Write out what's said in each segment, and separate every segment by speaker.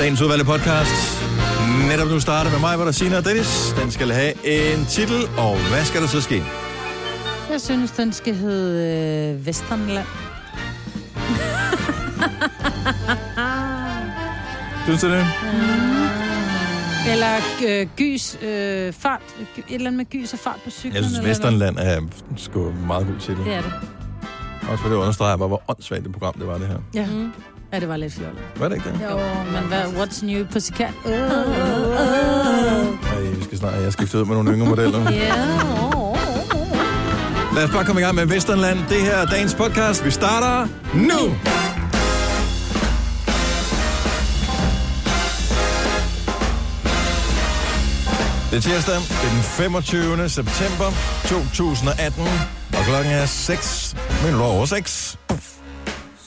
Speaker 1: Dagens udvalgte podcast. Netop nu starter med mig, hvor der Sina og Dennis. Den skal have en titel, og hvad skal der så ske?
Speaker 2: Jeg synes, den skal hedde øh, Vesternland.
Speaker 1: Synes du det?
Speaker 2: Eller øh, gys, øh, fart, gy- et eller andet med gys og fart på cyklen.
Speaker 1: Jeg synes,
Speaker 2: eller hvad?
Speaker 1: Vesternland er sgu en meget god titel.
Speaker 2: Det er det.
Speaker 1: Også fordi det understreger bare, hvor åndssvagt det program det var, det her.
Speaker 2: Ja. Mm. ja, det var lidt fjollet.
Speaker 1: Var det ikke det?
Speaker 2: Jo, men Øh, hvad, what's new på sikat? Åh, åh,
Speaker 1: Ej, vi skal snart, jeg skifter ud med nogle yngre modeller. Lad os bare komme i gang med Vesternland. Det her er dagens podcast. Vi starter nu! Det er tirsdag, det er den 25. september 2018, og klokken er 6 minutter over 6.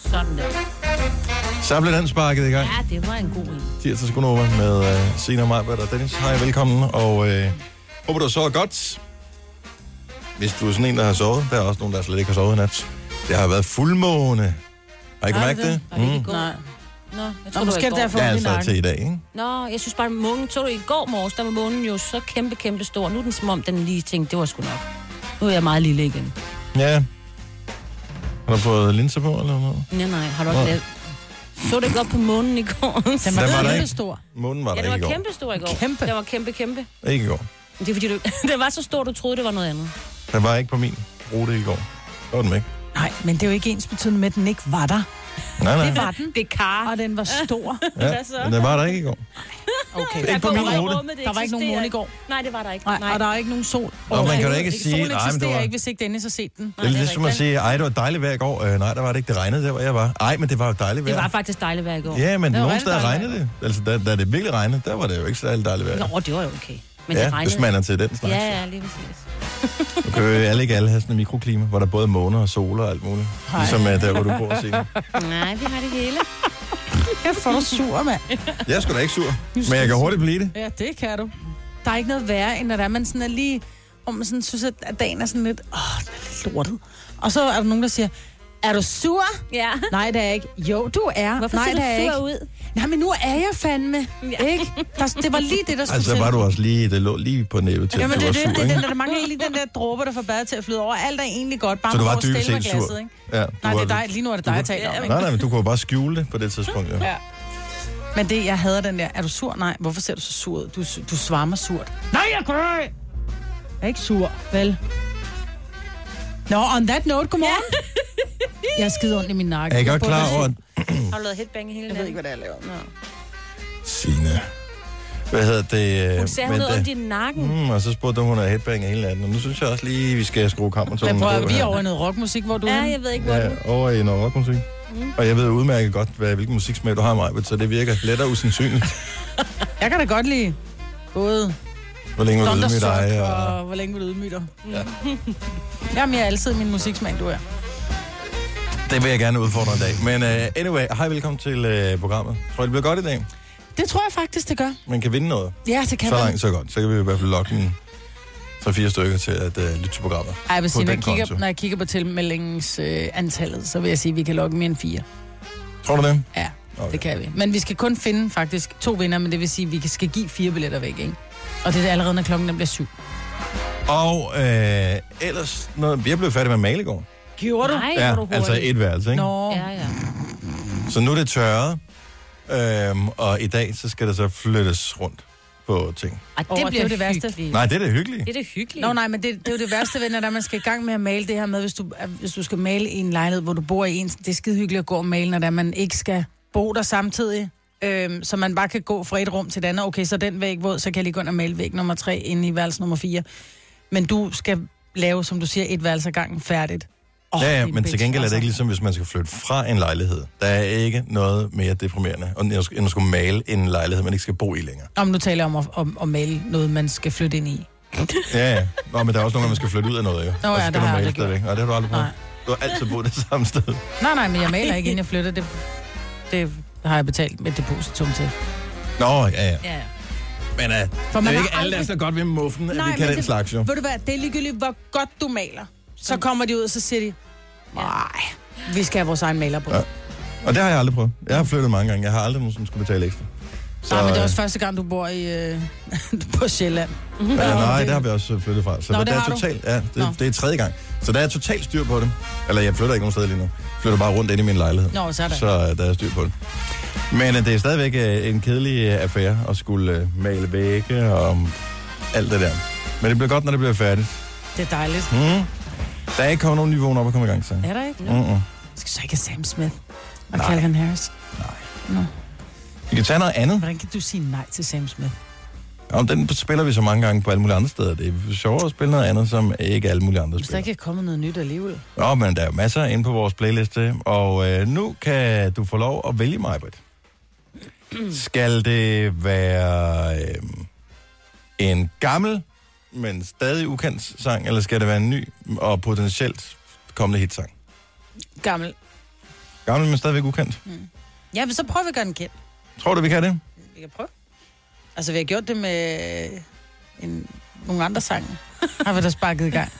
Speaker 2: Sådan der.
Speaker 1: Så blev den sparket i gang.
Speaker 2: Ja, det var en god en.
Speaker 1: Tirsdags Gunova med uh, Sina Majbert og Dennis. Hej, velkommen, og uh, håber du har sovet godt. Hvis du er sådan en, der har sovet, der er også nogen, der slet ikke har sovet i nat. Det har været fuldmåne. Har I ikke mærket det? Mm.
Speaker 3: Var det ikke i går?
Speaker 2: Nej.
Speaker 3: Nå, jeg
Speaker 2: Nå,
Speaker 3: tror,
Speaker 2: måske
Speaker 3: det var i
Speaker 2: derfor.
Speaker 3: går.
Speaker 2: Fuldmåne i
Speaker 1: Ja, altså
Speaker 2: nakken.
Speaker 1: til i dag, ikke?
Speaker 3: Nå, jeg synes bare, at månen så du i går morges, der var månen jo så kæmpe, kæmpe stor. Nu er den som om, den lige tænkte, det var sgu nok. Nu er jeg meget lille igen.
Speaker 1: Ja. Har du fået linser på, eller noget?
Speaker 3: Nej, nej, har du ikke
Speaker 1: Nå.
Speaker 3: lavet... Så du ikke op på månen i går?
Speaker 2: Den
Speaker 1: Den var
Speaker 2: var,
Speaker 1: der
Speaker 2: var
Speaker 1: ikke.
Speaker 2: kæmpe stor.
Speaker 1: Månen var der
Speaker 3: Ja, den
Speaker 1: ikke i
Speaker 3: var
Speaker 1: går.
Speaker 3: kæmpe stor i går.
Speaker 2: Kæmpe.
Speaker 3: Den var kæmpe, kæmpe.
Speaker 1: Ikke i går.
Speaker 3: Det er fordi, du... den var så stor, du troede, det var noget andet.
Speaker 1: Den var ikke på min rute i går. Der var den væk.
Speaker 4: Nej, men det er jo ikke ens betydende med, at den ikke var der.
Speaker 1: Nej, nej.
Speaker 4: Det var den,
Speaker 3: Det er kar.
Speaker 4: og den var stor.
Speaker 3: hvad så?
Speaker 1: Ja, men den var der ikke i går.
Speaker 4: Okay.
Speaker 1: Ikke på min rute.
Speaker 4: Der var ikke nogen måne i går.
Speaker 3: Nej, det var der ikke.
Speaker 4: Nej, og der er ikke nogen sol.
Speaker 1: da
Speaker 4: overhovedet.
Speaker 1: ikke sige,
Speaker 4: Solen
Speaker 1: nej, men
Speaker 4: eksisterer
Speaker 1: det var-
Speaker 4: ikke, hvis ikke Dennis har set den.
Speaker 1: Det er
Speaker 3: det er
Speaker 1: ligesom at
Speaker 3: rigtigt.
Speaker 1: sige, ej, det var dejligt vejr i går. Øh, nej, der var det ikke. Det regnede der, hvor jeg var. Ej, men det var jo dejligt vejr.
Speaker 3: Det var faktisk dejligt vejr i går.
Speaker 1: Ja, men
Speaker 4: Det var
Speaker 1: nogle
Speaker 4: rigtig
Speaker 1: steder
Speaker 4: dejligt.
Speaker 1: regnede det. Altså, da, da det virkelig regnede, der var det jo ikke særlig dejligt vejr.
Speaker 3: Nå, det var jo okay. Men det
Speaker 1: ja,
Speaker 3: regnede.
Speaker 1: hvis man er til den slags.
Speaker 3: Ja,
Speaker 1: Ja.
Speaker 3: ja, lige præcis.
Speaker 1: Nu kan jo alle ikke alle have sådan et mikroklima, hvor der både er måner og sol og alt muligt. Hej. Ligesom uh, der, hvor du bor, Signe.
Speaker 3: Nej, vi har det hele.
Speaker 4: Jeg får dig sur, mand.
Speaker 1: Jeg er sgu da ikke sur, men jeg kan hurtigt blive det.
Speaker 4: Ja, det kan du. Der er ikke noget værre, end når der er, man sådan er lige... Om man sådan synes, at- at dagen er sådan lidt... Åh, den er lidt lortet. Og så er der nogen, der siger... Er du sur?
Speaker 3: Ja.
Speaker 4: Nej, det er jeg ikke. Jo, du er.
Speaker 3: Hvorfor
Speaker 4: Nej,
Speaker 3: ser
Speaker 4: det er jeg
Speaker 3: du
Speaker 4: ikke.
Speaker 3: sur ud?
Speaker 4: Nej, men nu er jeg fandme. Ja. Ikke? Der, det var lige det, der skulle
Speaker 1: Altså,
Speaker 4: til.
Speaker 1: var du også lige, det lå lige på næbet til,
Speaker 4: Jamen,
Speaker 1: at du
Speaker 4: det,
Speaker 1: var
Speaker 4: er det,
Speaker 1: sur,
Speaker 4: det, det,
Speaker 1: ikke?
Speaker 4: den, der mangler lige den der dråber, der får badet til at flyde over. Alt er egentlig godt, bare
Speaker 1: Så du
Speaker 4: man
Speaker 1: var
Speaker 4: får
Speaker 1: dybest
Speaker 4: stille
Speaker 1: set
Speaker 4: med
Speaker 1: sur.
Speaker 4: glasset, ikke?
Speaker 1: Ja, du
Speaker 4: Nej, det er
Speaker 1: var-
Speaker 4: dig, lige nu er det dig, jeg taler om, ikke?
Speaker 1: Nej, nej, men du kunne jo bare skjule det på det tidspunkt, jo.
Speaker 4: Ja. Men det, jeg hader den der, er du sur? Nej, hvorfor ser du så sur ud? Du, du svarmer surt. Nej, jeg gør ikke! Jeg er ikke sur, vel? Nå, no, on that note, godmorgen. jeg er skide ondt i min nakke.
Speaker 1: Er I godt klar over, at
Speaker 3: Har du lavet headbang hele
Speaker 4: Jeg ved
Speaker 3: natten?
Speaker 4: ikke, hvad det er, jeg laver.
Speaker 1: Signe... Hvad hedder det? øh,
Speaker 3: Hun sagde, hun havde ondt i nakken.
Speaker 1: Mm, og så spurgte hun, om hun havde headbang af hele natten. Og nu synes jeg også lige, vi skal skrue kammertonen
Speaker 4: Men prøv at
Speaker 1: på
Speaker 4: høre, vi
Speaker 1: her.
Speaker 4: er over i noget rockmusik, hvor du
Speaker 3: Ja,
Speaker 4: er henne.
Speaker 3: jeg ved ikke, hvor den...
Speaker 1: øh, Ja, over i noget rockmusik. Mm. Og jeg ved udmærket godt, hvad, hvilken musiksmag du har, Majbet, så det virker let og usandsynligt.
Speaker 4: Jeg kan da godt lide både
Speaker 1: Hvor længe var du ude med
Speaker 4: Dundersuck
Speaker 1: dig? Og...
Speaker 4: og hvor længe vil du ydmyge dig.
Speaker 3: Mm.
Speaker 4: Ja. Jamen, jeg er altid min musiksmag, du er.
Speaker 1: Det vil jeg gerne udfordre i dag. Men uh, anyway, hej, velkommen til uh, programmet. Tror I, det bliver godt i dag?
Speaker 4: Det tror jeg faktisk, det gør.
Speaker 1: Man kan vinde noget.
Speaker 4: Ja, det kan
Speaker 1: så
Speaker 4: man.
Speaker 1: langt, så godt. Så kan vi i hvert fald lokke en 3-4 stykker til at uh, lytte til programmet.
Speaker 4: Ej, hvis
Speaker 1: på
Speaker 4: jeg, når,
Speaker 1: den
Speaker 4: jeg kigger,
Speaker 1: konto.
Speaker 4: når jeg kigger på tilmeldingsantallet, øh, antallet, så vil jeg sige, at vi kan lokke mere end fire.
Speaker 1: Tror du det?
Speaker 4: Ja,
Speaker 1: Okay.
Speaker 4: okay. det kan vi. Men vi skal kun finde faktisk to vinder, men det vil sige, at vi kan- skal give fire billetter væk, ikke? Og det er allerede, når klokken den bliver syv.
Speaker 1: Og uh, ellers, noget, jeg blev færdig med male i går.
Speaker 4: Gjorde
Speaker 3: Nej,
Speaker 1: ja,
Speaker 3: hvor du
Speaker 1: altså
Speaker 3: hurtig.
Speaker 1: et værelse, ikke?
Speaker 4: Nå,
Speaker 3: Ja,
Speaker 4: ja.
Speaker 3: ja.
Speaker 1: Så nu er det tørret, øhm, og i dag så skal der så flyttes rundt på ting.
Speaker 3: Ej,
Speaker 4: Åh,
Speaker 3: det
Speaker 4: og
Speaker 3: bliver
Speaker 4: det er det værste.
Speaker 3: hyggeligt.
Speaker 1: Nej, det er det hyggelige.
Speaker 3: Det er det hyggelige.
Speaker 4: Nå nej, men det, det er jo det værste ved, når der er, man skal i gang med at male det her med, hvis du, at hvis du skal male i en lejlighed, hvor du bor i en, det er skide hyggeligt at gå og male, når der man ikke skal bo der samtidig. Øhm, så man bare kan gå fra et rum til et andet. Okay, så er den væg våd, så kan jeg lige gå ind og male væg nummer 3 inde i værelse nummer 4. Men du skal lave, som du siger, et værelse ad gangen færdigt. Oh,
Speaker 1: Ja, ja, men til gengæld er
Speaker 4: Altså.
Speaker 1: det ikke ligesom, hvis man skal flytte fra en lejlighed. Der er ikke noget mere deprimerende, end at- end at skulle male en lejlighed, man ikke skal bo i længere.
Speaker 4: Om nu taler jeg om at, om at male noget, man skal flytte ind i.
Speaker 1: Ja, ja. Nå, men der er også nogle, man skal flytte ud af noget, jo. Nå,
Speaker 4: ja, det har jeg aldrig
Speaker 1: Nej, det har du aldrig prøvet.
Speaker 4: Nej.
Speaker 1: Du har altid boet det samme sted.
Speaker 4: Nej, nej, men jeg maler ikke, inden jeg flytter. Det, det har jeg betalt med depositum til.
Speaker 1: Nå, ja, ja.
Speaker 3: Ja, ja.
Speaker 1: Men uh, det
Speaker 4: For
Speaker 1: er
Speaker 4: man
Speaker 1: jo ikke
Speaker 4: har
Speaker 1: alle, der er
Speaker 4: aldrig-
Speaker 1: så godt ved muffen, at vi
Speaker 4: men
Speaker 1: kan den slags, jo.
Speaker 4: Ved du hvad, det er ligegyldigt, hvor godt du maler. Så kommer de ud, og så siger de, nej, vi skal have vores egen maler på. Ja.
Speaker 1: Og det har jeg aldrig prøvet. Jeg har flyttet mange gange. Jeg har aldrig nogensinde skulle betale ekstra. Så,
Speaker 4: Nej, men det er
Speaker 1: øh,
Speaker 4: også første gang, du bor i, øh, på Sjælland.
Speaker 1: Ja, nej, der har vi også øh, flyttet fra. Så
Speaker 4: Nå,
Speaker 1: Nå,
Speaker 4: det
Speaker 1: der er
Speaker 4: har du.
Speaker 1: totalt, ja,
Speaker 4: Nå.
Speaker 1: det, det, er tredje gang. Så der er totalt styr på det. Eller jeg flytter ikke nogen sted lige nu. Jeg flytter bare rundt ind i min lejlighed.
Speaker 4: Nå, så er det.
Speaker 1: Så øh, der er styr på det. Men øh, det er stadigvæk øh, en kedelig øh, affære at skulle øh, male vægge og alt det der. Men det bliver godt, når det bliver færdigt.
Speaker 4: Det er dejligt.
Speaker 1: Mm. Der er ikke kommet nogen nye vågen op og komme i gang, så.
Speaker 4: Er der ikke?
Speaker 1: Mm -mm.
Speaker 4: Jeg skal så ikke have Sam Smith og
Speaker 1: Nej.
Speaker 4: Calvin Harris.
Speaker 1: Vi kan tage noget andet.
Speaker 4: Hvordan kan du sige nej til Sam Smith?
Speaker 1: Om den spiller vi så mange gange på alle mulige andre steder. Det er sjovere at spille noget andet, som ikke alle mulige andre
Speaker 4: Hvis der
Speaker 1: spiller.
Speaker 4: ikke er kommet noget nyt alligevel.
Speaker 1: Nå, men der er jo masser inde på vores playliste, og øh, nu kan du få lov at vælge mig, Britt. Skal det være øh, en gammel, men stadig ukendt sang, eller skal det være en ny og potentielt kommende hitsang?
Speaker 4: Gammel.
Speaker 1: Gammel, men stadigvæk ukendt.
Speaker 4: Ja, men så prøver vi at gøre den kendt.
Speaker 1: Tror du, vi kan det?
Speaker 4: Vi kan prøve. Altså, vi har gjort det med øh, en, nogle andre sange. Har vi da sparket i gang.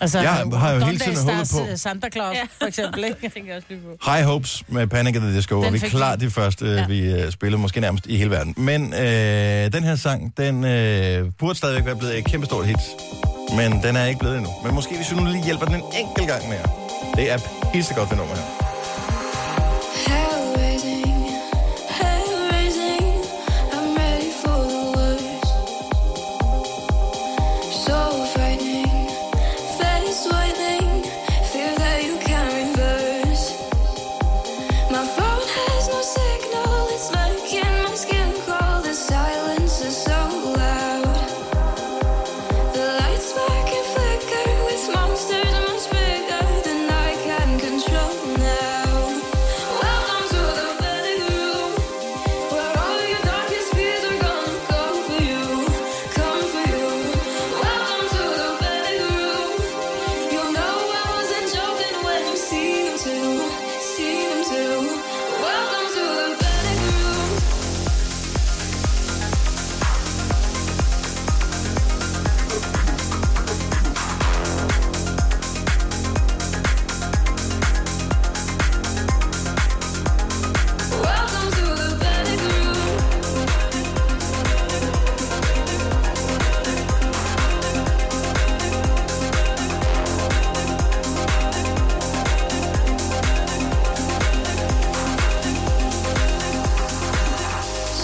Speaker 4: Altså,
Speaker 1: Jeg har jo hele tiden
Speaker 4: Donnerdags
Speaker 1: håbet
Speaker 4: Stars,
Speaker 1: på-
Speaker 4: øh, Santa Claus,
Speaker 3: Ja.
Speaker 4: ja. for eksempel, ikke?
Speaker 3: tænker også lige på.
Speaker 1: High Hopes med Panic at the Disco,
Speaker 4: Den
Speaker 1: og vi er
Speaker 4: fik
Speaker 1: klart
Speaker 4: vi.
Speaker 1: det første, ja.
Speaker 4: Ja.
Speaker 1: vi øh, spillede, måske nærmest i hele verden. Men øh, den her sang, den øh, burde stadigvæk være blevet et kæmpestort hit, men den er ikke blevet endnu. Men måske hvis vi nu lige hjælper den en enkelt gang mere. Det er pissegodt, det nummer her.
Speaker 5: Monsters much bigger than I can control now. Welcome to the bedroom. Where all your darkest fears are gonna come for you, come for you. Welcome to the bedroom. You know I wasn't joking when you see them too, see them too. Welcome to the bedroom. Welcome to the bedroom.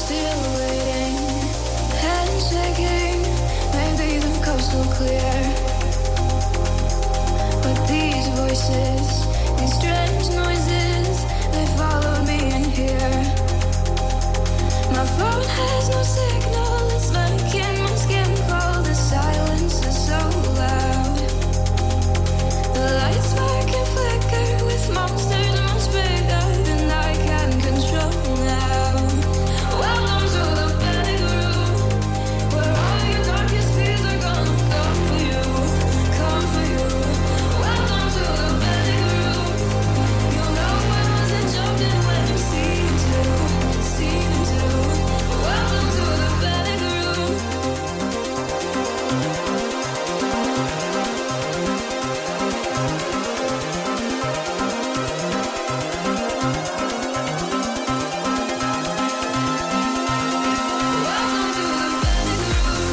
Speaker 5: Still waiting, head shaking. Maybe the coast will clear. But these voices, these strange noises, they follow me in here. My phone has no signal. It's making my skin cold. The silence is so loud. The lights spark and flicker with monsters much bigger than I can control now. Welcome to the bedroom, where all your darkest fears are gonna come for you, come for you. Welcome to the bedroom. You know I wasn't joking when you see them too, see them too. Welcome to the bedroom. Welcome to the bedroom.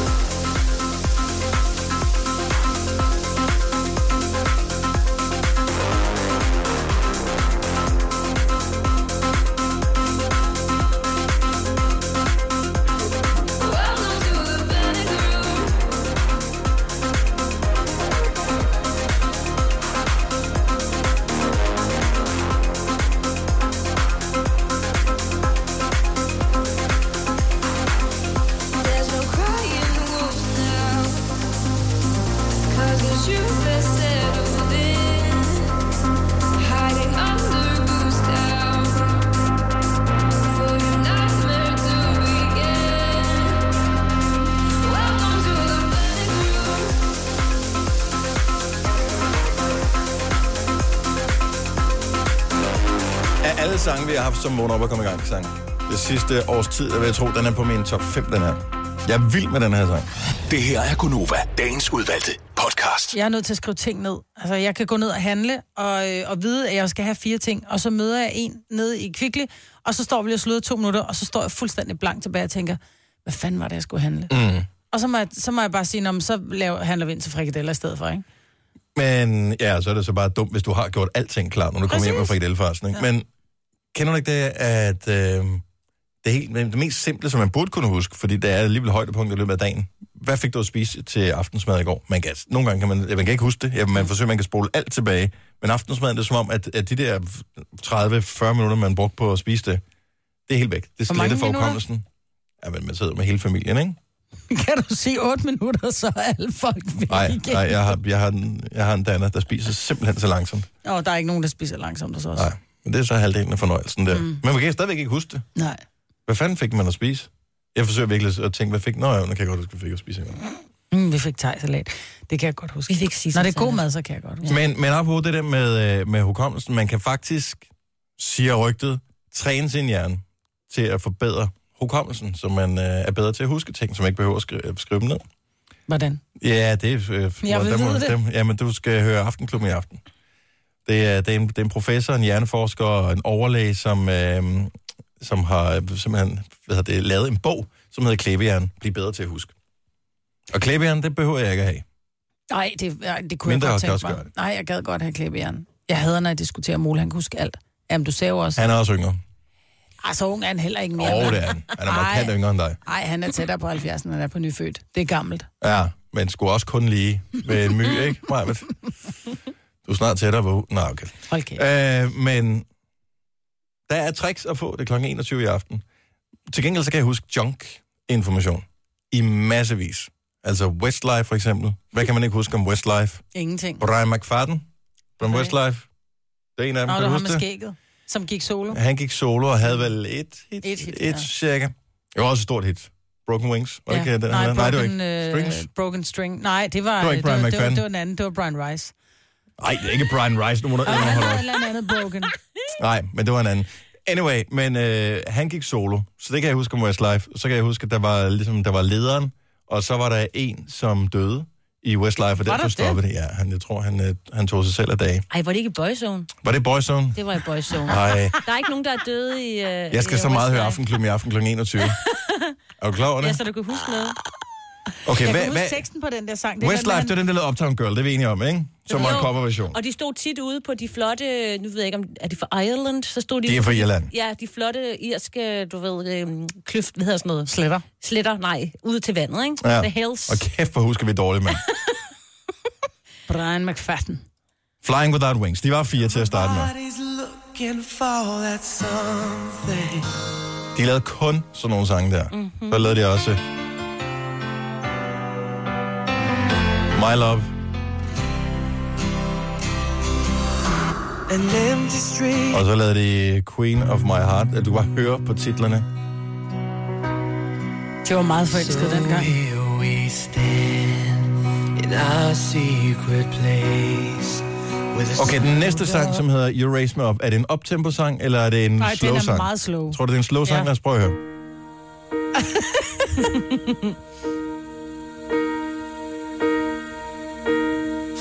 Speaker 5: Welcome to the bedroom. There's no crying wolf now. 'Cause the truth is settled in. Hiding under goose down. For your nightmare to begin. Welcome to the bedroom.
Speaker 1: Af alle sange, vi har haft som vågen op og komme i gang sang, det sidste års tid, der vil jeg tro, den er på min top 5, den her. Jeg er vild med den her sang.
Speaker 6: Det her er Gunova, dagens udvalgte podcast.
Speaker 4: Jeg er nødt til at skrive ting ned. Altså, jeg kan gå ned og handle, og, øh, og vide, at jeg skal have fire ting, og så møder jeg en nede i Kvickly, og så står vi lige og sløder to minutter, og så står jeg fuldstændig blank tilbage og tænker, hvad fanden var det, jeg skulle handle? Mm. Og så må, jeg, så må jeg bare sige, "Nå, men så laver, handler vi ind til frikadeller i stedet for, ikke?
Speaker 1: Men ja, så er det så bare dumt, hvis du har gjort alting klar, når du kommer hjem med
Speaker 4: Præcis.
Speaker 1: frikadellefarsen. Ikke? Men kender du ikke det, at øh, det, er helt, det mest simple, som man burde kunne huske, fordi det er alligevel højdepunkt i løbet af dagen. Hvad fik du at spise til aftensmad i går? Man kan, nogle gange kan man, ja, man kan ikke huske det. Ja, man forsøger, man kan spole alt tilbage. Men aftensmaden, det er som om, at, at de der 30-40 minutter, man brugte på at spise det, det er helt væk. Det er
Speaker 4: Hvor mange
Speaker 1: slettet for
Speaker 4: minutter?
Speaker 1: hukommelsen. Ja, men man sidder med hele familien, ikke?
Speaker 4: Kan du sige otte minutter, så er alle folk væk
Speaker 1: Nej,
Speaker 4: igen?
Speaker 1: nej jeg, har, jeg, har en, jeg har en danner, der spiser simpelthen så langsomt.
Speaker 4: Og der er ikke nogen, der spiser langsomt hos os.
Speaker 1: Nej, men det er så halvdelen af fornøjelsen der. Mm. Men man kan stadigvæk ikke huske det.
Speaker 4: Nej.
Speaker 1: Hvad fanden fik man at spise? Jeg forsøger virkelig at tænke, hvad fik... Nå ja, nu kan jeg godt huske, hvad jeg fik at spise. i går.
Speaker 4: Mm, vi fik thai-salat. Det kan jeg godt huske.
Speaker 3: Vi fik sidst.
Speaker 4: Når det er god mad, så kan jeg godt huske.
Speaker 1: Men, men apropos det der med, øh, med hukommelsen, man kan faktisk, siger rygtet, træne sin hjerne til at forbedre hukommelsen, så man øh, er bedre til at huske ting, som man ikke behøver at skrive, skrive dem ned.
Speaker 4: Hvordan?
Speaker 1: Ja, det er... Øh,
Speaker 4: Jeg vil
Speaker 1: dem,
Speaker 4: vide det.
Speaker 1: Dem, jamen, du skal høre Aftenklubben i aften. Det er, det, er en, det er en professor, en hjerneforsker og en overlæge, som, øh, som har øh, simpelthen hvad hedder det, lavet en bog, som hedder Klæbehjern. Bliv bedre til at huske. Og klæbehjern, det behøver jeg ikke at have.
Speaker 4: Nej, det, nej, det kunne
Speaker 1: Mindre kan
Speaker 4: jeg godt tænke
Speaker 1: også
Speaker 4: mig.
Speaker 1: gøre det.
Speaker 4: Nej, jeg gad godt have klæbejern. Jeg hader, når jeg diskuterer mole. Han kunne huske alt. Jamen, du ser jo også.
Speaker 1: Han er også yngre.
Speaker 4: Ej, så ung er han heller ikke
Speaker 1: Åh,
Speaker 4: mere.
Speaker 1: oh, det er han. Han er
Speaker 4: Ej.
Speaker 1: markant yngre end dig.
Speaker 4: Nej, han er tættere på 70, end han er på nyfødt. Det er gammelt.
Speaker 1: Ja, men skulle også kun lige med en my, ikke? Nej, men... Du er snart tættere på... Nej, okay.
Speaker 4: Hold kæft.
Speaker 1: Øh, men der er tricks at få. Det er kl. 21 i aften. Til gengæld så kan jeg huske junk-information i massevis. Altså Westlife for eksempel. Hvad kan man ikke huske om Westlife?
Speaker 4: Ingenting.
Speaker 1: Brian McFadden fra
Speaker 4: Okay.
Speaker 1: Westlife. Det er en af dem,
Speaker 4: Nå,
Speaker 1: kan
Speaker 4: du
Speaker 1: du
Speaker 4: har
Speaker 1: huske
Speaker 4: med
Speaker 1: det?
Speaker 4: skægget, som gik solo.
Speaker 1: Han gik solo og havde vel et hit,
Speaker 4: Et hit,
Speaker 1: et
Speaker 4: Mm. ja.
Speaker 1: cirka. Det var også et stort hit. Broken Wings. Var det ikke den
Speaker 4: Nej,
Speaker 1: anden?
Speaker 4: broken,
Speaker 1: Nej, det var ikke. Strings?
Speaker 4: Øh, broken String. Nej, det var,
Speaker 1: Det var ikke Brian
Speaker 4: det, var,
Speaker 1: McFadden.
Speaker 4: det var en anden. Det var Brian Rice.
Speaker 1: Nej, det er ikke Brian Rice. Nu må du
Speaker 4: Og han
Speaker 1: holde op.
Speaker 4: var eller andet broken.
Speaker 1: Nej, men det var en anden. Anyway, men øh, han gik solo, så det kan jeg huske om Westlife. Så kan jeg huske, at der var, ligesom, der var lederen, og så var der en, som døde i Westlife, og derfor
Speaker 4: der
Speaker 1: stoppede det. Ja, han, jeg tror, han, øh, han tog sig selv af dage.
Speaker 3: Ej, var det ikke i Boyzone?
Speaker 1: Var det Boyzone?
Speaker 3: Det var i Boyzone.
Speaker 1: Nej,
Speaker 3: Der er ikke nogen, der er døde i... Uh,
Speaker 1: jeg skal så meget høre Aftenklubben i aften kl. 21. Er du klar over
Speaker 3: Ja,
Speaker 1: det?
Speaker 3: så du kan huske noget.
Speaker 1: Okay,
Speaker 4: Jeg
Speaker 1: hvad,
Speaker 4: kan huske
Speaker 1: hvad,
Speaker 4: teksten på den der sang. er
Speaker 1: Westlife,
Speaker 4: den,
Speaker 1: det var den, der lavede Uptown Girl, det er vi enige om, ikke? Som var en
Speaker 3: Jo.
Speaker 1: coverversion.
Speaker 3: Og de stod tit ude på de flotte, nu ved jeg ikke om, er de fra Ireland? Så stod de,
Speaker 1: Det er fra Irland.
Speaker 3: Ja, de flotte irske, du ved, øhm, kløft, hvad hedder sådan noget?
Speaker 4: Sletter.
Speaker 3: Sletter, nej, ude til vandet, ikke?
Speaker 1: Ja.
Speaker 3: The Hills.
Speaker 1: Og kæft, hvor husker vi dårligt, mand.
Speaker 4: Brian McFadden.
Speaker 1: Flying Without Wings, de var fire til at starte med.
Speaker 7: Everybody's looking for that something.
Speaker 1: De lavede kun sådan nogle sange der. Mm-hmm. Så lavede de også... My Love.
Speaker 7: An empty street.
Speaker 1: Og så lavede de Queen of My Heart. Du kan bare høre på titlerne.
Speaker 4: Det var meget forelsket dengang.
Speaker 7: Here we stand in our secret place. With a
Speaker 1: Okay, den næste sang, som hedder You Raise Me Up, er det en optempo-sang, eller er det en
Speaker 4: Nej, den
Speaker 1: slow
Speaker 4: er
Speaker 1: sang?
Speaker 4: meget slow.
Speaker 1: Tror du, det er en slow sang?
Speaker 4: Ja.
Speaker 1: Lad os prøve at høre.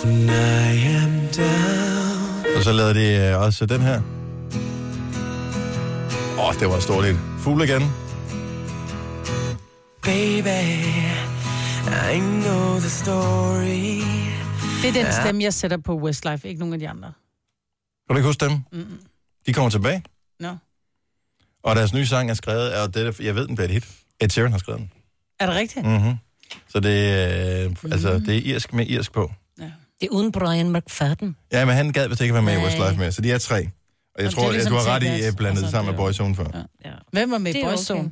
Speaker 7: When I am down.
Speaker 1: Og så lavede de øh, også den her. Åh, oh, det var stort lidt. Fugl igen.
Speaker 7: Baby, I know the story.
Speaker 4: Det er den stemme, jeg sætter på Westlife, ikke nogen af de andre.
Speaker 1: Kan du ikke huske dem? Mm-mm. De kommer tilbage,
Speaker 4: Nå. No.
Speaker 1: og deres nye sang er skrevet, og det, er- jeg ved, den bliver et hit. Ed Sheeran har skrevet den.
Speaker 4: Er det rigtigt?
Speaker 1: Mm-hmm. Så det, øh, altså, det er irsk med irsk på.
Speaker 3: Det er uden Brian McFadden.
Speaker 1: Ja, men han gad vist ikke være med i
Speaker 3: Nej.
Speaker 1: Westlife mere, så de er tre. Og jeg
Speaker 4: Og
Speaker 1: og
Speaker 4: det
Speaker 1: tror,
Speaker 4: er
Speaker 1: ligesom du
Speaker 4: ligesom
Speaker 1: har ret i,
Speaker 4: Take
Speaker 1: at jeg
Speaker 4: That,
Speaker 1: blandede
Speaker 4: og
Speaker 1: det
Speaker 4: så
Speaker 1: sammen med
Speaker 4: det-
Speaker 1: Boyzone før. Ja,
Speaker 3: Ja.
Speaker 4: Hvem var med i
Speaker 3: Det er
Speaker 4: Boyzone?
Speaker 3: okay.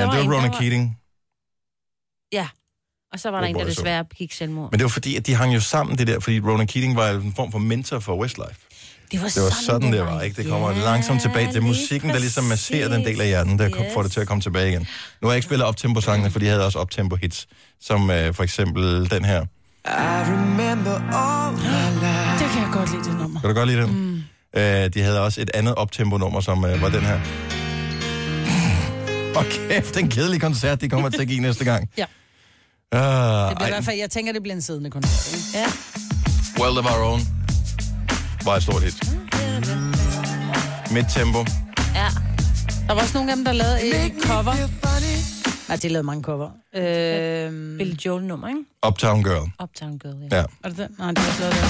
Speaker 1: ja det
Speaker 3: en,
Speaker 1: var
Speaker 3: der
Speaker 1: Rona
Speaker 3: var-
Speaker 1: Keating.
Speaker 3: Ja, og så var der
Speaker 1: Det
Speaker 3: en,
Speaker 1: var
Speaker 3: der
Speaker 1: Boyzone.
Speaker 3: desværre gik selvmord.
Speaker 1: Men det var fordi, at de hang jo sammen det der, fordi Rona Keating var en form for mentor for Westlife.
Speaker 3: det var,
Speaker 1: Det var sådan, det var, ikke? Det kommer langsomt tilbage. Det er musikken, der ligesom masserer den del af hjernen, der yes. får det til at komme tilbage igen. Nu har jeg ikke spillet optempo-sangene, for de havde også optempo-hits, som øh, for eksempel den her.
Speaker 7: I remember all my life.
Speaker 4: Det kan jeg godt lide, det nummer.
Speaker 1: Kan du godt lide den? Mm. Øh, de havde også et andet optempo-nummer, som øh, var den her. Og kæft, den kedelige koncert, de kommer til at give næste gang.
Speaker 4: Ja.
Speaker 1: Uh,
Speaker 4: Det bliver i hvert fald, jeg tænker, det bliver en siddende koncert. ikke?
Speaker 3: Ja.
Speaker 1: World of Our Own var et stort hit. Midt tempo.
Speaker 3: ja.
Speaker 4: Der var også nogle af dem, der lavede et cover. Nej, de lavede mange cover. Øh,
Speaker 3: Øhm. Billy Joel nummer, ikke?
Speaker 1: Uptown Girl.
Speaker 3: Uptown Girl, ja.
Speaker 1: Ja.
Speaker 4: var det den? Nej, det var også lavet der.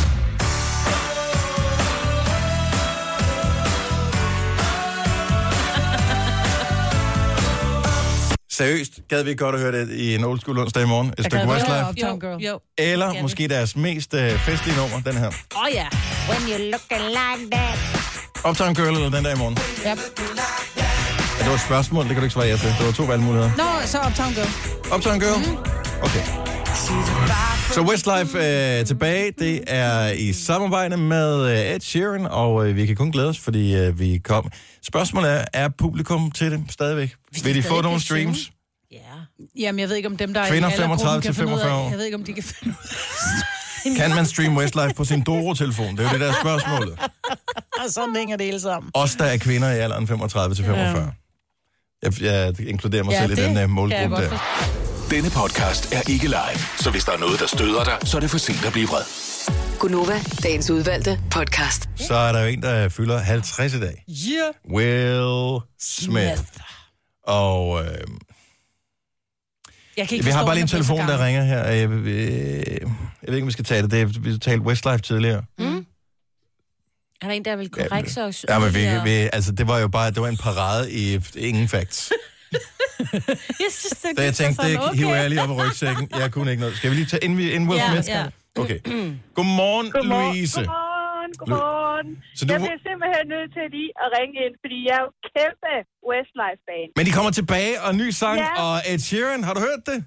Speaker 1: Seriøst, gad vi ikke godt at høre det i en old school onsdag i morgen. Et stykke
Speaker 4: gad vi godt
Speaker 1: Westlife.
Speaker 4: høre Uptown Girl.
Speaker 3: Jo, jo.
Speaker 1: Eller
Speaker 3: vi.
Speaker 1: måske deres mest øh, festlige nummer, den her.
Speaker 3: Åh oh, ja. When you look like that.
Speaker 1: Uptown Girl eller den der i morgen.
Speaker 4: Yep.
Speaker 1: Ja, det var et spørgsmål, det kan du ikke svare ja til. Det var to valgmuligheder.
Speaker 4: Nå, så Uptown Girl.
Speaker 1: Uptown Girl? Okay. Så Westlife øh, tilbage, det er i samarbejde med øh, Ed Sheeran, og øh, vi kan kun glæde os, fordi øh, vi kom. Spørgsmålet er, er publikum til det stadigvæk? Vil de få nogle
Speaker 3: stadig kan synge?
Speaker 1: streams?
Speaker 3: Ja.
Speaker 4: Jamen, jeg ved ikke, om dem, der er i
Speaker 1: Kvinder
Speaker 4: aldergruppen,
Speaker 1: 35
Speaker 4: kan
Speaker 1: til
Speaker 4: finde ud af-
Speaker 1: 45 år.
Speaker 4: Jeg ved ikke, om de kan finde ud
Speaker 1: Kan man streame Westlife på sin Doro-telefon? Det er jo det, der er spørgsmålet.
Speaker 4: af, sådan hænger det hele sammen.
Speaker 1: Os, der er kvinder i alderen 35 til 45. Jeg, jeg inkluderer mig
Speaker 4: Ja,
Speaker 1: selv i
Speaker 4: det
Speaker 1: den uh,
Speaker 4: kan jeg
Speaker 1: målgruppe
Speaker 4: godt
Speaker 1: der.
Speaker 6: Denne podcast er ikke live, så hvis der er noget, der støder dig, så er det for sent at blive vred.
Speaker 8: Gunova, dagens udvalgte podcast.
Speaker 1: Så er der jo en, der fylder 50 i dag.
Speaker 4: Yeah.
Speaker 1: Will Smith. Og øh,
Speaker 4: Jeg kan ikke
Speaker 1: vi har
Speaker 4: forstå,
Speaker 1: bare lige en
Speaker 4: at han er blevet så
Speaker 1: telefon, der
Speaker 4: gammel.
Speaker 1: ringer her. og Jeg, øh, jeg ved ikke, om vi skal tage det. det er, vi talte Westlife tidligere.
Speaker 3: Er der en, der vil
Speaker 1: Ja,
Speaker 3: korrekt sig? og s-
Speaker 1: Ja, men vi,
Speaker 3: og-
Speaker 1: vi, altså, det var jo bare det var en parade i ingen facts.
Speaker 3: Jeg synes, det
Speaker 1: Da jeg tænkte, det
Speaker 3: okay.
Speaker 1: hiver jeg lige op af rygsækken. Jeg kunne ikke noget. Skal vi lige tage inden, vi, inden Will
Speaker 3: Ja,
Speaker 1: Smith?
Speaker 3: ja.
Speaker 1: Okay. Godmorgen,
Speaker 9: Godmorgen,
Speaker 1: Louise.
Speaker 9: Godmorgen, godmorgen.
Speaker 1: Så du,
Speaker 9: Jeg bliver simpelthen nødt til lige at ringe ind, fordi jeg er jo kæmpe Westlife-fan.
Speaker 1: men de kommer tilbage, og en ny sang,
Speaker 9: Ja.
Speaker 1: og Ed Sheeran, har du hørt det?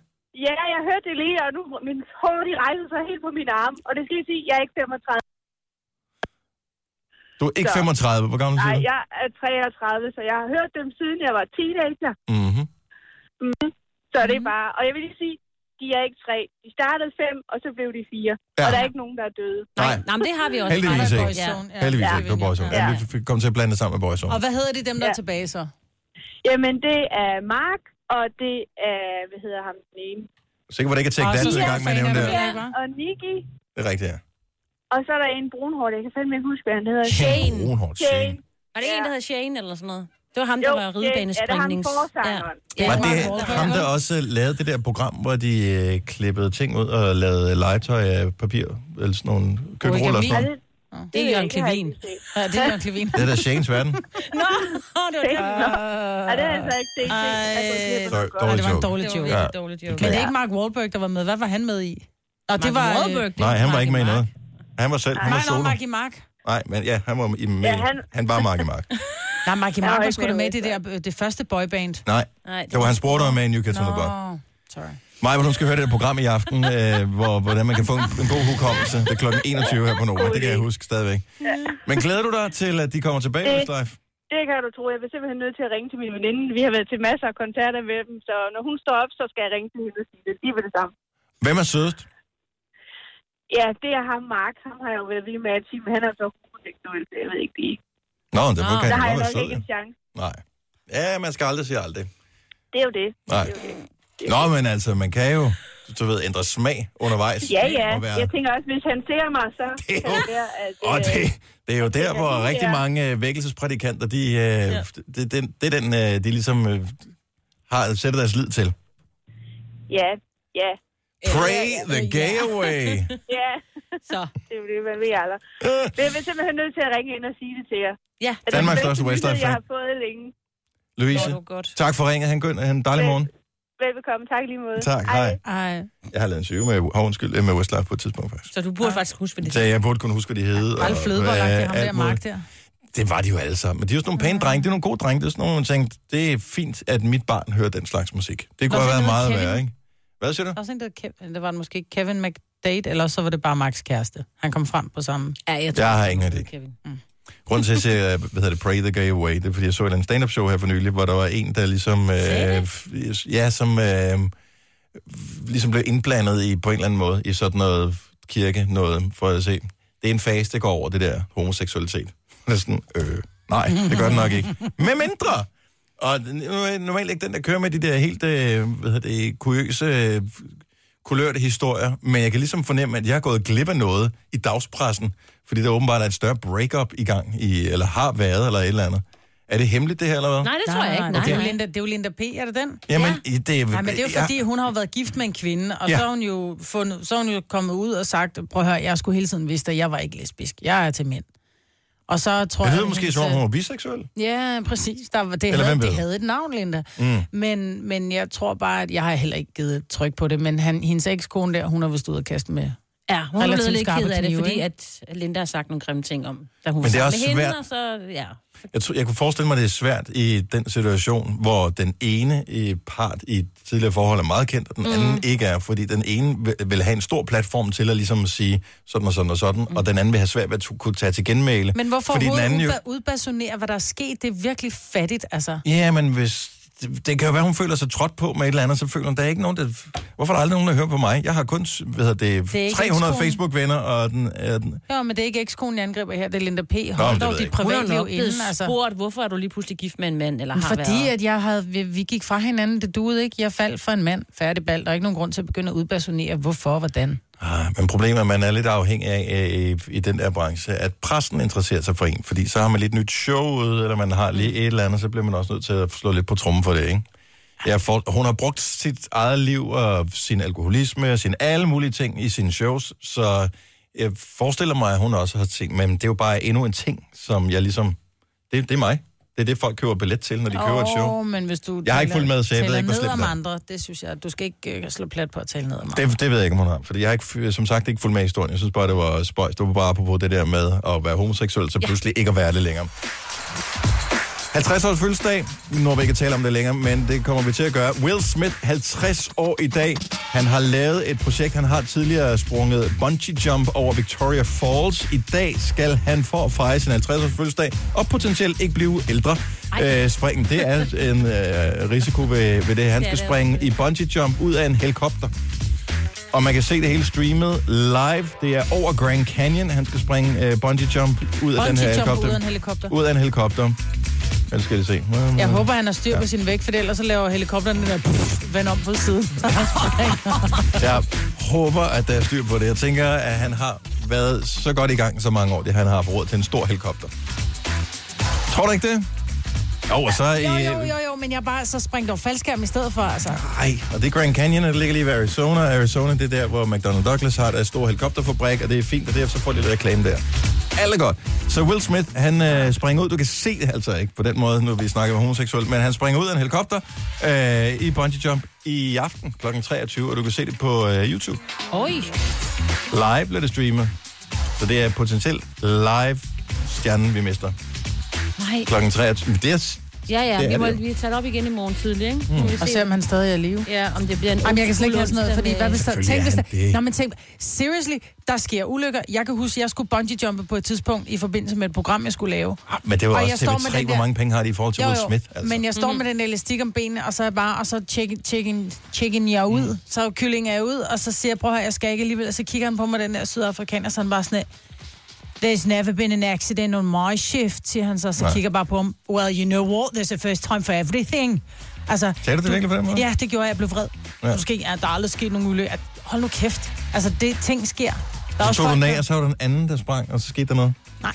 Speaker 9: Ja, jeg hørte det lige, og nu min hår, de rejser sig helt på mine arme. Og det skal jeg sige, jeg er ikke 35.
Speaker 1: Du er ikke
Speaker 9: Så.
Speaker 1: 35, hvor gammel
Speaker 9: Nej,
Speaker 1: siger du?
Speaker 9: jeg er 33, så jeg har hørt dem siden jeg var teenager. Mm,
Speaker 1: Mhm.
Speaker 9: Så det er
Speaker 1: Mm.
Speaker 9: bare... Og jeg vil lige sige, de er ikke tre. De startede fem, og så blev de fire.
Speaker 1: Ja.
Speaker 9: Og der er ikke nogen, der er døde.
Speaker 1: Nej,
Speaker 3: Nej, men det har vi også.
Speaker 1: Heldigvis ikke.
Speaker 3: Ja.
Speaker 4: Boyzone, ja.
Speaker 1: heldigvis
Speaker 4: Ja.
Speaker 1: ikke. Det var Boyzone.
Speaker 9: Ja.
Speaker 1: Ja. Vi fik- kom til at blande det sammen med Boyzone.
Speaker 4: Og hvad hedder de dem, der er
Speaker 9: Ja.
Speaker 4: tilbage så?
Speaker 9: Jamen, det er Mark, og det er... Hvad hedder ham den ene?
Speaker 1: Så kan det ikke at tænke
Speaker 4: Og
Speaker 1: dansk i
Speaker 4: Sia
Speaker 1: gang med at
Speaker 4: er
Speaker 1: nævne
Speaker 4: fan
Speaker 1: det.
Speaker 4: af
Speaker 1: her.
Speaker 4: dem. ikke, hva'?
Speaker 9: Og Nicky,
Speaker 1: Det er rigtigt, ja.
Speaker 9: og så er der en brunhård. Jeg kan fandme ikke huske, hvad han hedder.
Speaker 3: Shane.
Speaker 1: Brunhård
Speaker 9: Shane.
Speaker 1: Shane.
Speaker 3: Var det ikke en, der hed Shane eller sådan noget? Det var ham, der
Speaker 9: Jo,
Speaker 3: var
Speaker 9: det-
Speaker 3: ridebanespringnings...
Speaker 9: er det ham forsangeren?
Speaker 3: Ja.
Speaker 1: Var
Speaker 3: Ja.
Speaker 1: det
Speaker 4: Mark Wahlberg.
Speaker 1: ham, der også øh, lavede det der program, hvor de øh, klippede ting ud og lavede legetøj af papir, eller sådan nogle køkkenruller og sådan
Speaker 9: Er
Speaker 1: noget?
Speaker 9: det,
Speaker 3: Det er Jørgen Klevin.
Speaker 4: Ja, det er Jørgen Klevin.
Speaker 1: Det er da Shanes verden.
Speaker 3: Nå, det var det.
Speaker 9: Nej, det er altså ikke det. det,
Speaker 4: Ej.
Speaker 9: altså, det er
Speaker 1: Sorry,
Speaker 9: godt.
Speaker 4: Nej,
Speaker 1: dårlig
Speaker 4: det var en
Speaker 1: joke.
Speaker 4: dårlig
Speaker 3: Det var
Speaker 4: joke.
Speaker 1: Ja.
Speaker 3: virkelig dårligt joke.
Speaker 4: Men det er ikke Mark Wahlberg, der var med. Hvad var han med i? Nå, det var...
Speaker 3: Mark
Speaker 4: øh,
Speaker 3: Wahlberg, det
Speaker 1: Nej, han var
Speaker 3: Mark
Speaker 1: ikke med i
Speaker 3: Mark.
Speaker 1: noget. Han var selv, han var
Speaker 4: Nej, nej,
Speaker 1: solo.
Speaker 4: Mark i Mark.
Speaker 1: Nej, men ja, han var i med.
Speaker 9: Ja, han-
Speaker 1: Han var Mark i Mark.
Speaker 4: Nej, Mark i
Speaker 9: var
Speaker 4: Mark var
Speaker 9: ikke
Speaker 4: sgu da med
Speaker 9: med
Speaker 4: i det der, øh, det første boyband.
Speaker 1: Nej,
Speaker 3: Nej, det
Speaker 1: det var hans bror, der var med i New Kids on the Block.
Speaker 4: Nå, sorry.
Speaker 1: Maja, hun skal høre det der program i aften, øh, hvor, hvordan man kan få en, en god hukommelse. Det er klokken 21 her på Nova, det kan jeg huske stadigvæk. Men glæder du dig til, at de kommer tilbage,
Speaker 9: Det-
Speaker 1: Westlife?
Speaker 9: Det kan du tro. Jeg er simpelthen nødt til at ringe til min veninde. Vi har været til masser af koncerter med dem, så når hun står op, så skal jeg ringe til hende og sige det lige ved det samme.
Speaker 1: Hvem er sødest?
Speaker 9: Ja, det er ham, Mark. Ham har jeg jo været lige med at sige, men han er så homoseksuel, så jeg ved ikke lige.
Speaker 1: Nå, det kan
Speaker 9: Der
Speaker 1: han godt
Speaker 9: har jeg
Speaker 1: være
Speaker 9: nok
Speaker 1: sød.
Speaker 9: ikke
Speaker 1: ja.
Speaker 9: en chance.
Speaker 1: Nej. Ja, man skal aldrig sige aldrig.
Speaker 9: Det er jo det.
Speaker 1: Nej.
Speaker 9: Det er jo det.
Speaker 1: Nå, men altså, man kan jo, du, du ved, ændre smag undervejs.
Speaker 9: Ja, ja.
Speaker 1: Og, være,
Speaker 9: Jeg tænker også, hvis han ser mig, så
Speaker 1: Det er
Speaker 9: kan det
Speaker 1: jo-
Speaker 9: være, at...
Speaker 1: og
Speaker 9: øh,
Speaker 1: det, det er jo der, hvor rigtig mange øh, vækkelsesprædikanter, de, øh, ja. det, det, det er den, øh, de ligesom øh, har sætter deres lid til.
Speaker 9: Ja, ja,
Speaker 1: Pray the gay away.
Speaker 9: ja.
Speaker 3: Så.
Speaker 9: Det er jo det, man ved aldrig. Men jeg vil simpelthen nødt til at ringe ind og sige det til jer.
Speaker 3: Ja,
Speaker 9: At
Speaker 1: Danmarks
Speaker 9: det er den
Speaker 1: største
Speaker 9: bedste nyhed,
Speaker 1: Westlife-fan.
Speaker 9: Jeg har fået længe.
Speaker 3: det var
Speaker 1: Louise,
Speaker 3: du godt.
Speaker 1: tak for ringet. Han gøn, en dejlig
Speaker 9: Selv.
Speaker 1: morgen.
Speaker 9: Velbekomme. Tak i lige måde.
Speaker 1: Tak, hej.
Speaker 4: Ej.
Speaker 1: Jeg har lavet en syge med, oh, undskyld, øh, med Westlife på et tidspunkt faktisk.
Speaker 3: Så du burde faktisk huske, hvad det
Speaker 1: Så jeg burde kunne huske, hvad de hed.
Speaker 4: Ralf Flødeborg,
Speaker 1: øh,
Speaker 4: der ham
Speaker 1: alt
Speaker 4: der
Speaker 1: muligt.
Speaker 4: Mark der.
Speaker 1: Det var de jo alle sammen. Men de er jo sådan nogle pæne drenge. Det er nogle gode drenge. Det er sådan nogle, man tænkte, det er fint, at mit barn hører den slags musik. Det kunne
Speaker 4: Nå,
Speaker 1: have været
Speaker 4: han
Speaker 1: meget
Speaker 4: hedder
Speaker 1: værre,
Speaker 4: Kevin.
Speaker 1: ikke? Hvad siger du?
Speaker 4: Der var også en, der, hed Kev- der var den måske Kevin McDade, eller også så var det bare Marks kæreste. Han kom frem på samme.
Speaker 3: Ja, jeg
Speaker 1: Jeg har ingen idé.
Speaker 3: Kevin.
Speaker 1: Grunden til, at jeg siger, øh, hvad hedder det, Pray the Gay Away, det er, fordi jeg så et eller andet stand-up show her for nylig, hvor der var en, der ligesom, øh, f- ja, som øh, ligesom blev indblandet i, på en eller anden måde, i sådan noget kirke, noget, for at se. Det er en fase, der går over det der homoseksualitet. Det er sådan, øh, nej, det gør det nok ikke. Med mindre! Og nu er jeg normalt ikke den, der kører med de der helt, øh, hvad hedder det, kuriøse øh, kulørte historier, men jeg kan ligesom fornemme, at jeg er gået glip af noget i dagspressen, fordi der åbenbart er et større breakup i gang, i, eller har været, eller et eller andet. Er det hemmeligt, det her, eller hvad?
Speaker 3: Nej, det tror jeg ikke. Nej,
Speaker 4: Det, er jo
Speaker 3: nej.
Speaker 4: Linda, det er jo Linda P., er det den?
Speaker 1: Jamen, ja. det er...
Speaker 4: Nej, men det er jo
Speaker 1: jeg-
Speaker 4: fordi, hun har jo været gift med en kvinde, og
Speaker 1: Ja.
Speaker 4: ja. så, er hun jo fundet, så er hun jo kommet ud og sagt, prøv at høre, jeg skulle hele tiden vidste, at jeg var ikke lesbisk. Jeg er til mænd. Og så tror
Speaker 1: Det
Speaker 4: jeg...
Speaker 1: lyder måske
Speaker 4: hendes- øh,
Speaker 1: som om, hun er biseksuel.
Speaker 4: Ja, præcis. Der, var- det,
Speaker 1: Eller
Speaker 4: Eller havde,
Speaker 1: hvem ved?
Speaker 4: det havde et navn, Linda. Mm. Men, men jeg tror bare, at jeg har heller ikke givet tryk på det, men han, hendes ekskone der, hun har vist ud at kaste med.
Speaker 3: Ja, hun er
Speaker 4: Relativt
Speaker 3: blevet lidt
Speaker 4: skarpe
Speaker 3: ked af det,
Speaker 4: knive,
Speaker 3: fordi
Speaker 4: ikke?
Speaker 3: at Linda har sagt nogle grimme ting om, da hun
Speaker 1: Men
Speaker 3: var
Speaker 1: det er
Speaker 3: sammen
Speaker 1: også
Speaker 3: med hende,
Speaker 1: svært.
Speaker 3: og så, ja.
Speaker 1: Jeg, tror, jeg kunne forestille mig, at det er svært i den situation, hvor den ene øh, part i et tidligere forhold er meget kendt, og den anden mm. ikke er, fordi den ene vil, vil have en stor platform til at ligesom sige sådan og sådan og sådan, mm. og den anden vil have svært ved at tu- kunne tage til genmæle.
Speaker 4: Men hvorfor
Speaker 1: fordi den anden jo...
Speaker 4: udbasonere, hvad der er sket? Det er virkelig fattigt, altså.
Speaker 1: Ja, men hvis... Det, det kan jo være, hun føler sig trådt på med et eller andet, så føler hun, der er ikke nogen, der... Hvorfor er der aldrig nogen, der hører på mig? Jeg har kun hvad hedder det,
Speaker 4: er
Speaker 1: det
Speaker 4: ikke
Speaker 1: 300
Speaker 4: ekskonen.
Speaker 1: Facebook-venner, og den, øh, den...
Speaker 4: Ja, men det er ikke ekskonen, jeg angriber her, det er Linda P.
Speaker 1: men
Speaker 4: Hold
Speaker 1: det ved
Speaker 4: dog
Speaker 1: jeg
Speaker 4: dit
Speaker 1: ikke.
Speaker 3: Hun er jo
Speaker 4: privatliv
Speaker 3: nok blevet
Speaker 4: inden, altså.
Speaker 3: spurgt, hvorfor er du lige pludselig gift med en mand, eller har
Speaker 4: Fordi
Speaker 3: været.
Speaker 4: at jeg havde, vi, vi gik fra hinanden, det duede ikke. Jeg faldt for en mand, færdig bald. Der er ikke nogen grund til at begynde at udpersonere, hvorfor og hvordan.
Speaker 1: Ah, men problemet er, at man er lidt afhængig af øh, i den der branche, at pressen interesserer sig for en, fordi så har man lidt nyt show ude, eller man har lige et eller andet, så bliver man også nødt til at slå lidt på trummen for det, ikke? Jeg for, hun har brugt sit eget liv og sin alkoholisme og sin alle mulige ting i sine shows, så jeg forestiller mig, at hun også har tænkt, men det er jo bare endnu en ting, som jeg ligesom... Det, det er mig. Det er det, folk køber billet til, når de køber et show.
Speaker 4: Åh, men hvis du
Speaker 1: Jeg har ikke
Speaker 4: taler-
Speaker 1: fulgt med, så jeg ved
Speaker 4: taler
Speaker 1: ikke, hvor
Speaker 4: ned
Speaker 1: slemt
Speaker 4: om
Speaker 1: det er.
Speaker 4: andre, det synes jeg, du skal ikke øh, slå plat på at tale ned om andre.
Speaker 1: Det, det ved jeg ikke, om hun har. Fordi jeg har ikke, som sagt ikke fulgt med i historien. Jeg synes bare, det var spøjs. Det var bare på det der med at være homoseksuel, så ja. pludselig ikke at være det længere. 50 års fødselsdag. Nu når vi ikke at tale om det længere, men det kommer vi til at gøre. Will Smith, 50 år i dag. Han har lavet et projekt. Han har tidligere sprunget bungee jump over Victoria Falls. I dag skal han for at fejre sin 50 års fødselsdag og potentielt ikke blive ældre. Øh, springen, det er en øh, risiko ved, ved det. Han skal
Speaker 3: det er
Speaker 1: springe i bungee jump ud af en helikopter. Og man kan se det hele streamet live. Det er over Grand Canyon. Han skal springe øh, bungee jump ud af den her
Speaker 4: Bungee
Speaker 1: helikopter.
Speaker 4: jump ud af en helikopter.
Speaker 1: Ud af en helikopter. Ellers skal det se.
Speaker 4: Jeg håber, han har styr på sin vægt, for ellers så laver helikopteren den der pff, vand om på siden. Så han
Speaker 1: Jeg håber, at der er styr på det. Jeg tænker, at han har været så godt i gang så mange år, det han har haft råd til en stor helikopter. Tror du ikke det? Jo, og så...
Speaker 4: jo, jo, jo, jo, men jeg bare så springt over faldskærm i stedet for, altså.
Speaker 1: Ej, og det er Grand Canyon, og det ligger lige ved Arizona. Arizona, det er der, hvor McDonnell Douglas har deres store helikopterfabrik, og det er fint, og derfor så får de lidt reklame der. Alt er godt. Så Will Smith, han øh, springer ud. Du kan se det altså ikke på den måde, nu vi snakker om homoseksuel, men han springer ud af en helikopter øh, i bungee jump i aften kl. 23, og du kan se det på øh, YouTube.
Speaker 3: Oj,
Speaker 1: Live bliver det streamet. Så det er potentielt live stjernen, vi mister.
Speaker 3: nej.
Speaker 1: Klokken 23. Det er,
Speaker 3: Ja,
Speaker 1: Det
Speaker 3: ja,
Speaker 1: er
Speaker 3: vi må
Speaker 1: det jo.
Speaker 3: vi tage det op igen i morgen tidlig, ikke? Mm. Vi
Speaker 4: Og
Speaker 3: se,
Speaker 4: se, om han stadig er i live.
Speaker 3: ja, om det bliver en
Speaker 4: Jamen, jeg kan slet ikke have sådan noget,
Speaker 3: onsdag
Speaker 4: fordi hvad hvis der...
Speaker 1: Selvfølgelig
Speaker 4: Tænk,
Speaker 1: er
Speaker 4: hvis
Speaker 1: han
Speaker 4: der
Speaker 1: det.
Speaker 4: Nå, men tænk, seriously, der sker ulykker. Jeg kan huske, jeg skulle bungee jumpe på et tidspunkt i forbindelse med et program, jeg skulle lave.
Speaker 1: Ah, men det var
Speaker 4: Og
Speaker 1: også
Speaker 4: jeg står med
Speaker 1: TV3,
Speaker 4: den
Speaker 1: hvor
Speaker 4: der-
Speaker 1: mange penge har de i forhold til Will Smith. Altså.
Speaker 4: men jeg står med den elastik om benene, og så er jeg bare, og så chicken, chicken, chicken jeg ud.
Speaker 1: Mm.
Speaker 4: Så kyllingen er ud, og så siger jeg, prøv her, jeg skal ikke alligevel. Og så kigger han på mig, den der sydafrikaner, så han bare sådan, There's never been an accident on my shift, siger han så. Så
Speaker 1: Nej.
Speaker 4: kigger jeg bare på ham, well, you know what, there's a first time for everything. Altså,
Speaker 1: Sagde du det virkelig på den måde?
Speaker 4: Ja, det gjorde jeg. Jeg blev vred.
Speaker 1: Ja.
Speaker 4: Ja. Måske ja, der er aldrig sket nogen ulykke. At- Hold nu kæft. Altså, det ting sker. Der
Speaker 1: Så tog du den af,
Speaker 4: der-
Speaker 1: og så var der en anden, der sprang, og så skete der noget?
Speaker 4: Nej.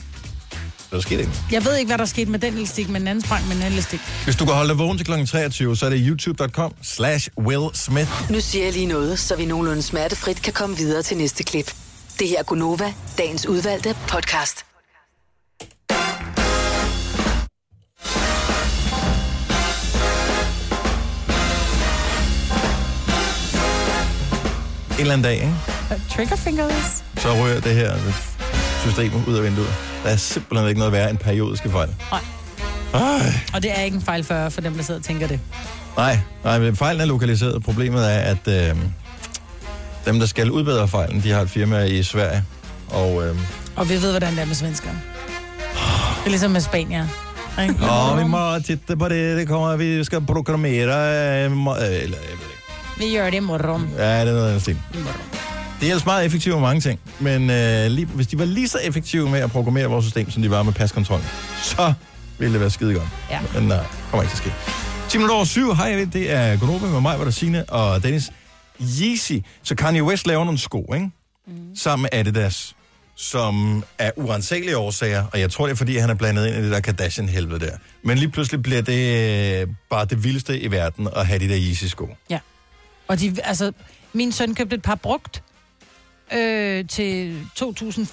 Speaker 1: Der skete ikke. noget.
Speaker 4: Jeg ved ikke, hvad der skete med den elastik, men den anden sprang med den elastik.
Speaker 1: Hvis du kan holde dig vågen til kl. 23, så er det youtube.com slash Will Smith.
Speaker 8: Nu siger jeg lige noget, så vi nogenlunde smertefrit kan komme videre til næste klip. Det her er Gunova, dagens udvalgte podcast.
Speaker 1: En eller anden dag, ikke?
Speaker 4: Triggerfingers.
Speaker 1: Så rører det her system ud af vinduet. Der er simpelthen ikke noget værre end periodiske fejl.
Speaker 4: Og det er ikke en fejl for, for dem, der sidder og tænker det.
Speaker 1: Nej, nej, men fejlen er lokaliseret. Problemet er, at øh, dem, der skal udbedre fejlen, de har et firma i Sverige. Og øh,
Speaker 4: Og vi ved, hvordan det er med svenskerne. Det er ligesom med Spanier. ikke?
Speaker 1: Åh, vi må titte på det. Det kommer, vi skal programmere. øh, må- øh, Eller, jeg ved ikke.
Speaker 4: Vi gør det i morgen.
Speaker 1: Ja, det er noget af den stil.
Speaker 4: I morgen.
Speaker 1: Det er ellers meget effektivt med mange ting, men øh, lige, hvis de var lige så effektive med at programmere vores system, som de var med paskontrollen, så ville det være skide godt.
Speaker 4: Ja.
Speaker 1: Men nej, kommer ikke til at ske. 10 minutter over syv. Hej, det er Gunova med mig, hvor der Signe og Dennis. Yeezy. Så Kanye West laver nogle sko, ikke? Mm. Sammen med Adidas, som er urensagelige årsager, og jeg tror, det er, fordi han er blandet ind i det der Kardashian-helvede der. Men lige pludselig bliver det øh, bare det vildeste i verden at have de der Yeezy-sko.
Speaker 4: Og de, altså, min søn købte et par brugt øh, til 2.400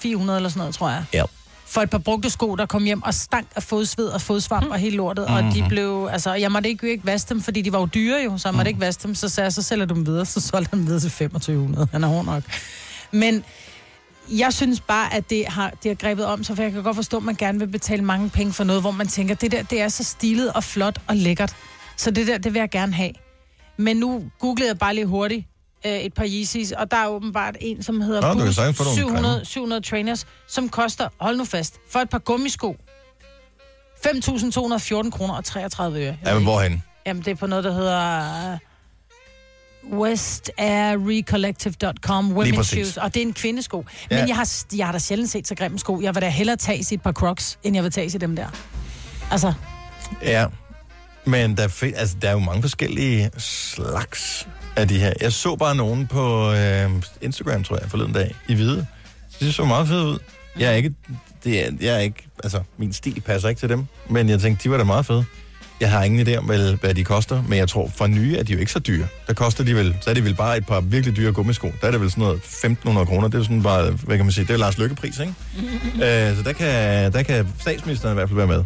Speaker 4: eller sådan noget, tror jeg.
Speaker 1: Ja.
Speaker 4: For et par brugte sko, der kom hjem og stank af fodsved og fodsvamp mm. og hele lortet. Mm-hmm. Og de blev, altså, og jeg måtte ikke, ikke vaske dem, fordi de var jo dyre jo, så jeg måtte mm. ikke vaske dem. Så sagde jeg, så sælger du dem videre, så solgte han dem videre til 2500. Han er hård nok. Men jeg synes bare, at det har, det har grebet om sig, for jeg kan godt forstå, at man gerne vil betale mange penge for noget, hvor man tænker, det der, det er så stilet og flot og lækkert. Så det der, det vil jeg gerne have. Men nu googlede jeg bare lige hurtigt øh, et par Yeezys, og der er åbenbart en, som hedder
Speaker 1: Nå, du kan
Speaker 4: Boost
Speaker 1: sagtens få nogle
Speaker 4: 700,
Speaker 1: grimme.
Speaker 4: 700 Trainers, som koster, hold nu fast, for et par gummisko. 5.214 kroner og 33 øre. Jeg ved
Speaker 1: Ja, men
Speaker 4: ikke.
Speaker 1: hvorhen?
Speaker 4: Jamen, det er på noget, der hedder øh, westairrecollective.com
Speaker 1: Lige
Speaker 4: women's
Speaker 1: præcis.
Speaker 4: shoes, og det er en kvindesko.
Speaker 1: Ja.
Speaker 4: Ja. Men jeg har, jeg har da sjældent set så grimme sko. Jeg vil da hellere tage i et par crocs, end jeg vil tage i dem der. Altså,
Speaker 1: Ja, men der, fi- altså, der er jo mange forskellige slags af de her. Jeg så bare nogen på øh, Instagram, tror jeg, forleden dag, i hvide. Så de så meget fede ud. Jeg er ikke, det er, jeg er ikke, altså, min stil passer ikke til dem, men jeg tænkte, de var da meget fede. Jeg har ingen idé om, hvad, hvad de koster, men jeg tror, for nye er de jo ikke så dyre. Der koster de vel, så er det vel bare et par virkelig dyre gummisko. Der er det vel sådan noget 1.500 kroner. Det er jo sådan bare, hvad kan man sige, det er Lars Lykkepris, ikke? øh, så der kan, der kan statsministeren i hvert fald være med.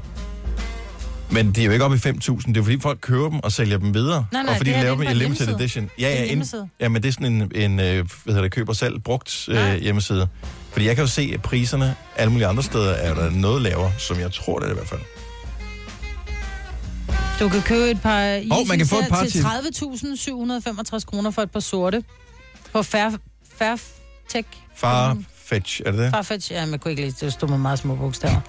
Speaker 1: Men det er jo ikke oppe i 5.000. Det er fordi folk køber dem og sælger dem videre.
Speaker 4: Nej, nej,
Speaker 1: og fordi
Speaker 4: det
Speaker 1: de
Speaker 4: her,
Speaker 1: laver
Speaker 4: det
Speaker 1: dem
Speaker 4: er
Speaker 1: i
Speaker 4: på en
Speaker 1: limited
Speaker 4: hjemmeside.
Speaker 1: edition. Ja,
Speaker 4: Det er
Speaker 1: ja,
Speaker 4: en
Speaker 1: en,
Speaker 4: hjemmeside.
Speaker 1: ja, men det er sådan en, en øh, hvad hedder det, køber selv brugt øh, hjemmeside. Fordi jeg kan jo se, at priserne alle mulige andre steder er der noget lavere, som jeg tror, det er i hvert fald.
Speaker 4: du kan købe et par Yeezys
Speaker 1: Hov, man kan få et
Speaker 4: her
Speaker 1: par til-
Speaker 4: til 30.765 kroner for et par sorte. På Fair, Fair Tech.
Speaker 1: Far, fetch, er det det?
Speaker 4: Farfetch, ja, man kunne ikke læse det, det stod med meget små bogstaver.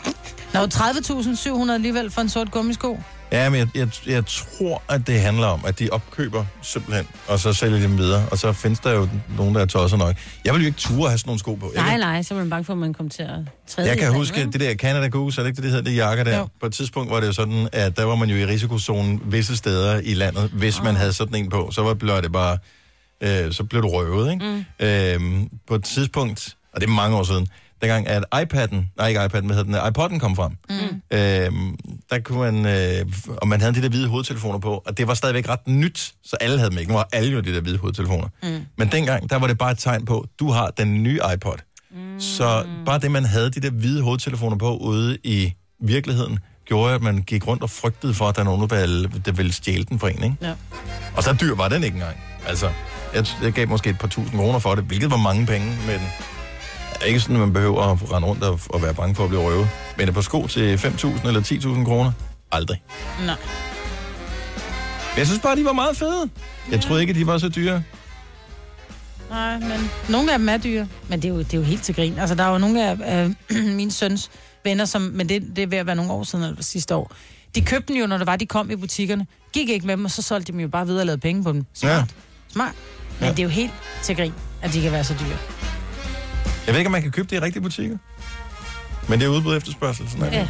Speaker 4: Nå, 30.700 alligevel for en sort gummisko.
Speaker 1: Ja, men jeg, jeg, jeg tror, at det handler om, at de opkøber simpelthen, og så sælger de dem videre. Og så findes der jo nogen, der er tosset nok. Jeg vil jo ikke ture at have sådan nogle sko på. Jeg kan
Speaker 3: Nej, nej, så er man bange for, at man kommer til at træde
Speaker 1: Jeg
Speaker 3: i
Speaker 1: kan
Speaker 3: hinanden,
Speaker 1: huske
Speaker 3: ikke?
Speaker 1: det der Canada Goose, er det ikke det, det hedder, det jakker der? Jo.
Speaker 4: Jo.
Speaker 1: På et tidspunkt var det jo sådan, at der var man jo i risikozonen visse steder i landet, hvis man havde sådan en på. Så var blev det bare, øh, så blev du røvet, ikke? Mm. Øhm, på et tidspunkt, og det er mange år siden, dengang at iPad'en, nej ikke iPad'en, hvad hedder den, iPod'en kom frem, mm. øhm, der kunne man, øh, og man havde de der hvide hovedtelefoner på, og det var stadigvæk ret nyt, så alle havde dem ikke. Nu var alle jo de der hvide hovedtelefoner. Mm. Men dengang, der var det bare et tegn på, du har den nye iPod. Så bare det, man havde de der hvide hovedtelefoner på ude i virkeligheden, gjorde, at man gik rundt og frygtede for, at der er nogen, der ville, der ville stjæle den for en, ikke?
Speaker 4: Ja.
Speaker 1: Og så dyr var den ikke engang. Altså, jeg, jeg gav måske et par tusind kroner for det, hvilket var mange penge, men det er ikke sådan, at man behøver at rende rundt og, og være bange for at blive røvet. Men et par sko til 5.000 eller 10.000 kroner? Aldrig.
Speaker 4: Nej.
Speaker 1: Men jeg synes bare, de var meget fede. Jeg troede ikke, at de var så dyre.
Speaker 4: Nej, men nogle af dem er dyre, men det er jo, det er jo helt til grin. Altså, der er jo nogle af øh, mine søns venner, som, men det, det er ved at være nogle år siden, eller sidste år. De købte dem jo, når det var, de kom i butikkerne. Gik ikke med dem, og så solgte de dem jo bare videre og lavede penge på dem. Smart.
Speaker 1: Ja.
Speaker 4: Ja. Smart. Men
Speaker 1: Ja.
Speaker 4: ja. det er jo helt til grin, at de kan være så dyre.
Speaker 1: Jeg ved ikke, om man kan købe det i rigtige butikker. Men det er udbud og efterspørgsel, sådan er det.
Speaker 3: Ja.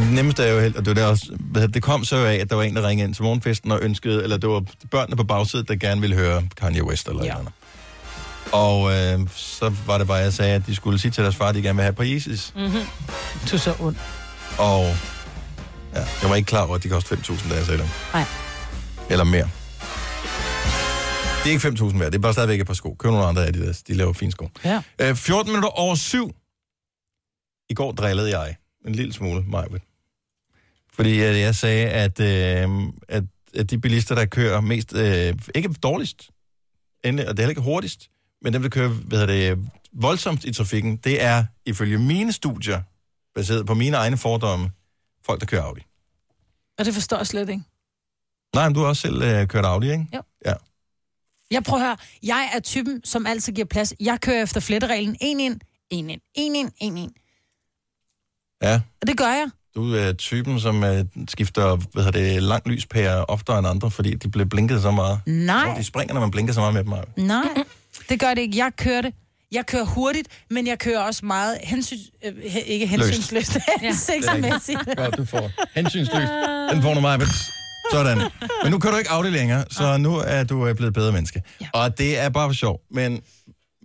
Speaker 1: Det nemmeste er jo helt, og det, var der også, hvad hedder det, det kom så af, at der var en, der ringede ind til morgenfesten og ønskede, eller det var børnene på bagsædet, der gerne ville høre Kanye West eller ja.
Speaker 4: Ja.
Speaker 1: et eller andet. Og øh, så var det bare, jeg sagde, at de skulle sige til deres far, at de gerne vil have på Jesus. Mm.
Speaker 4: Mm-hmm. Du er så ond.
Speaker 1: Og ja, jeg var ikke klar over, at de kostede 5.000, da jeg sagde dem.
Speaker 3: Nej.
Speaker 1: Eller mere. Det er ikke 5.000 værd, det er bare stadigvæk et par sko. Køb nogle andre af de der, de laver fine sko.
Speaker 4: Ja.
Speaker 1: Øh, 14 minutter over syv. I går drillede jeg en lille smule, Majbet. Fordi øh, jeg sagde, at, øh, at, at de bilister, der kører mest, øh, ikke dårligst, endelig, og det er heller ikke hurtigst, men dem, der kører hvad hedder det, voldsomt i trafikken, det er ifølge mine studier, baseret på mine egne fordomme, folk, der kører Audi.
Speaker 4: Og det forstår jeg slet ikke.
Speaker 1: Nej, men du har også selv øh, kørt Audi, ikke?
Speaker 4: Jo.
Speaker 1: Ja.
Speaker 4: Jeg prøver at høre. Jeg er typen, som altid giver plads. Jeg kører efter flettereglen. En ind, en ind, en ind, en ind.
Speaker 1: Ja.
Speaker 4: Og det gør jeg.
Speaker 1: Du er typen, som øh, skifter hvad hedder det, langt lyspære oftere end andre, fordi de bliver blinket så meget. Hvor
Speaker 4: Nej,
Speaker 1: de springer, når man blinker så meget med dem. Maja.
Speaker 4: nej. Det gør det ikke. Jeg kører det. Jeg kører hurtigt, men jeg kører også meget hensyn... Øh, he- ikke hensynsløst, hensigtsmæssigt.
Speaker 1: Godt, du får hensynsløst. Den får nu meget. Sådan. Men nu kan du ikke af det længere, så nu er du øh, blevet bedre menneske. Ja. Og det er bare for sjov. Men,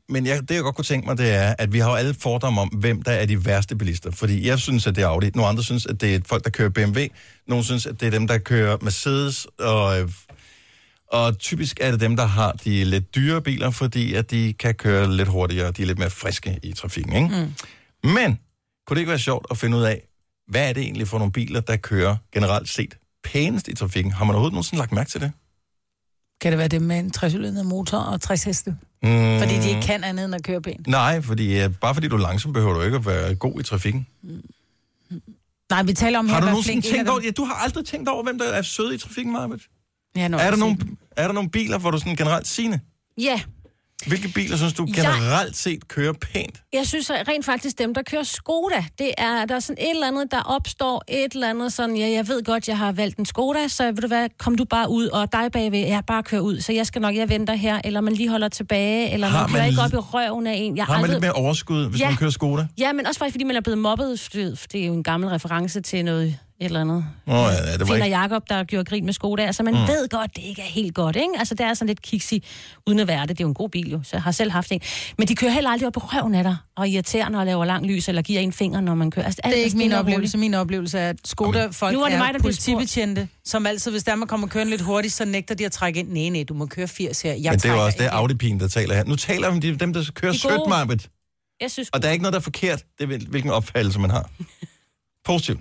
Speaker 1: men jeg, det, jeg godt kunne tænke mig, det er, at vi har jo alle fordomme om, hvem der er de værste bilister. Fordi jeg synes, at det er Audi. Nogle andre synes, at det er folk, der kører BMW. Nogle synes, at det er dem, der kører Mercedes. Og, øh, og typisk er det dem, der har de lidt dyre biler, fordi at de kan køre lidt hurtigere. De er lidt mere friske i trafikken, ikke? Mm. Men kunne det ikke være sjovt at finde ud af, hvad er det egentlig for nogle biler, der kører generelt set pænest i trafikken? Har man overhovedet nogensinde lagt mærke til det?
Speaker 4: Kan det være det med en 60 motor og 60 heste?
Speaker 1: Mm,
Speaker 4: Fordi de ikke kan andet end at køre pænt.
Speaker 1: Nej, fordi, øh, bare fordi du er langsom, behøver du ikke at være god i trafikken.
Speaker 4: Nej, vi taler om
Speaker 1: Har
Speaker 4: her,
Speaker 1: du
Speaker 4: hvad
Speaker 1: nogensinde
Speaker 4: flink en af
Speaker 1: tænkt
Speaker 4: dem-
Speaker 1: over... Ja, du har aldrig tænkt over, hvem der er søde i trafikken, Marvitt?
Speaker 4: Ja, når
Speaker 1: Er
Speaker 4: jeg
Speaker 1: der,
Speaker 4: ser
Speaker 1: nogle,
Speaker 4: dem.
Speaker 1: er der nogle biler, hvor du sådan generelt sine?
Speaker 3: Ja,
Speaker 1: Hvilke biler synes du generelt set kører pænt?
Speaker 3: jeg synes at rent faktisk, dem, der kører Skoda, det er, der er sådan et eller andet, der opstår et eller andet sådan, ja, jeg ved godt, jeg har valgt en Skoda, så ved du hvad, kom du bare ud, og dig bagved, jeg bare kører ud, så jeg skal nok, jeg venter her, eller man lige holder tilbage, eller
Speaker 1: Har
Speaker 3: man kører
Speaker 1: man
Speaker 3: ikke
Speaker 1: li-
Speaker 3: op i røven af en. Jeg
Speaker 1: Har man lidt mere overskud, hvis
Speaker 3: Ja.
Speaker 1: man kører Skoda?
Speaker 3: Ja, men også faktisk, fordi man er blevet mobbet, for det for det er jo en gammel reference til noget et eller andet.
Speaker 1: Nå ja, ja, det var
Speaker 3: Finn og
Speaker 1: ikke...
Speaker 3: Jacob, der gjorde grin med Skoda, altså man mm. ved godt, det ikke er helt godt, ikke? Altså det er sådan lidt kiksig, uden at være det. Det er jo en god bil jo, så jeg har selv haft en. Men de kører heller aldrig op på røven af dig, og er irriterende og laver lang lys, eller giver en finger, når man kører. Altså, alt
Speaker 4: Det er ikke min
Speaker 3: stille og
Speaker 4: oplevelse. Min oplevelse er, at Skoda-folk
Speaker 3: Nu var det
Speaker 4: er
Speaker 3: mig, der blev spurgt.
Speaker 4: politibetjente, som altid, hvis der man kommer kørende lidt hurtigt, så nægter de at trække ind. Nej, nej, du må køre 80 her. Jeg
Speaker 1: Men det er jo
Speaker 4: trækker
Speaker 1: også det
Speaker 4: ikke
Speaker 1: Audi-pigen,
Speaker 4: ind.
Speaker 1: der taler her. Nu taler vi om de- dem, der kører
Speaker 3: De
Speaker 1: sødt,
Speaker 3: gode.
Speaker 1: Marbet.
Speaker 3: roligt. Jeg synes,
Speaker 1: Og der er ikke noget, der er forkert. Det er hvil- hvilken opfattelse, man har. Positivt.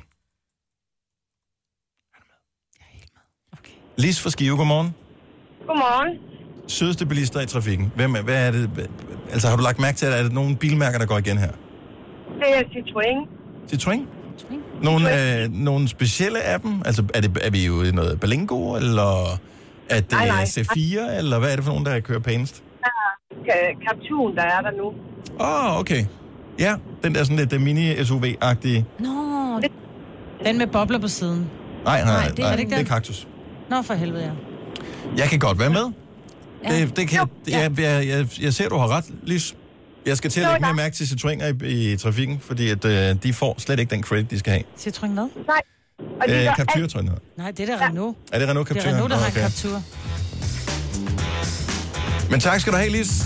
Speaker 1: Lis fra Skive, godmorgen.
Speaker 9: Godmorgen.
Speaker 1: Sødeste bilister i trafikken. Hvem er, hvad er det? Altså, har du lagt mærke til, at er det nogle bilmærker, der går igen her?
Speaker 9: Det er Citroën.
Speaker 1: Citroën? Nogle, øh, nogle specielle af dem? Altså, er, det, er vi ude i noget Balingo, eller er det
Speaker 9: Nej, nej.
Speaker 1: C4, eller hvad er det for nogen, der kører pænest?
Speaker 9: Cartoon, der er der nu.
Speaker 1: Åh, oh, okay. Ja, den der sådan lidt øh, mini-SUV-agtige.
Speaker 3: Nå, det,
Speaker 4: Den med bobler på siden.
Speaker 1: Nej, nej, nej,
Speaker 3: det
Speaker 1: det,
Speaker 3: er
Speaker 1: nej,
Speaker 3: det
Speaker 1: det,
Speaker 3: ikke
Speaker 1: det er
Speaker 4: den.
Speaker 1: kaktus.
Speaker 4: Nå, for helvede, ja.
Speaker 1: Jeg kan godt være med. Ja.
Speaker 3: Ja.
Speaker 1: Det, det kan, ja. jeg, jeg, jeg, jeg ser, du har ret, Lys. Jeg skal til at lægge mere mærke til Citroën i, i trafikken, fordi at, øh, de får slet ikke den credit, de skal have.
Speaker 4: Citroën hvad?
Speaker 9: Og de
Speaker 1: Øh,
Speaker 9: gør
Speaker 1: Captur, tror jeg, den hedder.
Speaker 4: Nej, det er da Renault.
Speaker 1: Er det Renault
Speaker 4: Det
Speaker 1: Captur?
Speaker 4: er Renault, der
Speaker 1: Nå,
Speaker 4: har en Captur.
Speaker 1: Men tak skal du have, Lis.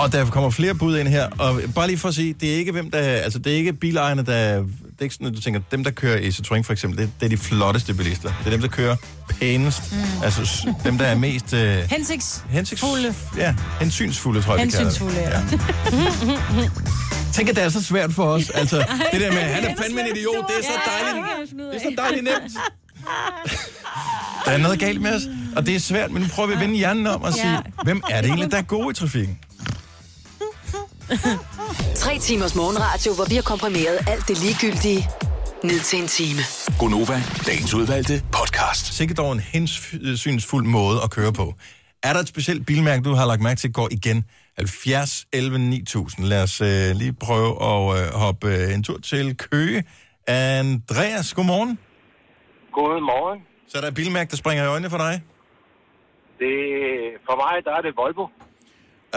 Speaker 1: Og der kommer flere bud ind her, og bare lige for at sige, det er ikke hvem der, altså det er ikke bilejerne, der, det er ikke sådan, at du tænker, dem der kører i Citroën for eksempel, det, det er de flotteste bilister. Det er dem, der kører pænest, mm. altså s- dem der er mest øh,
Speaker 4: Hensigts.
Speaker 1: hensigtsfulde, ja, hensynsfulde, tror jeg, vi kalder det.
Speaker 4: Hensynsfulde, ja.
Speaker 1: Tænk, at det er så svært for os. Altså, det der med, han er fandme en idiot, det er så dejligt.
Speaker 3: dejligt.
Speaker 1: Det er så dejligt nemt. Der er noget galt med os, og det er svært, men nu prøver vi at vende hjernen om og sige, hvem er det egentlig, der er gode i trafikken?
Speaker 8: Tre timers morgenradio, hvor vi har komprimeret alt det ligegyldige ned til en time.
Speaker 6: Gonova, dagens udvalgte podcast.
Speaker 1: Sikkert dog en hensynsfuld måde at køre på. Er der et specielt bilmærke, du har lagt mærke til, går igen? 70 11 9000. Lad os øh, lige prøve at øh, hoppe øh, en tur til Køge. Andreas, godmorgen.
Speaker 10: Godmorgen.
Speaker 1: Så er der et bilmærke, der springer i øjnene for dig?
Speaker 10: Det, for mig der er det Volvo.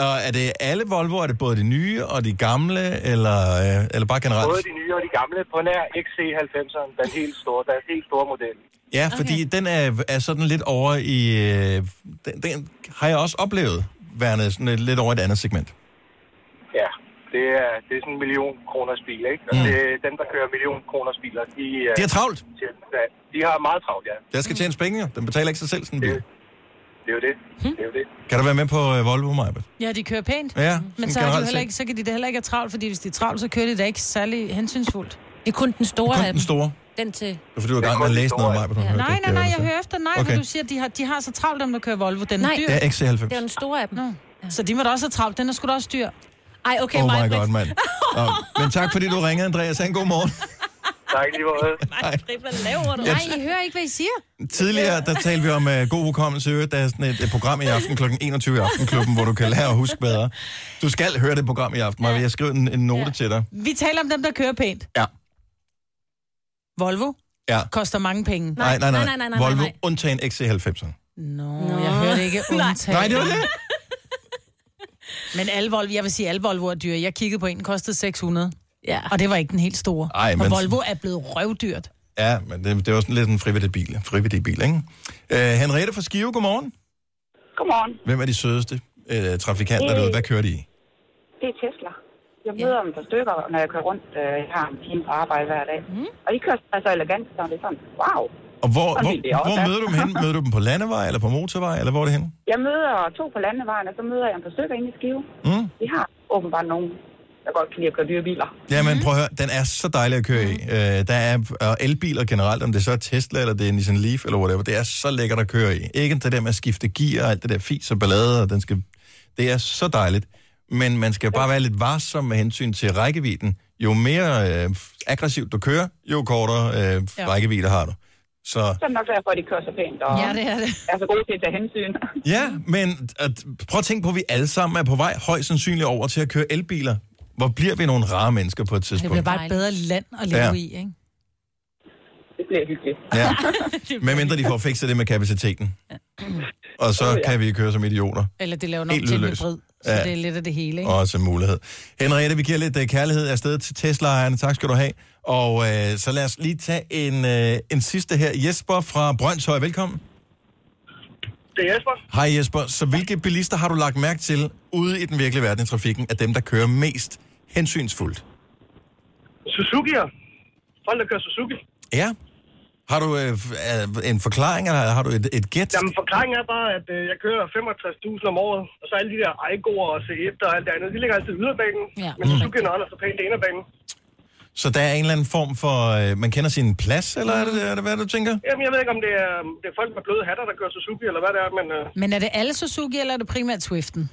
Speaker 1: Og er det alle Volvo? Er det både de nye og de gamle, eller, øh, eller bare generelt?
Speaker 10: Både de nye og de gamle på nær XC90'eren, den helt store, den helt store model.
Speaker 1: Ja, fordi den er, er sådan lidt over i... Øh, den, den har jeg også oplevet værende sådan lidt, lidt over i et andet segment.
Speaker 10: Ja, det er, det er sådan en million kroners bil, ikke? Og
Speaker 1: Mm.
Speaker 10: det, dem, der kører million kroners biler, de, øh,
Speaker 1: Det er travlt.
Speaker 10: tjent- de har meget travlt, ja.
Speaker 1: Der skal tjene penge, jo. Den betaler ikke sig selv, sådan en bil.
Speaker 10: Det, det er jo det. Det er jo det.
Speaker 1: Kan du være med på øh, Volvo, Majbet?
Speaker 4: Ja, de kører pænt.
Speaker 1: Ja,
Speaker 4: Men
Speaker 1: sådan
Speaker 4: Hmm? så, er de jo
Speaker 1: generelt
Speaker 4: heller
Speaker 1: set.
Speaker 4: ikke, så kan de da heller ikke have travlt, fordi hvis de er travlt, så kører de da ikke særlig hensynsfuldt.
Speaker 3: det er kun den store
Speaker 1: Kun
Speaker 3: af
Speaker 1: den
Speaker 3: dem.
Speaker 1: store.
Speaker 3: Den til...
Speaker 1: Det er fordi, du er i gang med
Speaker 10: kun
Speaker 1: at
Speaker 10: den
Speaker 1: læse noget
Speaker 10: store,
Speaker 1: om Majbet. Ja.
Speaker 4: Nej, nej, nej, jeg hører efter. Nej,
Speaker 1: Okay.
Speaker 4: okay. for du siger, at de har, de har så travlt, dem der kører Volvo. Den er
Speaker 3: Nej.
Speaker 4: dyr.
Speaker 1: Det er
Speaker 3: Det er
Speaker 1: XC90.
Speaker 3: den store af dem.
Speaker 4: Så de må da også have travlt. Den er sgu da også dyr.
Speaker 3: Ej, okay,
Speaker 1: Oh
Speaker 3: mig,
Speaker 1: my god, mand. Nå, men tak, fordi du ringede, Andreas. Ha' en god morgen.
Speaker 10: Tak lige måde.
Speaker 3: Hvad laver du?
Speaker 1: Jeg-
Speaker 3: Nej, I hører ikke, hvad I siger.
Speaker 1: Tidligere, der talte vi om uh, god hukommelse. I øvrigt, Der er sådan et, et program i aften kl. 21 i Aftenklubben, hvor du kan lære at huske bedre. Du skal høre det program i aften, Maja. Jeg skriver en, en note ja. til dig.
Speaker 4: Vi taler om dem, der kører pænt.
Speaker 1: Ja.
Speaker 4: Volvo
Speaker 1: Ja.
Speaker 4: koster mange penge.
Speaker 1: Nej, nej, nej.
Speaker 3: nej, nej, nej,
Speaker 1: Volvo
Speaker 3: nej.
Speaker 1: undtagen XC90'eren.
Speaker 4: Nå, Nå. jeg hørte ikke undtaget.
Speaker 1: Mm. Nej, det var det.
Speaker 4: Men alle Volvo, jeg vil sige, alle Volvo er dyre. Jeg kiggede på en, den kostede 600.
Speaker 3: Ja.
Speaker 4: Og det var ikke den helt store.
Speaker 1: Ej,
Speaker 4: og
Speaker 1: men-
Speaker 4: Volvo er blevet røvdyrt.
Speaker 1: Ja, men det, det var sådan lidt en frivillig bil, frivillig bil ikke? Øh, Henriette fra Skive, godmorgen.
Speaker 11: Godmorgen.
Speaker 1: Hvem er de sødeste øh, trafikanter
Speaker 11: Øh.
Speaker 1: derude? Hvad kører de i?
Speaker 11: Det er Tesla. Jeg møder dem på stykker, når jeg kører rundt. Øh, jeg har en time på arbejde hver dag.
Speaker 2: Mhm.
Speaker 11: Mm. Og de kører altså elegant, så det er sådan, wow.
Speaker 1: Og hvor,
Speaker 11: Sådan
Speaker 1: hvor,
Speaker 11: vil det også
Speaker 1: hvor
Speaker 11: være.
Speaker 1: møder du dem hen? Møder du dem på landevej, eller på motorvej, eller hvor er det henne?
Speaker 11: Jeg møder to på landevejen, og så møder jeg en på stykker inde i Skive.
Speaker 1: Mm.
Speaker 11: Vi har åbenbart nogen, der godt kan lide at køre dyre biler.
Speaker 4: Mhm.
Speaker 1: Jamen, prøv at høre, den er så dejlig at køre i. Øh, der er og elbiler generelt, om det så er Tesla, eller det er Nissan Leaf, eller whatever, det er så lækkert at køre i. Ikke det der med at skifte gear, og alt det der fis og ballade, og den skal... Det er så dejligt. Men man skal bare være lidt varsom med hensyn til rækkevidden. Jo mere øh, aggressivt du kører, jo kortere øh,
Speaker 11: Ja.
Speaker 1: rækkevidde har du. Så
Speaker 11: Så er det nok derfor, at de kører så pænt, og
Speaker 2: ja, det er, det.
Speaker 11: er så gode til at tage hensyn.
Speaker 1: Ja, men at, prøv at tænke på, at vi alle sammen er på vej højst sandsynligt over til at køre elbiler. Hvor bliver vi nogle rare mennesker på et tidspunkt?
Speaker 4: Det bliver bare et bedre land at leve
Speaker 1: Ja.
Speaker 4: ja. i, ikke?
Speaker 11: Det bliver hyggeligt.
Speaker 1: Ja. Med mindre de får fikset det med kapaciteten. Og så kan vi køre som idioter.
Speaker 4: Eller det laver nok
Speaker 1: Helt
Speaker 4: til en
Speaker 1: lydløst.
Speaker 4: hybrid. Så
Speaker 1: Ja.
Speaker 4: ja. det er lidt af det hele, ikke?
Speaker 1: Også en mulighed. Henriette, vi giver lidt øh, kærlighed afsted til Tesla-ejerne. Tak skal du have. Og øh, så lad os lige tage en, øh, en sidste her. Jesper fra Brøndshøj, velkommen.
Speaker 10: Det er Jesper.
Speaker 1: Hej Jesper. Så hvilke bilister har du lagt mærke til ude i den virkelige verden i trafikken, af dem, der kører mest hensynsfuldt?
Speaker 10: Suzuki'er. Folk, der kører Suzuki.
Speaker 1: Ja. Har du øh, f- øh, en forklaring, eller har du et, et gæt?
Speaker 10: Jamen, forklaringen er bare, at øh, jeg kører 65.000 om året, og så alle de der Aigo'er og C1 og alt det andet, de ligger altid i yderbanen,
Speaker 2: ja.
Speaker 10: men Suzuki'en holder så pænt i inderbanen.
Speaker 1: Så der er en eller anden form for, øh, man kender sin plads, eller er det, er det hvad du tænker?
Speaker 10: Jamen, jeg ved ikke, om det er, det er folk med bløde hatter, der kører Suzuki, eller hvad det er, men øh,
Speaker 4: Men er det alle Suzuki, eller er det primært Swiften?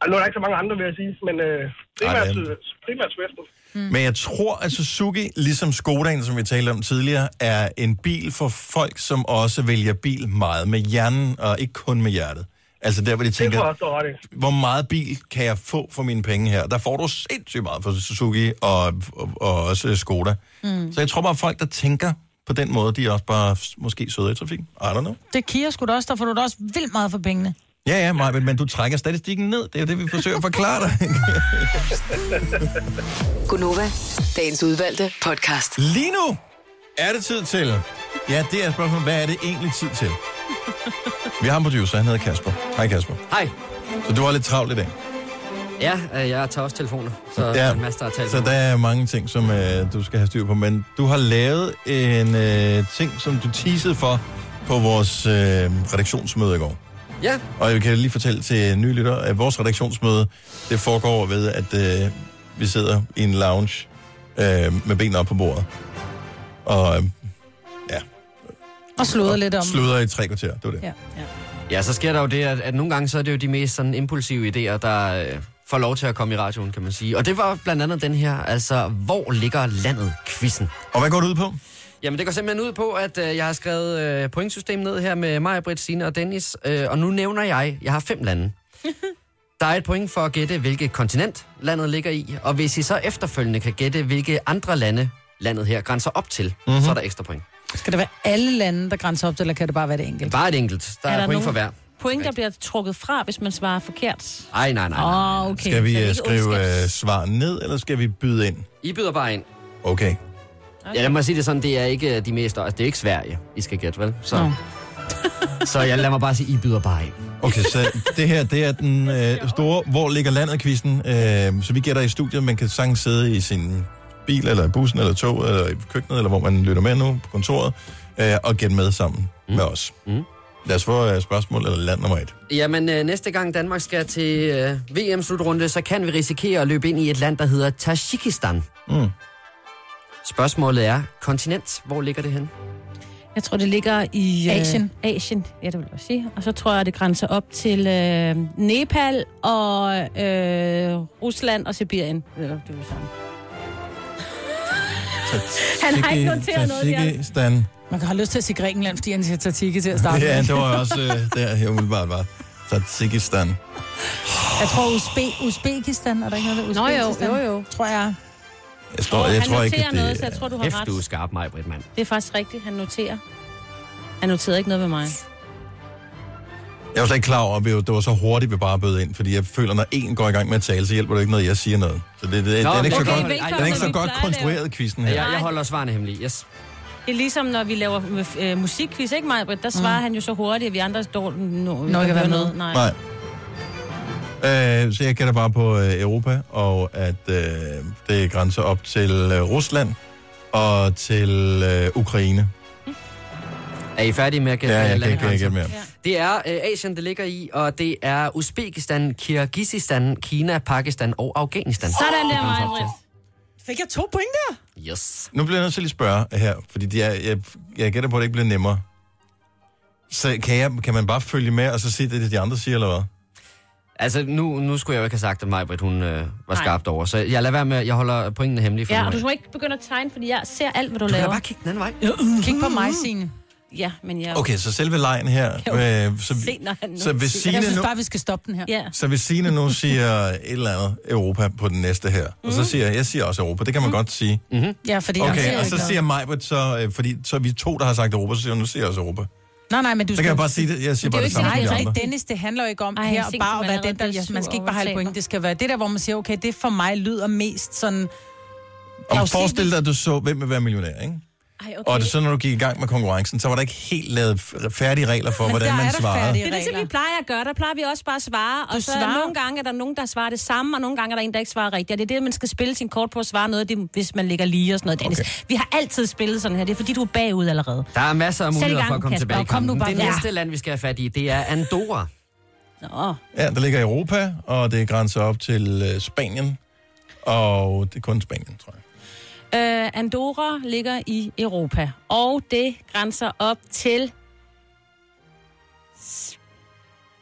Speaker 10: ej, nu er der ikke så mange andre, vil jeg sige, men øh, primært,
Speaker 1: Ej, det
Speaker 10: primært Swift'en.
Speaker 1: Men jeg tror, at Suzuki, ligesom Skodaen, som vi talte om tidligere, er en bil for folk, som også vælger bil meget med hjernen, og ikke kun med hjertet. Altså der, hvor de
Speaker 10: Det tror jeg
Speaker 1: tænker,
Speaker 10: også, du har ret i.
Speaker 1: hvor meget bil kan jeg få for mine penge her? Der får du sindssygt meget for Suzuki og, og, og også Skoda. Mm. Så jeg tror bare, at folk, der tænker på den måde, de er også bare s- måske søde i trafikken. I don't know.
Speaker 4: Det er Kia sgu da også, der får du da også vildt meget for pengene.
Speaker 1: Ja, ja, Maja, men du trækker statistikken ned. Det er jo det, vi forsøger at forklare dig.
Speaker 8: Gunova, dagens udvalgte podcast.
Speaker 1: Lige nu er det tid til... Ja, det er spørgsmålet. Hvad er det egentlig tid til? Vi har en producer, han hedder Kasper. Hej Kasper.
Speaker 12: Hej.
Speaker 1: Så du har lidt travlt i dag.
Speaker 12: Ja, øh, jeg tager også telefoner, så
Speaker 1: Ja.
Speaker 12: ja. der er en masse, der har
Speaker 1: Så
Speaker 12: telefoner.
Speaker 1: der er mange ting, som øh, du skal have styr på. Men du har lavet en øh, ting, som du teasede for på vores øh, redaktionsmøde i går.
Speaker 12: Ja,
Speaker 1: Og jeg kan lige fortælle til nye lytter, at vores redaktionsmøde, det foregår ved, at øh, vi sidder i en lounge øh, med benene op på bordet. Og øh,
Speaker 4: Og sludder lidt om.
Speaker 1: sluder i tre kvarter. Det var det.
Speaker 4: Ja.
Speaker 12: ja, så sker der jo det, at, at nogle gange så er det jo de mest sådan impulsive idéer, der øh, får lov til at komme i radioen, kan man sige. Og det var blandt andet den her, altså, hvor ligger landet quizzen
Speaker 1: Og hvad går det ud på?
Speaker 12: Jamen, det går simpelthen ud på, at øh, jeg har skrevet øh, pointsystemet ned her med Maja, Britt, Signe og Dennis. Øh, og nu nævner jeg, jeg har fem lande. Der er et point for at gætte, hvilket kontinent landet ligger i. Og hvis I så efterfølgende kan gætte, hvilke andre lande landet her grænser op til,
Speaker 1: Mhm.
Speaker 12: mm-hmm. så er der ekstra point.
Speaker 4: Skal det være alle lande, der grænser op til, eller kan det bare være det enkelte?
Speaker 12: Bare et enkelt. Der er, er der point nogen? for hver.
Speaker 3: Point, der bliver trukket fra, hvis man svarer forkert.
Speaker 12: Ej, nej, nej. nej.
Speaker 3: Åh, oh, okay.
Speaker 1: Skal vi
Speaker 3: Så
Speaker 1: øh,
Speaker 3: ikke
Speaker 1: skrive øh,
Speaker 3: ondskabs-
Speaker 1: svar ned, eller skal vi byde ind?
Speaker 12: I byder bare ind.
Speaker 1: Okay.
Speaker 12: Ja, lad mig sige det sådan, det er ikke de mest... Altså, det er ikke Sverige, I skal gætte, vel? Så, så jeg lad mig bare sige, I byder bare ind.
Speaker 1: Okay, så det her, det er den øh, store, hvor ligger landet kvisten. Øh, så vi gætter i studiet, man kan sagtens sidde i sin bil, eller i bussen, eller tog, eller i køkkenet, eller hvor man lytter med nu, på kontoret, øh, og gætte med sammen mm. med os. Mm. Lad os få øh, spørgsmål, eller land nummer et.
Speaker 12: Jamen, øh, næste gang Danmark skal til øh, VM-slutrunde, så kan vi risikere at løbe ind i et land, der hedder Tajikistan.
Speaker 1: Mm.
Speaker 12: Spørgsmålet er, kontinent, hvor ligger det hen?
Speaker 3: Jeg tror, det ligger i... øh,
Speaker 12: Asien.
Speaker 3: Asien, ja, det vil jeg sige. Og så tror jeg, det grænser op til øh, Nepal og øh, Rusland og Sibirien. Eller, det er jo det samme. Han har ikke noteret noget,
Speaker 1: Tadsiki, Stan.
Speaker 4: Man kan have lyst til at sige Grækenland, fordi han siger Tatiki til at starte
Speaker 1: Ja,
Speaker 4: med.
Speaker 1: det var også øh, der, jeg umiddelbart var. Tajikistan.
Speaker 4: Jeg tror Uzbe- Uzbekistan, er der ikke noget der?
Speaker 3: Nå, jo,
Speaker 4: Uzbekistan,
Speaker 3: jo, jo.
Speaker 4: Tror jeg.
Speaker 1: Jeg, står, jeg
Speaker 3: Han
Speaker 1: tror ikke,
Speaker 3: noterer
Speaker 1: at det...
Speaker 3: noget, så jeg tror, du har
Speaker 12: Hæft,
Speaker 3: ret.
Speaker 12: du er skarp, mig, Britt, mand.
Speaker 3: Det er faktisk rigtigt, han noterer. Han noterede ikke noget med mig.
Speaker 1: Jeg var slet ikke klar over, at vi- det var så hurtigt, vi bare bød ind. Fordi jeg føler, når en går i gang med at tale, så hjælper det ikke noget, jeg siger noget. Så det, det, Nå, den er ikke
Speaker 12: okay,
Speaker 1: så godt,
Speaker 12: velkommen,
Speaker 1: den er ikke så
Speaker 12: vi
Speaker 1: godt
Speaker 3: plejer at lave.
Speaker 1: konstrueret, quizzen her.
Speaker 12: Jeg, jeg holder svarene hemmelige, yes.
Speaker 3: Det er ligesom, når vi laver øh, musikquiz, ikke mig? Der svarer mm. han jo så hurtigt, at vi andre står... Nå,
Speaker 4: Nå, ikke at være med.
Speaker 3: Nej.
Speaker 1: Nej. Øh, så jeg gætter bare på øh, Europa, og at øh, det grænser op til øh, Rusland og til øh, Ukraine.
Speaker 12: Er I færdige med at gætte
Speaker 1: Ja, jeg
Speaker 12: øh,
Speaker 1: kan ikke
Speaker 12: landegrænser?
Speaker 1: gætte mere.
Speaker 12: Det er øh, Asien, det ligger i, og det er Uzbekistan, Kirgisistan, Kina, Pakistan og Afghanistan.
Speaker 2: Sådan der,
Speaker 12: Det
Speaker 2: Maja.
Speaker 4: Fik jeg to point der?
Speaker 12: Yes.
Speaker 1: Nu bliver jeg nødt til lige at spørge her, fordi de er, jeg, jeg gætter på, at det ikke bliver nemmere. Så kan, jeg, kan man bare følge med og så se det, det de andre siger, eller hvad?
Speaker 12: Altså, nu, nu skulle jeg jo ikke have sagt, at Majbrit, hun øh, var
Speaker 3: Nej.
Speaker 12: skarpt over. Så jeg lader være med, jeg holder pointene hemmelige for
Speaker 3: Ja,
Speaker 12: nu
Speaker 3: og
Speaker 12: af.
Speaker 3: du må ikke begynde at tegne, fordi jeg ser alt, hvad du,
Speaker 12: kan da
Speaker 3: laver.
Speaker 12: bare kigge den anden vej.
Speaker 4: Kig på mig, Signe.
Speaker 3: Ja, men jeg...
Speaker 1: Okay, så selve lejen her...
Speaker 3: Kan jo
Speaker 1: Øh, så,
Speaker 3: se, når han nu
Speaker 1: så, hvis
Speaker 3: siger-
Speaker 1: Signe
Speaker 4: Jeg synes
Speaker 1: nu,
Speaker 4: bare, vi skal stoppe den her.
Speaker 3: Ja.
Speaker 1: så hvis Signe nu siger et eller andet Europa på den næste her, mm. og så siger jeg, jeg siger også Europa, det kan man mm. godt sige.
Speaker 12: Mm-hmm.
Speaker 4: Ja, fordi jeg
Speaker 1: Okay,
Speaker 4: ser
Speaker 1: og
Speaker 4: ikke
Speaker 1: så
Speaker 4: noget.
Speaker 1: siger Majbrit så, øh, fordi så er vi to, der har sagt Europa, så siger hun, nu siger jeg også Europa.
Speaker 4: Nej, nej, men du
Speaker 1: Så kan jeg bare sige det. Jeg siger
Speaker 4: Men
Speaker 1: bare det
Speaker 4: er jo
Speaker 1: samme
Speaker 4: ikke-
Speaker 1: som de
Speaker 4: Nej,
Speaker 1: andre.
Speaker 4: nej, Dennis, det handler jo ikke om
Speaker 3: Ej,
Speaker 4: Ej, her
Speaker 3: jeg er
Speaker 4: bare at være
Speaker 3: sindssygt,
Speaker 4: den, der...
Speaker 3: man
Speaker 4: Jeg, man
Speaker 3: allerede
Speaker 4: skal ikke bare have et
Speaker 3: bliver
Speaker 4: point. Det skal være det der, hvor man siger, okay, det for mig lyder mest sådan...
Speaker 1: Og forestil dig, at du så, hvem vil være millionær, ikke?
Speaker 3: Ej,
Speaker 1: Okay. Og det, så når du gik i gang med konkurrencen, så var der ikke helt lavet f- færdige regler for, hvordan man svarede.
Speaker 3: Det er det, som vi plejer at gøre. Der plejer vi også bare at svare. Og
Speaker 4: Du
Speaker 3: så
Speaker 4: svarer.
Speaker 3: svarer. nogle gange er der nogen, der svarer det samme, og nogle gange er der en, der ikke svarer rigtigt. Og det er det, man skal spille sin kort på at svare noget, af det, hvis man ligger lige og sådan noget, Dennis. Okay. Vi har altid spillet sådan her. Det er, fordi du er bagud allerede.
Speaker 12: Der er masser af
Speaker 3: Sæt i
Speaker 12: muligheder
Speaker 3: gang,
Speaker 12: for at komme
Speaker 3: Kasper,
Speaker 12: tilbage i
Speaker 3: og kom nu
Speaker 12: kampen.
Speaker 3: bare
Speaker 12: Det
Speaker 3: videre.
Speaker 12: næste land, vi skal have fat i, det er Andorra.
Speaker 3: Nå.
Speaker 1: Ja, der ligger Europa, og det grænser op til øh, Spanien. Og det er kun Spanien, tror jeg.
Speaker 3: Øh, Andorra ligger i Europa, og det grænser op til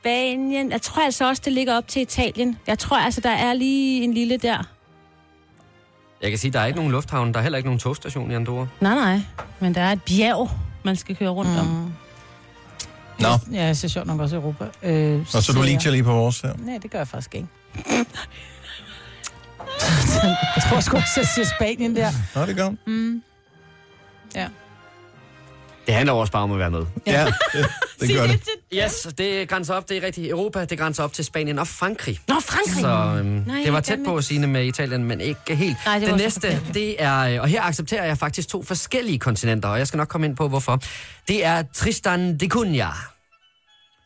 Speaker 3: Spanien. Jeg tror altså også, det ligger op til Italien. Jeg tror altså, der er lige en lille der.
Speaker 12: Jeg kan sige, der er ikke nogen lufthavn, der er heller ikke nogen togstation i Andorra.
Speaker 3: Nej, nej, men der er et bjerg, Uh, man skal køre rundt mm. om.
Speaker 1: Nå,
Speaker 4: Ja, jeg ser sjovt nok også Europa. Øh,
Speaker 1: og så er du
Speaker 4: siger
Speaker 1: lige
Speaker 4: jeg-
Speaker 1: til lige på vores her.
Speaker 4: Nej, det gør jeg faktisk ikke. jeg tror sgu også, jeg siger Spanien der.
Speaker 1: Nå, det gør hun.
Speaker 4: Mm. Ja.
Speaker 12: Det handler også bare om at være med.
Speaker 1: Ja, det, det gør det.
Speaker 12: Yes, det grænser op, det er rigtigt. Europa, det grænser op til Spanien og Frankrig.
Speaker 3: Nå, Frankrig!
Speaker 12: Så øhm,
Speaker 3: Nej,
Speaker 12: det var
Speaker 3: jeg
Speaker 12: tæt
Speaker 3: kan
Speaker 12: på at sige med Italien, men ikke helt.
Speaker 3: Nej, det
Speaker 12: det
Speaker 3: var så
Speaker 12: næste,
Speaker 3: forkert.
Speaker 12: det er, øh, og her accepterer jeg faktisk to forskellige kontinenter, og jeg skal nok komme ind på, hvorfor. Det er Tristan de Cunha.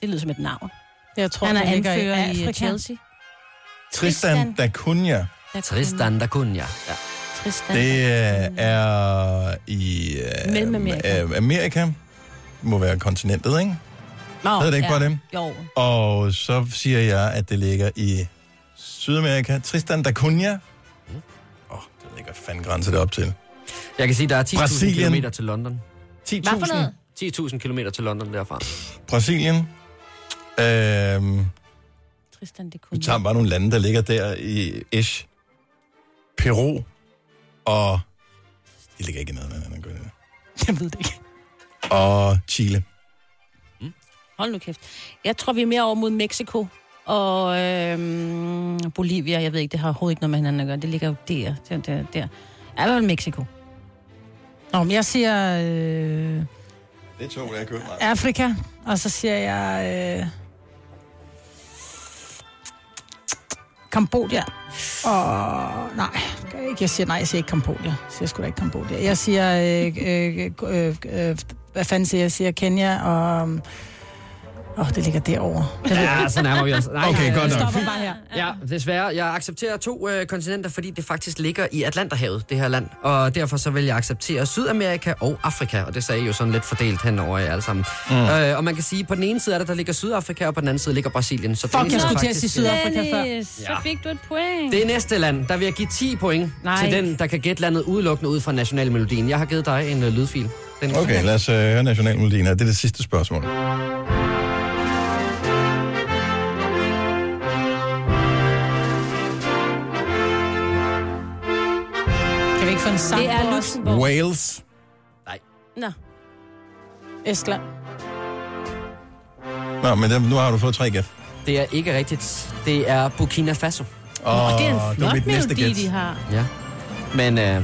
Speaker 3: Det lyder som et navn.
Speaker 4: Jeg tror,
Speaker 3: Han er
Speaker 4: det ligger i
Speaker 3: anfører i
Speaker 4: Afrika.
Speaker 3: Chelsea.
Speaker 1: Tristan da Cunha,
Speaker 12: Tristan da Cunha. Ja.
Speaker 3: Tristan.
Speaker 1: det øh, er i øh,
Speaker 3: Mellemamerika.
Speaker 1: øh, Amerika. Må være kontinentet, ikke?
Speaker 3: Nå,
Speaker 1: Hedder det er- ikke
Speaker 3: ja.
Speaker 1: bare dem?
Speaker 3: Jo.
Speaker 1: Og så siger jeg, at det ligger i Sydamerika. Tristan da Cunha. Åh,
Speaker 12: Mm.
Speaker 1: oh, det ved jeg ikke, hvad fanden grænser det op til.
Speaker 12: Jeg kan sige, der er 10.000
Speaker 1: Brasilien.
Speaker 12: km til London.
Speaker 3: Hvad for noget?
Speaker 12: 10.000 km til London derfra.
Speaker 1: Brasilien. Øhm,
Speaker 3: Tristan, det kunne
Speaker 1: vi tager bare nogle lande, der ligger der i ish. Peru. Og... De ligger ikke i nærheden af hinanden, gør de det.
Speaker 4: Jeg ved det ikke.
Speaker 1: Og Chile.
Speaker 3: Hold nu kæft. Jeg tror, vi er mere over mod Mexico og øhm, Bolivia. Jeg ved ikke, det har overhovedet ikke noget med hinanden at gøre. Det ligger jo der, der, der, der. Er vel Mexico?
Speaker 4: Nå, men jeg siger øh,
Speaker 1: Det tog jeg købte mig.
Speaker 4: Afrika, og så siger jeg... Øh, Kambodja. Og nej, det gør jeg ikke. Jeg siger nej, jeg siger ikke Kambodja. Jeg siger sgu da ikke Kambodja. Jeg siger... Øh, øh, øh, øh, hvad fanden siger jeg? Jeg siger Kenya og... Åh, det ligger derovre. Jeg ved,
Speaker 12: Ja, så nærmer vi os. Nej,
Speaker 1: Okay,
Speaker 12: øh,
Speaker 1: godt nok.
Speaker 4: stopper bare her.
Speaker 12: Ja, desværre. Jeg accepterer to øh, kontinenter, fordi det faktisk ligger i Atlanterhavet, det her land. Og derfor så vil jeg acceptere Sydamerika og Afrika. Og det sagde I jo sådan lidt fordelt henover jer alle sammen. Mm. Øh, og man kan sige, at på den ene side er der, der ligger Sydafrika, og på den anden side ligger Brasilien. Så
Speaker 4: Fuck,
Speaker 12: det,
Speaker 4: jeg
Speaker 12: er
Speaker 4: skulle til at
Speaker 12: faktisk,
Speaker 4: sige Sydafrika før.
Speaker 3: Dennis, så
Speaker 12: Ja.
Speaker 3: fik du et point.
Speaker 12: det næste land, der vil jeg give 10 point
Speaker 3: Nej.
Speaker 12: til den, der kan gætte landet udelukkende ud fra nationalmelodien. Jeg har givet dig en øh, lydfil. Den
Speaker 1: Okay, lad os øh, høre nationalmelodien her. Det er det sidste spørgsmål.
Speaker 4: Kan vi ikke få en sang
Speaker 3: det er
Speaker 4: på os?
Speaker 3: Luxembourg.
Speaker 1: Wales.
Speaker 3: Nå.
Speaker 4: Estland.
Speaker 1: Nå, men dem, nu har du fået tre gæt.
Speaker 12: Det er ikke rigtigt. Det er Burkina Faso.
Speaker 1: Og,
Speaker 3: Og det er en
Speaker 1: var
Speaker 3: flot
Speaker 1: mit næste
Speaker 3: melodi, de
Speaker 1: gæt.
Speaker 3: har.
Speaker 12: Ja. Men øh,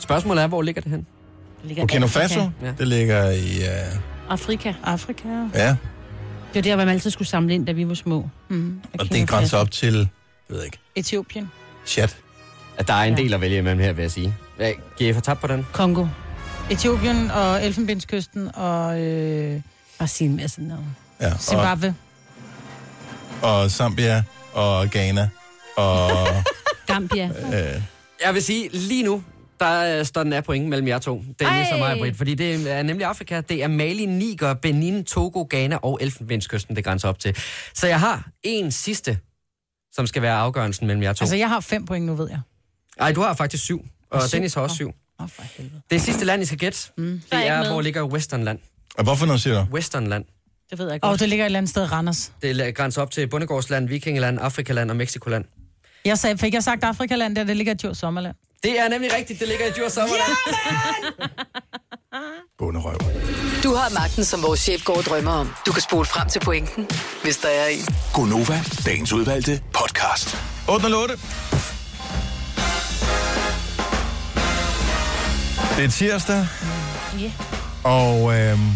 Speaker 12: spørgsmålet er, hvor ligger det hen?
Speaker 3: Det ligger
Speaker 1: Burkina
Speaker 3: Afrika.
Speaker 1: Faso,
Speaker 12: Ja.
Speaker 1: det ligger i... Øh,
Speaker 3: Afrika.
Speaker 4: Afrika.
Speaker 1: ja,
Speaker 2: Det var der, hvor man altid skulle samle ind, da vi var små. Mm.
Speaker 1: Og det grænser op til, jeg ved ikke,
Speaker 2: Etiopien.
Speaker 1: chat.
Speaker 12: At der er en del at vælge imellem her, vil jeg sige. Hvad, giver I for tab på den?
Speaker 2: Kongo. Etiopien og Elfenbenskysten og... Øh, Brasilien med sådan noget.
Speaker 1: Ja, og,
Speaker 2: Zimbabwe.
Speaker 1: og Zambia og Ghana og...
Speaker 2: Gambia.
Speaker 1: øh,
Speaker 12: Jeg vil sige, lige nu, der øh, står den af point mellem jer to, Dennis og mig, Britt. Fordi det er nemlig Afrika. Det er Mali, Niger, Benin, Togo, Ghana og Elfenbenskysten, det grænser op til. Så jeg har en sidste, som skal være afgørelsen mellem jer to.
Speaker 4: Altså, jeg har fem point nu, ved jeg.
Speaker 12: Nej, du har faktisk syv, og Dennis har også syv. Det sidste land, I skal gætte, det
Speaker 4: Mm. er ikke
Speaker 12: er,
Speaker 4: med.
Speaker 12: hvor ligger Westernland.
Speaker 1: og hvorfor noget siger du?
Speaker 12: Westernland.
Speaker 2: Det ved jeg
Speaker 4: Og det ligger et eller andet sted i Randers.
Speaker 12: Det la- grænser op til Bundegårdsland, Vikingeland, Afrikaland og Mexicoland.
Speaker 4: Jeg sagde, fik jeg sagt Afrikaland, der det ligger i Djurs Sommerland.
Speaker 12: Det er nemlig rigtigt, det ligger i Djurs Sommerland.
Speaker 1: Bunderøv.
Speaker 8: Du har magten, som vores chef går og drømmer om. Du kan spole frem til pointen, hvis der er en.
Speaker 6: Gonova, dagens udvalgte podcast.
Speaker 1: 808. Det er tirsdag,
Speaker 2: Yeah.
Speaker 1: og øhm,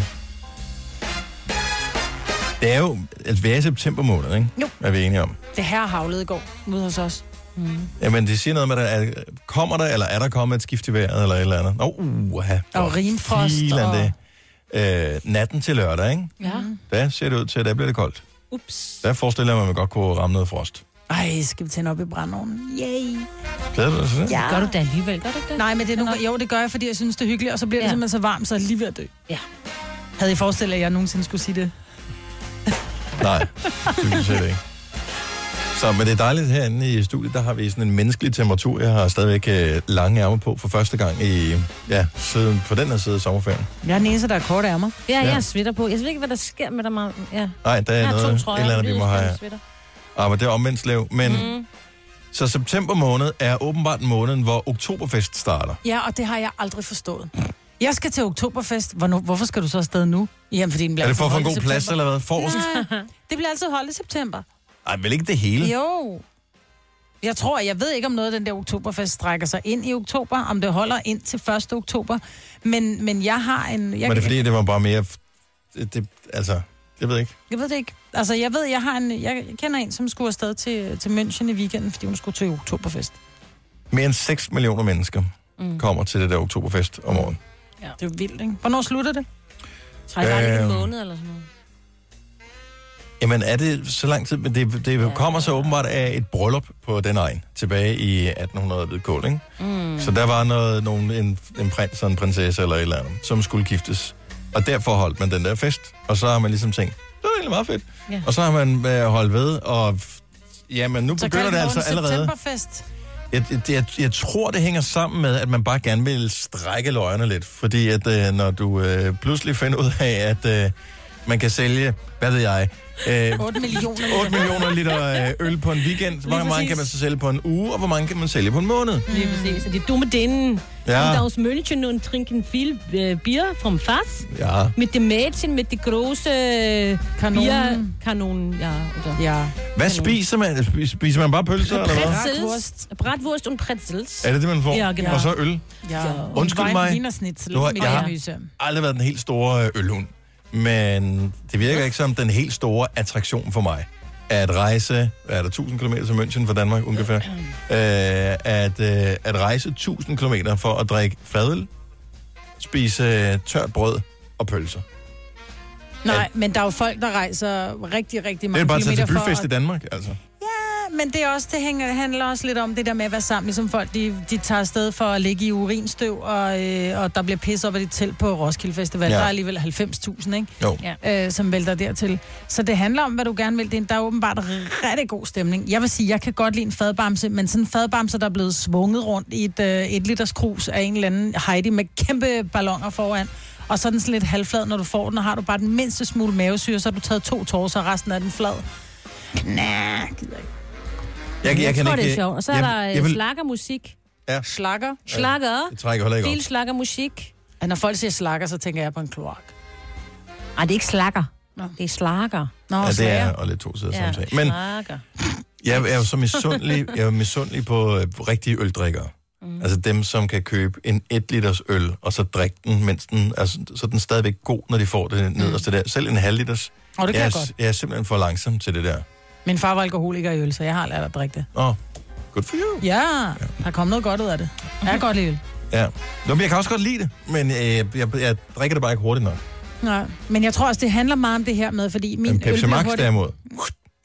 Speaker 1: det er jo, altså vi er i september måned, ikke?
Speaker 4: Jo.
Speaker 1: Er vi enige om?
Speaker 4: Det her havlede i går ude hos os. Mm.
Speaker 1: Jamen, det siger noget med, at der er, kommer der, eller er der kommet et skift i vejret, eller et eller andet? Nå, uha.
Speaker 4: Og rimfrost, og-
Speaker 1: Og... Øh, natten til lørdag, ikke?
Speaker 4: Ja.
Speaker 1: Der ser det ud til, at der bliver det koldt.
Speaker 2: Ups.
Speaker 1: Der forestiller jeg mig, at man godt kunne ramme noget frost.
Speaker 4: Ej, skal vi tænde op i brandovnen? Yay.
Speaker 1: Glæder du dig til det?
Speaker 2: Gør du det alligevel? Gør du ikke det?
Speaker 4: Nej, men det er nogle, jo, det gør jeg, fordi jeg synes, det er hyggeligt, og så bliver ja. det
Speaker 2: Ja.
Speaker 4: simpelthen så varmt, så jeg er lige ved at dø.
Speaker 2: Ja.
Speaker 4: Havde I forestillet jer, at jeg nogensinde skulle sige det?
Speaker 1: Nej, det vil jeg ikke. Så, men det er dejligt herinde i studiet, der har vi sådan en menneskelig temperatur. Jeg har stadigvæk øh, lange ærmer på for første gang i, ja, siden, på den her side af sommerferien.
Speaker 4: Jeg er den eneste, der er korte ærmer.
Speaker 3: Ja,
Speaker 1: Ja.
Speaker 3: jeg har sweater på. Jeg ved ikke, hvad der sker med dig, Martin. Ja.
Speaker 1: Nej, der
Speaker 3: Jeg
Speaker 1: er
Speaker 3: har
Speaker 1: noget,
Speaker 3: to
Speaker 1: et
Speaker 3: trøjer.
Speaker 1: eller andet, vi må have.
Speaker 3: Sweater.
Speaker 1: Ah, men det er omvendt slev. Men,
Speaker 4: Mm.
Speaker 3: Mhm.
Speaker 1: mm. Så september måned er åbenbart måneden, hvor oktoberfest starter.
Speaker 4: Ja, og det har jeg aldrig forstået. Jeg skal til oktoberfest. Hvornår, hvorfor skal du så afsted nu? Jamen, fordi den bliver
Speaker 1: er det
Speaker 4: altid
Speaker 1: for at få en
Speaker 4: holdt i
Speaker 1: god plads,
Speaker 4: september.
Speaker 1: eller hvad? Forrest?
Speaker 4: Nej, det bliver altid holdt i september.
Speaker 1: Nej, vel ikke det hele?
Speaker 4: Jo. Jeg tror, jeg ved ikke, om noget af den der oktoberfest strækker sig ind i oktober, om det holder ind til 1. oktober. Men, men jeg har en... Jeg,
Speaker 1: Var det fordi, det var bare mere... Det, det, altså, jeg ved ikke.
Speaker 4: Jeg ved det ikke. Altså, jeg ved, jeg har en... Jeg kender en, som skulle afsted til, til München i weekenden, fordi hun skulle til oktoberfest.
Speaker 1: Mere end 6 millioner mennesker
Speaker 4: Mm.
Speaker 1: kommer til det der oktoberfest om året.
Speaker 4: Ja. Det er jo vildt, ikke? Hvornår slutter det?
Speaker 1: Trækker han ikke en Øhm. måned
Speaker 3: eller sådan noget.
Speaker 1: Jamen er det så lang tid, men det, det kommer så åbenbart af et bryllup på den egen, tilbage i 1800 ved Kål, ikke?
Speaker 3: Mm.
Speaker 1: Så der var noget, nogen, en, en prins og en prinsesse eller et eller andet, som skulle giftes. Og derfor holdt man den der fest, og så har man ligesom tænkt, det var egentlig meget fedt.
Speaker 4: Ja.
Speaker 1: Og så har man øh, holdt ved, og f- jamen nu
Speaker 4: Så
Speaker 1: begynder
Speaker 4: kan
Speaker 1: det
Speaker 4: det
Speaker 1: altså allerede.
Speaker 4: septemberfest.
Speaker 1: Jeg, jeg, jeg, jeg tror, det hænger sammen med, at man bare gerne vil strække løgene lidt. Fordi at øh, når du øh, pludselig finder ud af, at øh, man kan sælge, hvad ved jeg... Øh,
Speaker 4: 8 millioner liter.
Speaker 1: 8 millioner liter øh, øl på en weekend. Hvor mange
Speaker 3: præcis.
Speaker 1: kan man så sælge på en uge, og hvor mange kan man sælge på en måned?
Speaker 4: Mm.
Speaker 3: Lige præcis. Og die dumme Dänen
Speaker 1: Ja.
Speaker 3: sind aus München und trinken viel äh, Bier vom Fass.
Speaker 1: Ja.
Speaker 3: Mit dem Mädchen, mit den großen
Speaker 4: Kanonen.
Speaker 3: Bierkanonen. øh, Ja, oder?
Speaker 4: Ja.
Speaker 1: Hvad spiser man? Spiser man bare pølser, eller hvad?
Speaker 3: Pretzels. Bratwurst und Pretzels.
Speaker 1: Er det det, man får?
Speaker 3: Ja, genau.
Speaker 1: Og så øl?
Speaker 4: Ja.
Speaker 1: Undskyld mig.
Speaker 4: Wienersnitzel
Speaker 1: Nu har,
Speaker 4: med
Speaker 1: jeg
Speaker 4: mayonnaise.
Speaker 1: har aldrig været den helt store øh, ølhund, men det virker ikke som den helt store attraktion for mig. At rejse, hvad er der, 1000 km til München fra Danmark ungefær? Øh, at, øh, at rejse 1000 km for at drikke fadøl, spise øh, tørt brød og pølser.
Speaker 4: Nej, men der er jo folk, der rejser rigtig, rigtig
Speaker 1: Det
Speaker 4: mange
Speaker 1: er bare at tage
Speaker 4: kilometer
Speaker 1: til
Speaker 4: for
Speaker 1: byfest
Speaker 4: at
Speaker 1: i Danmark, altså.
Speaker 4: Ja, men det, er også, det hænger, det handler også lidt om det der med at være sammen, ligesom folk, de, de tager afsted for at ligge i urinstøv, og, øh, og der bliver pisset op af dit telt på Roskilde Festival.
Speaker 2: Ja.
Speaker 4: Ja. Der er alligevel 90.000, ikke?
Speaker 1: Jo.
Speaker 4: Ja. Øh, som vælter dertil. Så det handler om, hvad du gerne vil. Det er, der er åbenbart rigtig god stemning. Jeg vil sige, jeg kan godt lide en fadbamse, men sådan en fadbamse, der er blevet svunget rundt i et, øh, et liters krus af en eller anden Heidi med kæmpe balloner foran. Og så er den sådan lidt halvflad, når du får den, og har du bare den mindste smule mavesyre, så har du taget to tårer, så er resten af den flad. Næh, gider ikke.
Speaker 1: Jeg,
Speaker 3: jeg,
Speaker 1: kan
Speaker 3: tror,
Speaker 1: ikke,
Speaker 3: det er sjovt. Og så er
Speaker 1: jeg,
Speaker 3: der øh,
Speaker 1: jeg,
Speaker 3: jeg
Speaker 1: vil,
Speaker 3: slagermusik.
Speaker 1: ja.
Speaker 4: Slakker.
Speaker 3: Slakker.
Speaker 1: Det trækker heller ikke op.
Speaker 3: Viel slagermusik.
Speaker 4: Og når folk siger slakker, så tænker jeg på en kloak.
Speaker 3: Nej, det er ikke slakker. Det er slakker.
Speaker 4: Nå,
Speaker 1: Ja, det er og lidt to sider ja. samtale. Men
Speaker 3: slakker.
Speaker 1: jeg, jeg er jo så misundelig, jeg er misundelig på øh, rigtige øldrikkere. Mm. Altså dem, som kan købe en 1 liters øl, og så drikke den, mens den, altså, så er den stadigvæk god, når de får det nederste der. Selv en halv liters,
Speaker 4: Og Mm.
Speaker 1: jeg,
Speaker 4: det kan jeg
Speaker 1: er-
Speaker 4: godt.
Speaker 1: Jeg er simpelthen for langsom til det der.
Speaker 4: Min far var alkoholiker i øl, så jeg har lært at drikke det.
Speaker 1: Åh, oh, good for you.
Speaker 4: Ja, der kom noget godt ud af det. Jeg er godt lide øl.
Speaker 1: Ja. Nå, men jeg kan også godt lide det, men øh, jeg, jeg, jeg drikker det bare ikke hurtigt nok.
Speaker 4: Nej, men jeg tror også, det handler meget om det her med, fordi
Speaker 1: Men
Speaker 4: min øl
Speaker 1: Pepsi
Speaker 4: bliver
Speaker 1: Max
Speaker 4: hurtigt-
Speaker 1: derimod.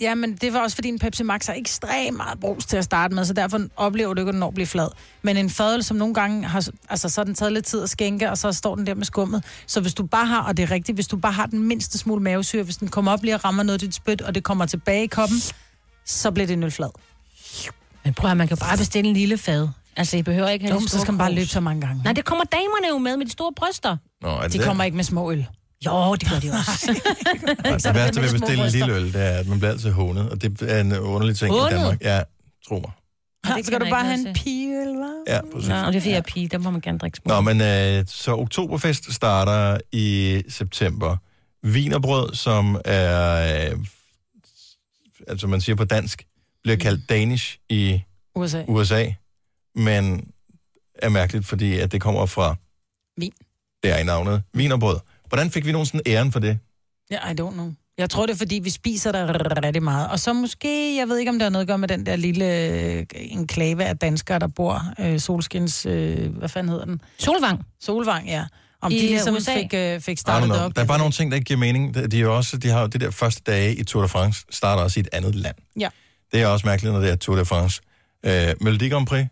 Speaker 4: Ja, men det var også fordi en Pepsi Max har ekstremt meget brus til at starte med, så derfor oplever du ikke, at den når at blive flad. Men en fadøl, som nogle gange har, altså så har den taget lidt tid at skænke, og så står den der med skummet. Så hvis du bare har, og det er rigtigt, hvis du bare har den mindste smule mavesyre, hvis den kommer op lige og rammer noget af dit spyt, og det kommer tilbage i koppen, så bliver det en øl flad.
Speaker 3: Men prøv at man kan bare bestille en lille fad. Altså, I behøver ikke have
Speaker 4: Dum,
Speaker 3: det
Speaker 4: så
Speaker 3: store
Speaker 4: skal man bare
Speaker 3: krus.
Speaker 4: løbe så mange gange.
Speaker 3: Nej, det kommer damerne jo med, med de store bryster.
Speaker 1: Nå, er det
Speaker 4: de
Speaker 1: det?
Speaker 4: kommer ikke med små øl. Jo, det gør de også.
Speaker 1: Og Altså, det værste ved at bestille en lille øl, det er, at man bliver altid hånet, og det er en underlig ting
Speaker 3: Hånet?
Speaker 1: i Danmark. Ja, tro mig.
Speaker 4: det skal du bare have en
Speaker 3: pige, eller
Speaker 1: Ja, præcis.
Speaker 3: Nå, og det er fordi, jeg er pige, der må man gerne drikke små.
Speaker 1: Nå, men øh, så oktoberfest starter i september. Vinerbrød, som er, øh, altså man siger på dansk, bliver kaldt Danish i
Speaker 4: USA.
Speaker 1: USA, men er mærkeligt, fordi at det kommer fra...
Speaker 4: Vin.
Speaker 1: Det er i navnet. Vinerbrød. Hvordan fik vi nogensinde æren for det?
Speaker 4: Ja, I don't know. Jeg tror, det er, fordi vi spiser der rigtig meget. Og så måske, jeg ved ikke, om der er noget at gøre med den der lille øh, enklave af danskere, der bor øh, Solskins, øh, hvad fanden hedder den?
Speaker 3: Solvang.
Speaker 4: Solvang, ja. Om
Speaker 3: I,
Speaker 4: I de
Speaker 3: øh,
Speaker 4: ligesom
Speaker 3: USA?
Speaker 4: fik, øh, fik
Speaker 1: I don't
Speaker 4: startet det
Speaker 1: know.
Speaker 4: op.
Speaker 1: Der er bare nogle ting, der ikke giver mening. De, de, er jo også, de har jo det der første dage i Tour de France, starter også i et andet land.
Speaker 4: Ja.
Speaker 1: Det er også mærkeligt, når det er Tour de France. Øh, Melodi Grand Prix,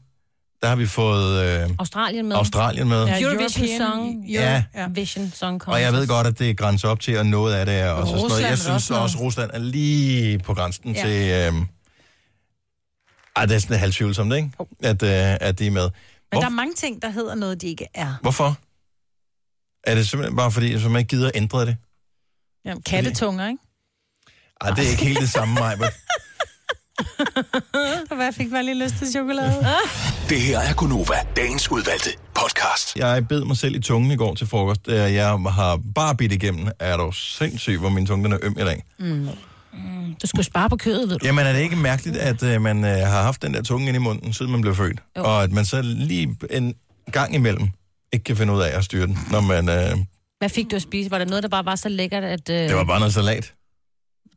Speaker 1: der har vi fået... Øh,
Speaker 3: Australien med.
Speaker 1: Australien med.
Speaker 3: Ja,
Speaker 1: Ja,
Speaker 3: Eurovision
Speaker 4: European-
Speaker 3: Song.
Speaker 1: Ja.
Speaker 3: Vision Song
Speaker 1: og jeg ved godt, at det grænser op til, og noget af det er også sådan noget.
Speaker 3: Rusland er
Speaker 1: Jeg synes
Speaker 3: også
Speaker 1: også,
Speaker 3: noget.
Speaker 1: Rusland er lige på grænsen
Speaker 3: Ja.
Speaker 1: ja. til... Øh, ej, det er sådan halvtvivlsomt, ikke? At, øh, at de er med.
Speaker 4: Men
Speaker 1: Hvor,
Speaker 4: der er mange ting, der hedder noget, de ikke er.
Speaker 1: Hvorfor? Er det simpelthen bare fordi, så man ikke gider at ændre det?
Speaker 4: Jamen, kattetunger, ikke?
Speaker 1: Ej, det er ikke helt det samme, Majbert.
Speaker 4: Og jeg fik bare lige lyst til chokolade.
Speaker 6: Det her er Gunova, dagens udvalgte podcast.
Speaker 1: Jeg bed mig selv i tungen i går til frokost. Øh, Jeg har bare bidt igennem. Er du sindssyg, hvor min tunge den er øm i dag?
Speaker 3: Mm. Mm. Du skulle spare på kødet, ved du.
Speaker 1: Jamen er det ikke mærkeligt, at øh, man øh, har haft den der tunge inde i munden, siden man blev født?
Speaker 3: Jo.
Speaker 1: Jo. Og at man så lige en gang imellem ikke kan finde ud af at styre den, når man... Øh,
Speaker 3: Hvad fik du at spise? Var der noget, der bare var så lækkert, at... Øh...
Speaker 1: det var bare noget salat.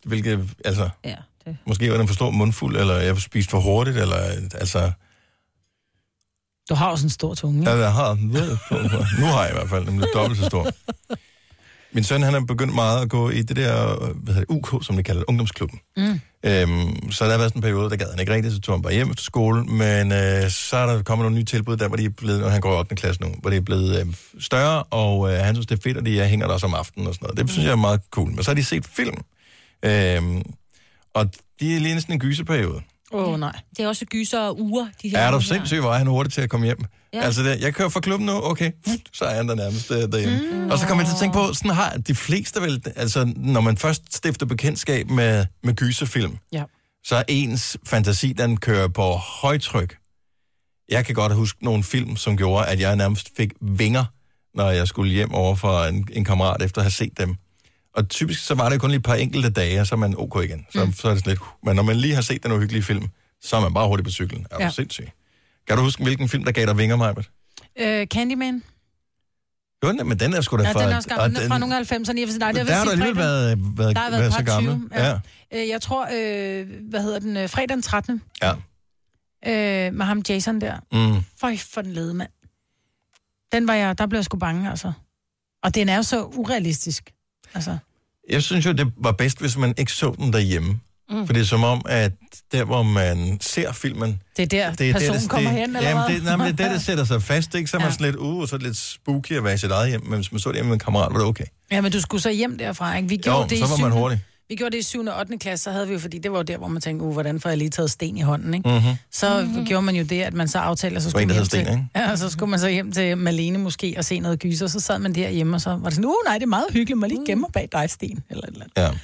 Speaker 1: Hvilket, altså...
Speaker 3: Ja, det.
Speaker 1: Måske var den for stor mundfuld, eller jeg spiste for hurtigt, eller... øh, Altså,
Speaker 4: Du har også en stor tunge.
Speaker 1: Ja, jeg har Nu har jeg i hvert fald, den er dobbelt så stor. Min søn, han er begyndt meget at gå i det der, hvad hedder det, UK, som de kalder det, ungdomsklubben.
Speaker 4: Mm.
Speaker 1: Øhm, så der har været sådan en periode, der gad han ikke rigtigt, så tog han bare hjem efter skole, men øh, så er der kommet nogle nye tilbud der, hvor de er blevet, og han går i 8. klasse nu, hvor det er blevet øh, større, og øh, han synes, det er fedt, at de øh, hænger der også om aftenen og sådan noget. Det synes jeg er meget cool. Men så har de set film, øhm, og de er lige sådan en gyserperiode.
Speaker 4: Åh, oh, nej.
Speaker 3: Det er også gyser og uger, de her.
Speaker 1: Er du sindssyg, hvor er han hurtigt til at komme hjem?
Speaker 3: Ja.
Speaker 1: Ja. Altså, det, jeg kører fra klubben nu, okay, så er han der nærmest øh, derhjemme. Mm, og så kommer jeg til at tænke på, sådan har de fleste vel, altså når man først stifter bekendtskab med, med gyserfilm,
Speaker 4: Ja.
Speaker 1: så er ens fantasi, den kører på højtryk. Jeg kan godt huske nogle film, som gjorde, at jeg nærmest fik vinger, når jeg skulle hjem over for en, en kammerat, efter at have set dem. Og typisk så var det kun lige et par enkelte dage, og så er man ok igen. Så, mm. så er det sådan lidt, uh, men når man lige har set den uhyggelige film, så er man bare hurtigt på cyklen. Er du
Speaker 4: Ja.
Speaker 1: ja. sindssyg? Kan du huske, hvilken film, der gav dig vinger, Majbert?
Speaker 4: Øh, Candyman.
Speaker 1: Jo, den- men den er sgu da
Speaker 4: Ja,
Speaker 1: fra...
Speaker 4: den er også gammel.
Speaker 1: og
Speaker 4: Den er fra nogle af 90'erne. Jeg vil sige, nej, det er
Speaker 1: der har
Speaker 4: vist
Speaker 1: du
Speaker 4: i
Speaker 1: alligevel
Speaker 4: fredag.
Speaker 1: været, været,
Speaker 4: Der har
Speaker 1: været
Speaker 4: været
Speaker 1: så
Speaker 4: par
Speaker 1: gammel.
Speaker 4: 20, ja.
Speaker 1: ja.
Speaker 4: Øh, jeg tror, øh, hvad hedder den, øh, fredag den 13.
Speaker 1: Ja.
Speaker 4: Øh, med ham Jason der.
Speaker 1: Mm.
Speaker 4: Føj for den lede, mand. Den var jeg, der blev jeg sgu bange, altså. Og den er jo så urealistisk. Altså,
Speaker 1: Jeg synes jo, det var bedst, hvis man ikke så den derhjemme.
Speaker 4: Mm.
Speaker 1: Mm. For det er som om, at der, hvor man ser filmen...
Speaker 4: det er der, det er personen det, kommer hen, eller
Speaker 1: jamen,
Speaker 4: hvad?
Speaker 1: det, nej, men det er der, det sætter sig fast, ikke? Så er man
Speaker 4: Ja.
Speaker 1: sådan lidt ude, og så er det lidt spooky at være i sit eget hjem. Men hvis man så det hjemme med en kammerat, var det okay.
Speaker 4: Ja, men du skulle så hjem derfra, ikke? Vi
Speaker 1: Jo,
Speaker 4: gjorde
Speaker 1: så
Speaker 4: det i
Speaker 1: var man
Speaker 4: syvende-
Speaker 1: hurtig.
Speaker 4: Vi gjorde det i 7. og 8. klasse, så havde vi jo, fordi det var jo der, hvor man tænkte, uh, hvordan får jeg lige taget sten i hånden, ikke?
Speaker 1: Mhm.
Speaker 4: Så gjorde man jo det, at man så aftalte, og så
Speaker 1: var
Speaker 4: skulle,
Speaker 1: en, der
Speaker 4: man hjem,
Speaker 1: hed Sten,
Speaker 4: til,
Speaker 1: ikke?
Speaker 4: ja, og så skulle man så hjem til Malene måske og se noget gyser, så sad man derhjemme, og så var det sådan, uh, nej, det er meget hyggeligt, man lige gemmer bag dig, Sten, eller et eller andet.
Speaker 1: Ja.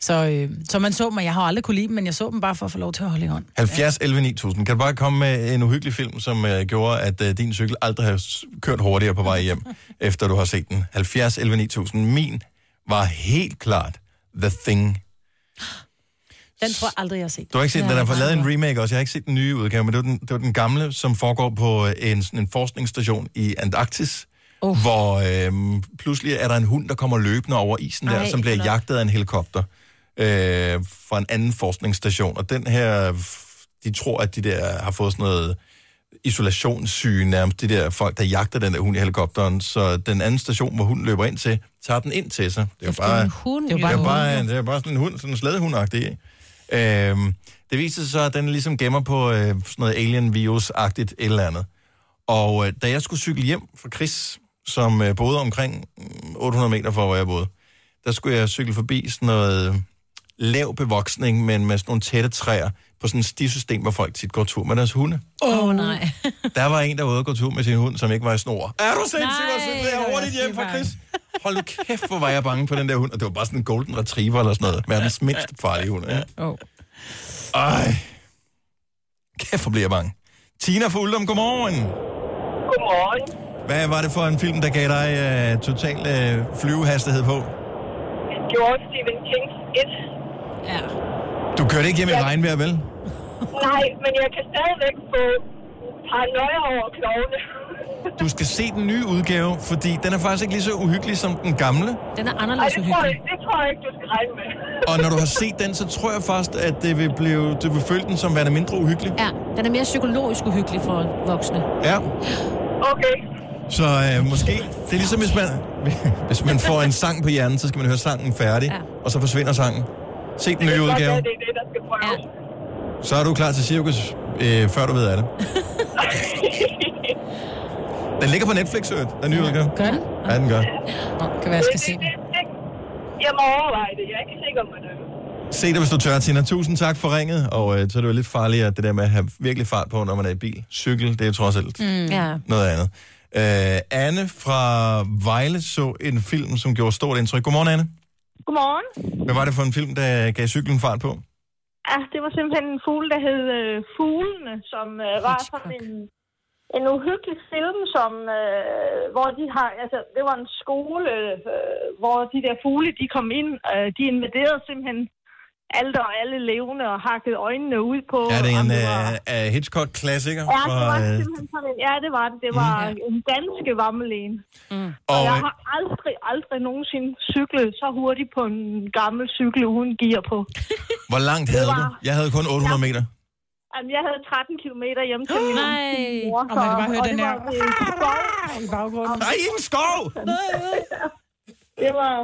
Speaker 4: Så, øh, så man så dem, og jeg har aldrig kunne lide dem, men jeg så dem bare for at få lov til at holde i hånd.
Speaker 1: 70 11 9000. Kan du bare komme med en uhyggelig film, som uh, gjorde, at uh, din cykel aldrig har s- kørt hurtigere på vej hjem, efter du har set den? 70 11 9000. Min var helt klart The Thing.
Speaker 4: Den tror jeg aldrig, jeg har set.
Speaker 1: Du har ikke set
Speaker 4: Ja,
Speaker 1: den, der
Speaker 4: nej,
Speaker 1: har lavet
Speaker 4: nej.
Speaker 1: en remake også. Jeg har ikke set den øh, nye udgave, men det var den, det var den gamle, som foregår på en, sådan en forskningsstation i Antarktis, oh. hvor øh, pludselig er der en hund, der kommer løbende over isen der,
Speaker 13: Ej,
Speaker 1: som bliver
Speaker 13: flot.
Speaker 1: jagtet af en helikopter øh, fra en anden forskningsstation. Og den her, f- de tror, at de der har fået sådan noget isolationssyge nærmest, de der folk, der jagter den der hund i helikopteren. Så den anden station, hvor hunden løber ind til, tager den ind til sig. Det er jo bare,
Speaker 13: en hund,
Speaker 1: det er
Speaker 13: jo.
Speaker 1: jo
Speaker 13: Det er bare
Speaker 1: bare,
Speaker 13: en
Speaker 1: en- det er bare sådan en hund, sådan en slædehundagtig. ikke? Øhm, det viser sig så, at den ligesom gemmer på øh, sådan noget alien virus-agtigt et eller andet. Og øh, da jeg skulle cykle hjem fra Chris, som øh, boede omkring mm, 800 meter fra, hvor jeg boede, der skulle jeg cykle forbi sådan noget øh, lav bevoksning, men med sådan nogle tætte træer på sådan et stisystem, hvor folk tit går tur med deres hunde.
Speaker 3: Åh, oh, nej.
Speaker 1: Der var en, der var ude og gå tur med sin hund, som ikke var i snor. Er du sindssyg,
Speaker 3: Nej,
Speaker 1: hvor cyklede jeg
Speaker 3: det var
Speaker 1: hurtigt hjem fra
Speaker 3: skidevej.
Speaker 1: Chris? Hold nu kæft, hvor var jeg bange på den der hund. Og det var bare sådan en golden retriever eller sådan noget. Verdens mindst farlige hund. Ja.
Speaker 2: Oh.
Speaker 1: Ej. Kæft, hvor bliver jeg bange. Tina fra Uldum, godmorgen.
Speaker 14: Godmorgen.
Speaker 1: Hvad var det for en film, der gav dig uh, total uh, flyvehastighed på?
Speaker 14: George Stephen Kings 1. Ja.
Speaker 1: Du kørte ikke hjem i regnvejr, vel?
Speaker 14: Nej, men jeg kan stadigvæk få paranoia over klovene.
Speaker 1: Du skal se den nye udgave, fordi den er faktisk ikke lige så uhyggelig som den gamle.
Speaker 3: Den er
Speaker 14: Ej,
Speaker 3: anderledes
Speaker 14: det, tror
Speaker 3: uhyggelig.
Speaker 14: jeg, det tror jeg ikke, du skal regne med.
Speaker 1: Og når du har set den, så tror jeg faktisk, at det vil blive, du vil føle den som værende mindre uhyggelig.
Speaker 3: Ja, den er mere psykologisk uhyggelig for voksne.
Speaker 1: Ja.
Speaker 14: Okay.
Speaker 1: Så øh, måske, det er ligesom hvis man, hvis man får en sang på hjernen, så skal man høre sangen færdig, ja. og så forsvinder sangen. Se den nye
Speaker 14: Det er
Speaker 1: udgave,
Speaker 14: godt, at det er det, der skal prøves.
Speaker 1: så er du klar til cirkus, øh, før du ved af det. Den ligger på Netflix, øh, den nye udgave.
Speaker 2: Gør den?
Speaker 1: Ja, den gør.
Speaker 2: Nå, kan være, jeg skal se den.
Speaker 14: Jeg må overveje det. Jeg er ikke sikker på det.
Speaker 1: Se det, hvis du tør, Tina. Tusind tak for ringet, og øh, så er det jo lidt farligt, at det der med at have virkelig fart på, når man er i bil. Cykel, det er trods alt
Speaker 3: Mm. Ja.
Speaker 1: noget andet. Øh, Anne fra Vejle så en film, som gjorde stort indtryk. Godmorgen, Anne.
Speaker 9: Godmorgen.
Speaker 1: Hvad var det for en film, der gav cyklen fart på?
Speaker 9: Ja, det var simpelthen en fugl, der hed øh, Fuglene, som øh, var sådan en, en uhyggelig film, som, øh, hvor de har, altså det var en skole, øh, hvor de der fugle, de kom ind, øh, de invaderede simpelthen alt og alle levende og hakkede øjnene ud på.
Speaker 1: Er det
Speaker 9: om
Speaker 1: en
Speaker 9: var-
Speaker 1: øh, øh, Hitchcock-klassiker?
Speaker 9: Ja, det var
Speaker 1: fra, øh, Mm.
Speaker 9: simpelthen sådan en, ja, det var det. Det var en danske vammelen. Mm. Og,
Speaker 1: Og,
Speaker 9: jeg
Speaker 1: øh,
Speaker 9: har aldrig, aldrig nogensinde cyklet så hurtigt på en gammel cykel uden gear på.
Speaker 1: Hvor langt havde du? Jeg havde kun 800 meter.
Speaker 9: Jamen, jeg havde 13 km hjem til min
Speaker 2: Nej.
Speaker 9: min mor.
Speaker 2: Og man kan bare høre
Speaker 9: og
Speaker 2: den
Speaker 9: det
Speaker 2: her
Speaker 9: var ved en skov.
Speaker 2: i baggrunden.
Speaker 1: Nej, en skov!
Speaker 9: Det var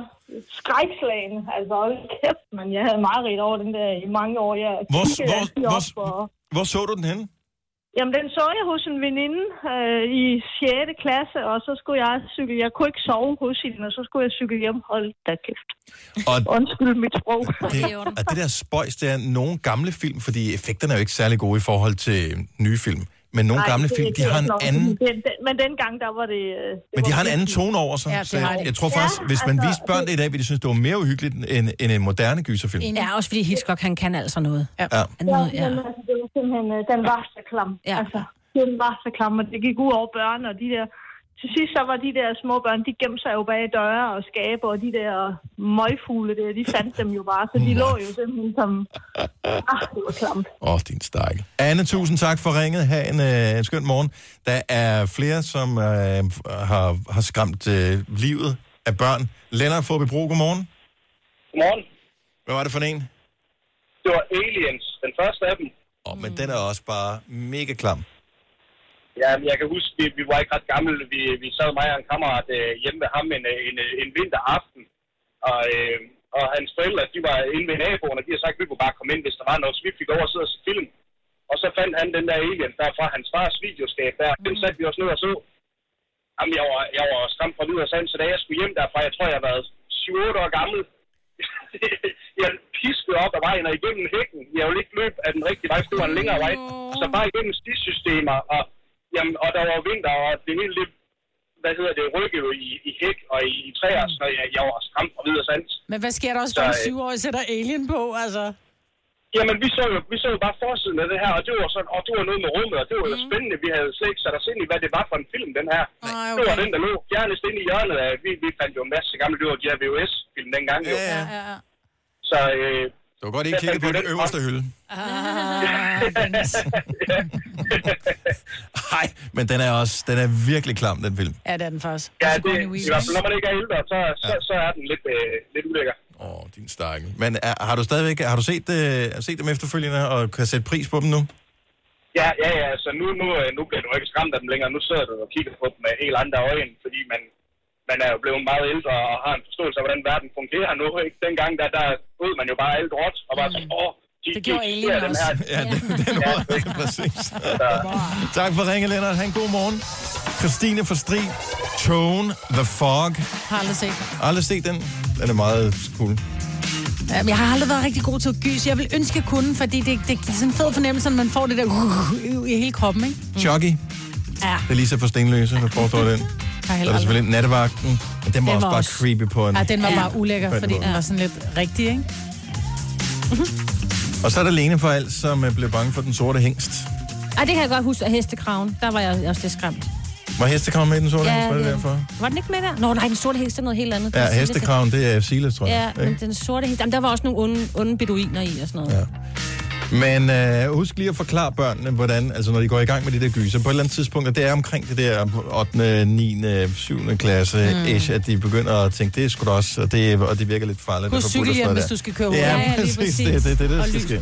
Speaker 9: skrækslagende. Altså, hold kæft, men jeg havde meget ret over den der i mange år. Jeg
Speaker 1: Hvor-
Speaker 9: kiggede
Speaker 1: hvor-
Speaker 9: altid
Speaker 1: hvor-
Speaker 9: op, og...
Speaker 1: Hvor så du den henne?
Speaker 9: Jamen, den så jeg hos en veninde øh, i 6. klasse, og så skulle jeg cykle. Jeg kunne ikke sove hos hende, og så skulle jeg cykle hjem. Hold da kæft.
Speaker 1: Og
Speaker 9: Undskyld mit sprog.
Speaker 1: det, og det der spøjs, det er nogle gamle film, fordi effekterne er jo ikke særlig gode i forhold til nye film. Men nogle
Speaker 9: Nej,
Speaker 1: gamle
Speaker 9: det er
Speaker 1: film, de
Speaker 9: ikke
Speaker 1: har en
Speaker 9: nok.
Speaker 1: anden
Speaker 9: Den, den, men dengang, der var det... øh, det
Speaker 1: Men de
Speaker 9: var
Speaker 1: har en anden
Speaker 9: virkelig-
Speaker 1: tone over sig.
Speaker 9: Ja, det
Speaker 1: så
Speaker 9: har
Speaker 1: jeg,
Speaker 9: de.
Speaker 1: jeg tror faktisk,
Speaker 9: Ja,
Speaker 1: hvis man
Speaker 9: altså,
Speaker 1: viste børn det i dag, ville de synes, det var mere uhyggeligt end, end en moderne gyserfilm.
Speaker 3: Ja, også fordi Hitchcock, han kan altså noget.
Speaker 2: Ja.
Speaker 1: Ja.
Speaker 3: noget
Speaker 9: Ja,
Speaker 3: ja.
Speaker 9: men altså, det var simpelthen, øh, den var så klam. Ja. Altså, den var så klam, og det gik ud over børn, og de der... Til sidst så var de der små børn, de gemte sig jo bag døre og skabe, og de der møgfugle der, de fandt dem jo bare, så de lå jo simpelthen som... Ah, det var klamt.
Speaker 1: Åh, oh, din stakkel. Anne, tusind tak for ringet. Ha' en, øh, en skøn morgen. Der er flere, som øh, har, har skræmt øh, livet af børn. Lennart Forbebro, godmorgen.
Speaker 15: Godmorgen.
Speaker 1: Hvad var det for en?
Speaker 15: Det var Aliens, den første af dem.
Speaker 1: Åh, oh, men den er også bare mega klam.
Speaker 15: Ja, men jeg kan huske, vi, vi var ikke ret gamle. Vi, vi sad mig og en kammerat øh, hjemme ved ham en, øh, en, øh, en vinteraften. Og, øh, og hans forældre, de var inde ved naboen, og de har sagt, at vi kunne bare komme ind, hvis der var noget. Så vi fik over og sidde og se film. Og så fandt han den der alien der fra hans fars videoskab der. Den satte vi os ned og så. Jamen, jeg var, jeg var skræmt fra lyd og sand, så da jeg skulle hjem derfra, jeg tror, jeg har været 7-8 år gammel. jeg piskede op ad vejen og igennem hækken. Jeg ville ikke løbe af den rigtige vej, for det var en længere vej. Så bare igennem stisystemer, og, jamen, og der var vinter, og det hele lidt, hvad hedder det, rykkede i, i hæk og i, i træer, så jeg, jeg var skræmt fra lyd og sand.
Speaker 4: Men hvad sker der også,
Speaker 15: Så,
Speaker 4: for en
Speaker 15: øh,
Speaker 4: syvårig sætter alien på, altså?
Speaker 15: Jamen, vi så, jo, vi så jo bare forsiden af det her, og det var sådan, og det var noget med rummet, og det var jo spændende. Vi havde slet ikke sat os ind i, hvad det var for en film, den her.
Speaker 4: Ej,
Speaker 15: Det var den, der lå fjernest inde i hjørnet af, vi, vi fandt jo en masse gamle, det var de her VHS-film dengang jo. Ja, ja, ja. Så, øh,
Speaker 1: det var godt, I ikke kiggede på den øverste hylde.
Speaker 4: Ah, Dennis.
Speaker 1: Nej, Men den er også, den er virkelig klam, den film.
Speaker 4: Ja, det er den faktisk.
Speaker 15: Ja,
Speaker 4: Altså,
Speaker 15: det,
Speaker 4: Gordon
Speaker 15: i
Speaker 4: Willis.
Speaker 15: hvert fald, når man ikke er ældre, så, så, så er den lidt, øh, lidt ulækker.
Speaker 1: Åh, din stakkel. Men er, har du stadigvæk, har du set, øh, set dem efterfølgende, og kan sætte pris på dem nu?
Speaker 15: Ja, ja, ja, så nu, nu, øh, nu bliver du ikke skræmt af dem længere. Nu sidder du og kigger på dem med helt andre øjne, fordi man, man er jo blevet meget ældre og har en forståelse af, hvordan verden fungerer nu. Ikke? Dengang, der, der ud man jo bare alt råt, og var sådan, åh, de,
Speaker 1: Det gjorde
Speaker 15: de,
Speaker 1: Alien også. Ja,
Speaker 15: det,
Speaker 1: den var ikke præcis. tak for ringen, Lennart. Han god morgen. Christine fra Stri, Tone, The Fog.
Speaker 4: Har aldrig set.
Speaker 1: Aldrig set den. Den er meget cool.
Speaker 4: Mm. Jamen, Øhm, jeg har aldrig været rigtig god til at gys. Jeg vil ønske, jeg kunne, fordi det, det giver sådan en fed fornemmelse, når man får det der uh, i hele kroppen, ikke?
Speaker 1: Chucky,
Speaker 4: Ja.
Speaker 1: det er Lisa fra Stenløse, der foreslår den. Så er der selvfølgelig nattevagten, men den var,
Speaker 4: Den
Speaker 1: også
Speaker 4: var
Speaker 1: bare
Speaker 4: også-
Speaker 1: creepy på en...
Speaker 4: Ja, den var
Speaker 1: på
Speaker 4: bare ulækker,
Speaker 1: en
Speaker 4: fordi
Speaker 1: måde.
Speaker 4: den var sådan lidt rigtig, ikke?
Speaker 1: Og så er der Lene for alt, som øh, blev bange for den sorte hængst.
Speaker 3: Ej, det kan jeg godt huske, at hestekraven, der var jeg også lidt skræmt.
Speaker 1: Var hestekraven med i den sorte ja, hængst? Var det derfor?
Speaker 3: Var den ikke med der? Nå, nej, den sorte hest er noget helt andet. Den
Speaker 1: Ja,
Speaker 3: sorte-
Speaker 1: hestekraven, det er Silas, tror
Speaker 3: Ja,
Speaker 1: jeg.
Speaker 3: men
Speaker 1: ikke?
Speaker 3: den sorte hest. Jamen, der var også nogle onde, onde beduiner i og sådan noget.
Speaker 1: Ja. Men øh, husk lige at forklare børnene, hvordan, altså når de går i gang med de der gyser, på et eller andet tidspunkt, og det er omkring det der 8., 9., 7. klasse, mm.
Speaker 4: Mm.
Speaker 1: ish, at de begynder at tænke, det er sgu da også, og det, og det virker lidt farligt.
Speaker 4: Husk
Speaker 1: det er forbudt og sådan
Speaker 4: cykelhjelm,
Speaker 1: noget
Speaker 4: hvis
Speaker 1: der.
Speaker 4: du skal køre
Speaker 1: Ja,
Speaker 4: hurtigt.
Speaker 1: ja,
Speaker 4: Ja,
Speaker 1: præcis. Det er det, det, er det der skal ske.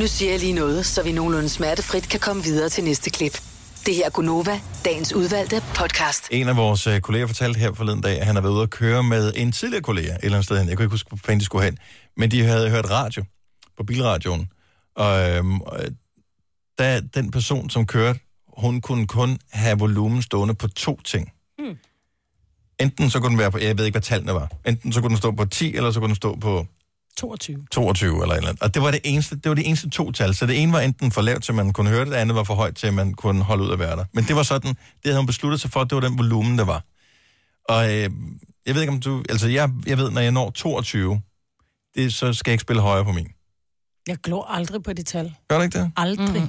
Speaker 8: Nu siger jeg lige noget, så vi nogenlunde smertefrit kan komme videre til næste klip. Det her er Gunova, dagens udvalgte podcast.
Speaker 1: En af vores øh, kolleger fortalte her forleden dag, at han har været ude at køre med en tidligere kollega et eller andet sted hen. Jeg kunne ikke huske, hvor fanden de skulle hen. Men de havde hørt radio på bilradioen. Og øhm, og, øh, da den person, som kørte, hun kunne kun have volumen stående på to ting.
Speaker 5: Mm.
Speaker 1: Enten så kunne den være på, jeg ved ikke, hvad tallene var. Enten så kunne den stå på 10, eller så kunne den stå på
Speaker 4: 22.
Speaker 1: 22 eller et eller andet. Og det var det eneste, det var det eneste to tal. Så det ene var enten for lavt, til man kunne høre det, det andet var for højt, til man kunne holde ud at være der. Men det var sådan, det havde hun besluttet sig for, at det var den volumen, der var. Og øh, jeg ved ikke, om du... Altså, jeg, jeg ved, når jeg når 22, det, så skal jeg ikke spille højere på min.
Speaker 4: Jeg glor aldrig på det tal.
Speaker 1: Gør du ikke det?
Speaker 4: Aldrig. Mm.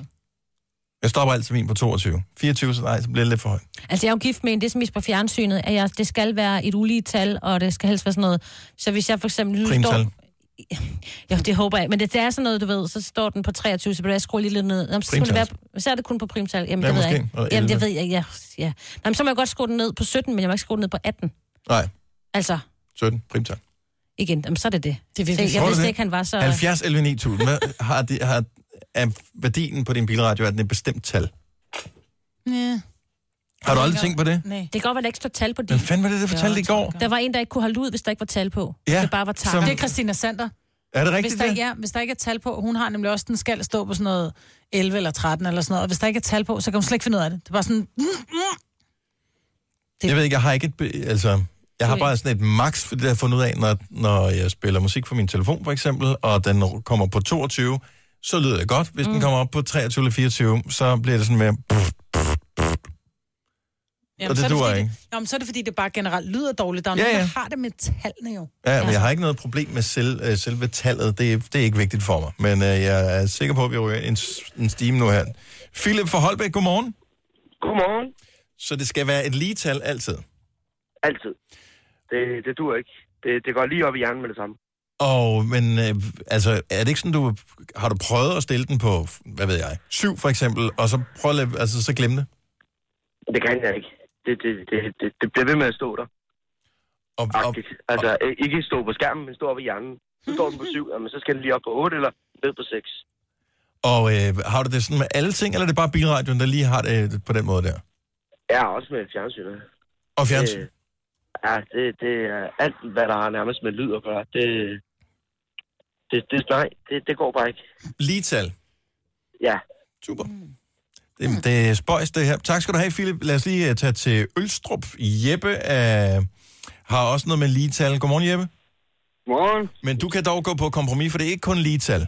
Speaker 1: Jeg stopper altid min på 22. 24, så nej, så bliver det lidt for højt.
Speaker 3: Altså, jeg er jo gift med en, det er som på fjernsynet, at jeg, det skal være et ulige tal, og det skal helst være sådan noget. Så hvis jeg for eksempel... nu
Speaker 1: Primtal.
Speaker 3: Jo, det håber jeg. Men det, det er sådan noget, du ved, så står den på 23, så bliver jeg skrue lige lidt ned. Jamen, så, skal det være,
Speaker 1: Primtal.
Speaker 3: så er det kun på primtal. Jamen,
Speaker 1: Ja,
Speaker 3: det ved jeg
Speaker 1: måske.
Speaker 3: ikke.
Speaker 1: Og
Speaker 3: Jamen, det
Speaker 1: 11.
Speaker 3: ved jeg, ja. ja. Nå, men så må jeg godt skrue den ned på 17, men jeg må ikke skrue den ned på 18.
Speaker 1: Nej,
Speaker 3: Altså,
Speaker 1: 17, primtal.
Speaker 3: igen, jamen, så er det det. det
Speaker 1: virkelig
Speaker 3: så, jeg
Speaker 1: sjovt.
Speaker 3: vidste ikke, han var
Speaker 4: Altså-
Speaker 3: så...
Speaker 1: 70 11 9000. Hvad har, det, har er værdien på din bilradio, er den et bestemt tal?
Speaker 4: Ja.
Speaker 1: Har du aldrig tænkt på det?
Speaker 4: Nej.
Speaker 3: kan
Speaker 4: Det
Speaker 3: godt være, der ikke står tal på det.
Speaker 1: Hvem fanden var det, der fortalte i går?
Speaker 3: Der var en, der ikke kunne holde ud, hvis der ikke var tal på.
Speaker 1: Ja,
Speaker 3: det bare var
Speaker 1: som-
Speaker 3: takker.
Speaker 1: Det
Speaker 4: Det er Christina Sander.
Speaker 1: Er det rigtigt,
Speaker 4: hvis der,
Speaker 1: det?
Speaker 4: Ja, hvis der ikke er tal på, hun har nemlig også, den skal stå på sådan noget 11 eller 13 eller sådan noget, og hvis der ikke er tal på, så kan hun slet ikke finde ud af det. Det er bare sådan, mm, mm.
Speaker 1: Det... Jeg ved ikke, jeg har ikke et... be- Altså, jeg har bare sådan et max, for det har jeg fundet ud af, når, når jeg spiller musik på min telefon for eksempel, og den r- kommer på 22, så lyder det godt. Hvis mm. den kommer op på 23 eller 24, så bliver det sådan mere... Og det
Speaker 4: så er
Speaker 1: duer
Speaker 4: fordi,
Speaker 1: ikke.
Speaker 4: Det, jamen, så er det fordi, det bare generelt lyder dårligt. Der er
Speaker 1: Ja,
Speaker 4: ja,
Speaker 1: ja.
Speaker 4: nogen, der har det med tallene jo.
Speaker 1: Ja, men jeg har ikke noget problem med selv, øh, selve tallet. Det, er- det er ikke vigtigt for mig. Men øh, jeg er sikker på, at vi ryger ind i en, s- en stime nu her. Philip fra Holbæk, godmorgen.
Speaker 13: Godmorgen.
Speaker 1: Så det skal være et ligetal altid.
Speaker 13: Altid. Det, det dur ikke. Det, det går lige op i hjernen med det samme.
Speaker 1: Og, men øh, altså, er det ikke sådan, du har du prøvet at stille den på, hvad ved jeg, syv for eksempel, og så prøv at lade, altså, så glemme det?
Speaker 13: Det kan jeg ikke. Det, det, det, det, det bliver ved med at stå der.
Speaker 1: Og,
Speaker 13: og, altså, øh, ikke stå på skærmen, men stå op i hjernen. Så står den på syv, jamen, så skal den lige op på otte eller ned på seks.
Speaker 1: Og øh, har du det sådan med alle ting, eller er det bare bilradioen, der lige har det på den måde der?
Speaker 13: Ja, også med fjernsynet.
Speaker 1: Og fjernsyn?
Speaker 13: Øh, ja, det, det er alt, hvad der har nærmest med lyd at gøre. Det, det, det, nej, det, det går bare ikke.
Speaker 1: Ligetal.
Speaker 13: Ja.
Speaker 1: Super. Det, det er spøjs, det her. Tak skal du have, Philip. Lad os lige øh, tage til Ølstrup. Jeppe øh, har også noget med ligetal. Godmorgen, Jeppe.
Speaker 16: Morgen.
Speaker 1: Men du kan dog gå på kompromis, for det er ikke kun ligetal.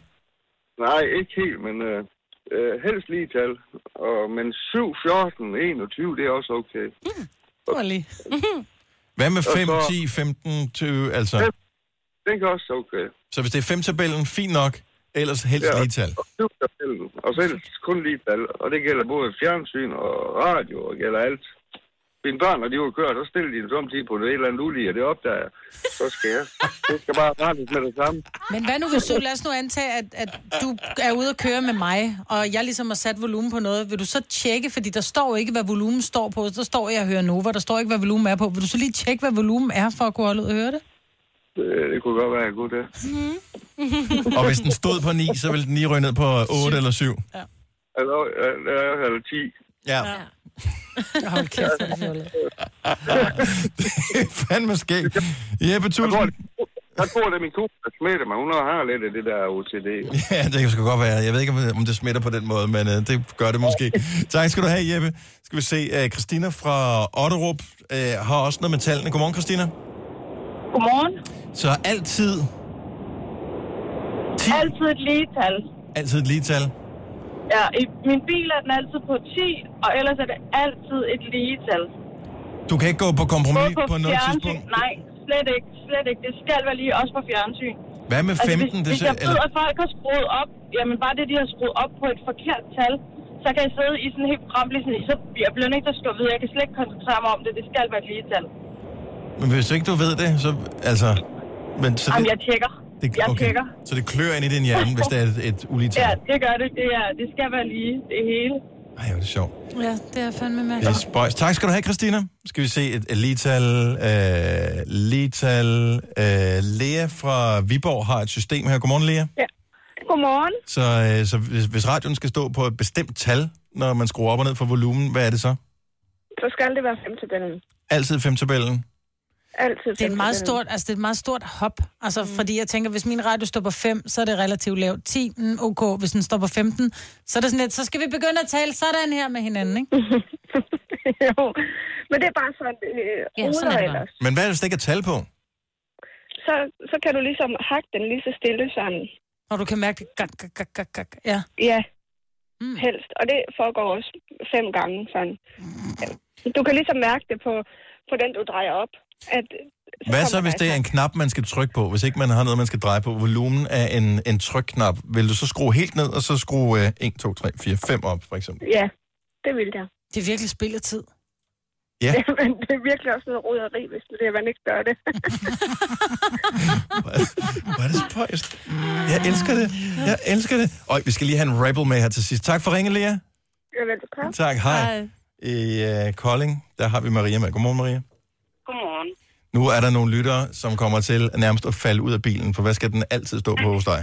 Speaker 16: Nej, ikke helt, men øh, øh, helst lige tal. Og, men 7, 14, 21, det er også okay.
Speaker 4: Dårlig.
Speaker 1: Hvad med
Speaker 16: Og
Speaker 1: 5,
Speaker 16: så-
Speaker 1: 10, 15, 20, altså?
Speaker 16: Den kan også okay.
Speaker 1: Så hvis det er 5-tabellen, fint nok. Ellers helst
Speaker 16: Ja.
Speaker 1: ja. ligetal.
Speaker 16: Supertabellen. Og så helst kun lige tal. Og det gælder både fjernsyn og radio, og gælder alt. mine børn, når de var kørt, så stillede de en samtidig på et eller andet ulige, og det opdager jeg. Så skal jeg. Det skal bare rettes med det samme.
Speaker 4: Men hvad nu hvis du, lad os nu antage, at, at du er ude at køre med mig, og jeg ligesom har sat volumen på noget. Vil du så tjekke, fordi der står jo ikke, hvad volumen står på. Der står, at jeg hører Nova, der står ikke, hvad volumen er på. Vil du så lige tjekke, hvad volumen er, for at kunne holde ud og høre det?
Speaker 16: Det, det kunne godt være en god dag.
Speaker 1: Mhm. Og hvis den stod på 9, så ville den lige ryge ned på 8 eller 7.
Speaker 16: Eller, eller, eller 10.
Speaker 1: Ja.
Speaker 4: Hold kæft, hvor er det fjollet.
Speaker 1: det er fandme skægt. Jeppe, tusind.
Speaker 16: Jeg tror, det er min kone, der smitter mig. Hun har lidt af det der OCD.
Speaker 1: Ja, det kan sgu godt være. Jeg ved ikke, om det smitter på den måde, men øh, det gør det måske. Tak skal du have, Jeppe. Skal vi se, øh, Christina fra Otterup øh, har også noget med tallene. Godmorgen, Christina.
Speaker 14: Godmorgen.
Speaker 1: Så altid,
Speaker 14: Altid et lige tal.
Speaker 1: altid et lige tal.
Speaker 14: Ja, i min bil er den altid på 10, og ellers er det altid et lige tal.
Speaker 1: Du kan ikke gå på kompromis
Speaker 14: Både
Speaker 1: på noget tidspunkt.
Speaker 14: Nej, slet ikke. Slet ikke. Det skal være lige også på fjernsyn.
Speaker 1: Hvad med 15?
Speaker 14: Altså, hvis,
Speaker 1: det,
Speaker 14: hvis
Speaker 1: ser-
Speaker 14: jeg ved, at folk har skruet op, jamen bare det, de har skruet op på et forkert tal, så kan jeg sidde i sådan helt program, ligesom, så jeg bliver nødt til at slå videre. Jeg kan slet ikke koncentrere mig om det. Det skal være et lige tal.
Speaker 1: Men hvis ikke du ved det, så... Altså, men, så
Speaker 14: Jamen,
Speaker 1: det,
Speaker 14: jeg tjekker.
Speaker 1: det,
Speaker 14: jeg
Speaker 1: okay.
Speaker 14: tjekker.
Speaker 1: Så det klør ind i din hjerne, hvis det er et, et ulige
Speaker 14: Ja,
Speaker 1: tal.
Speaker 14: det gør det. Det, er, det skal være lige, det hele.
Speaker 1: Ej, hvor er det sjovt.
Speaker 4: Ja, det er fandme
Speaker 1: Det er
Speaker 4: mærkeligt.
Speaker 1: spøjs. Tak skal du have, Christina. Skal vi se et, et ligetal. Øh, ligetal. Øh, Lea fra Viborg har et system her. Godmorgen, Lea.
Speaker 14: Godmorgen.
Speaker 1: Så, øh, så hvis, hvis radioen skal stå på et bestemt tal, når man skruer op og ned for volumen, hvad er det så?
Speaker 14: Så skal det være fem tabellen.
Speaker 1: Altid femtabellen.
Speaker 14: Altid
Speaker 4: det er et meget stort, altså det er et meget stort hop. Altså, mm. fordi jeg tænker, hvis min radio står på 5, så er det relativt lavt. 10, mm, okay. Hvis den står på 15, så er det sådan lidt, så skal vi begynde at tale sådan her med hinanden, ikke?
Speaker 14: jo, men det er bare sådan, øh,
Speaker 4: Ja,
Speaker 14: ja,
Speaker 4: sådan er
Speaker 14: sådan
Speaker 4: det
Speaker 14: ellers.
Speaker 1: Men hvad er det, hvis der ikke er tal på?
Speaker 14: Så, så kan du ligesom hakke den lige så stille sammen.
Speaker 4: Og du kan mærke det. Gak, gak, gak, gak, gak. Ja.
Speaker 14: Ja, mm. helst. Og det foregår også fem gange sådan.
Speaker 4: Mm.
Speaker 14: Du kan ligesom mærke det på, på den, du drejer op. At,
Speaker 1: Hvad så, hvis det er en knap, man skal trykke på? Hvis ikke man har noget, man skal dreje på? Volumen af en, en trykknap. Vil du så skrue helt ned, og så skrue øh, 1, 2, 3, 4, 5 op, for eksempel?
Speaker 14: Ja, det vil jeg.
Speaker 4: Det er virkelig spild af tid.
Speaker 1: Ja.
Speaker 14: men det er virkelig også noget roderi, hvis det er, man ikke gør det.
Speaker 1: Hvor er det spøjst. Jeg elsker det. Jeg elsker det. Og vi skal lige have en rebel med her til sidst. Tak for ringen, Lea.
Speaker 14: Ja, velbekomme.
Speaker 1: Tak, hej. I uh, Kolding, der har vi Maria med. Godmorgen, Maria.
Speaker 14: Godmorgen.
Speaker 1: Nu er der nogle lyttere, som kommer til nærmest at falde ud af bilen, for hvad skal den altid stå på hos dig?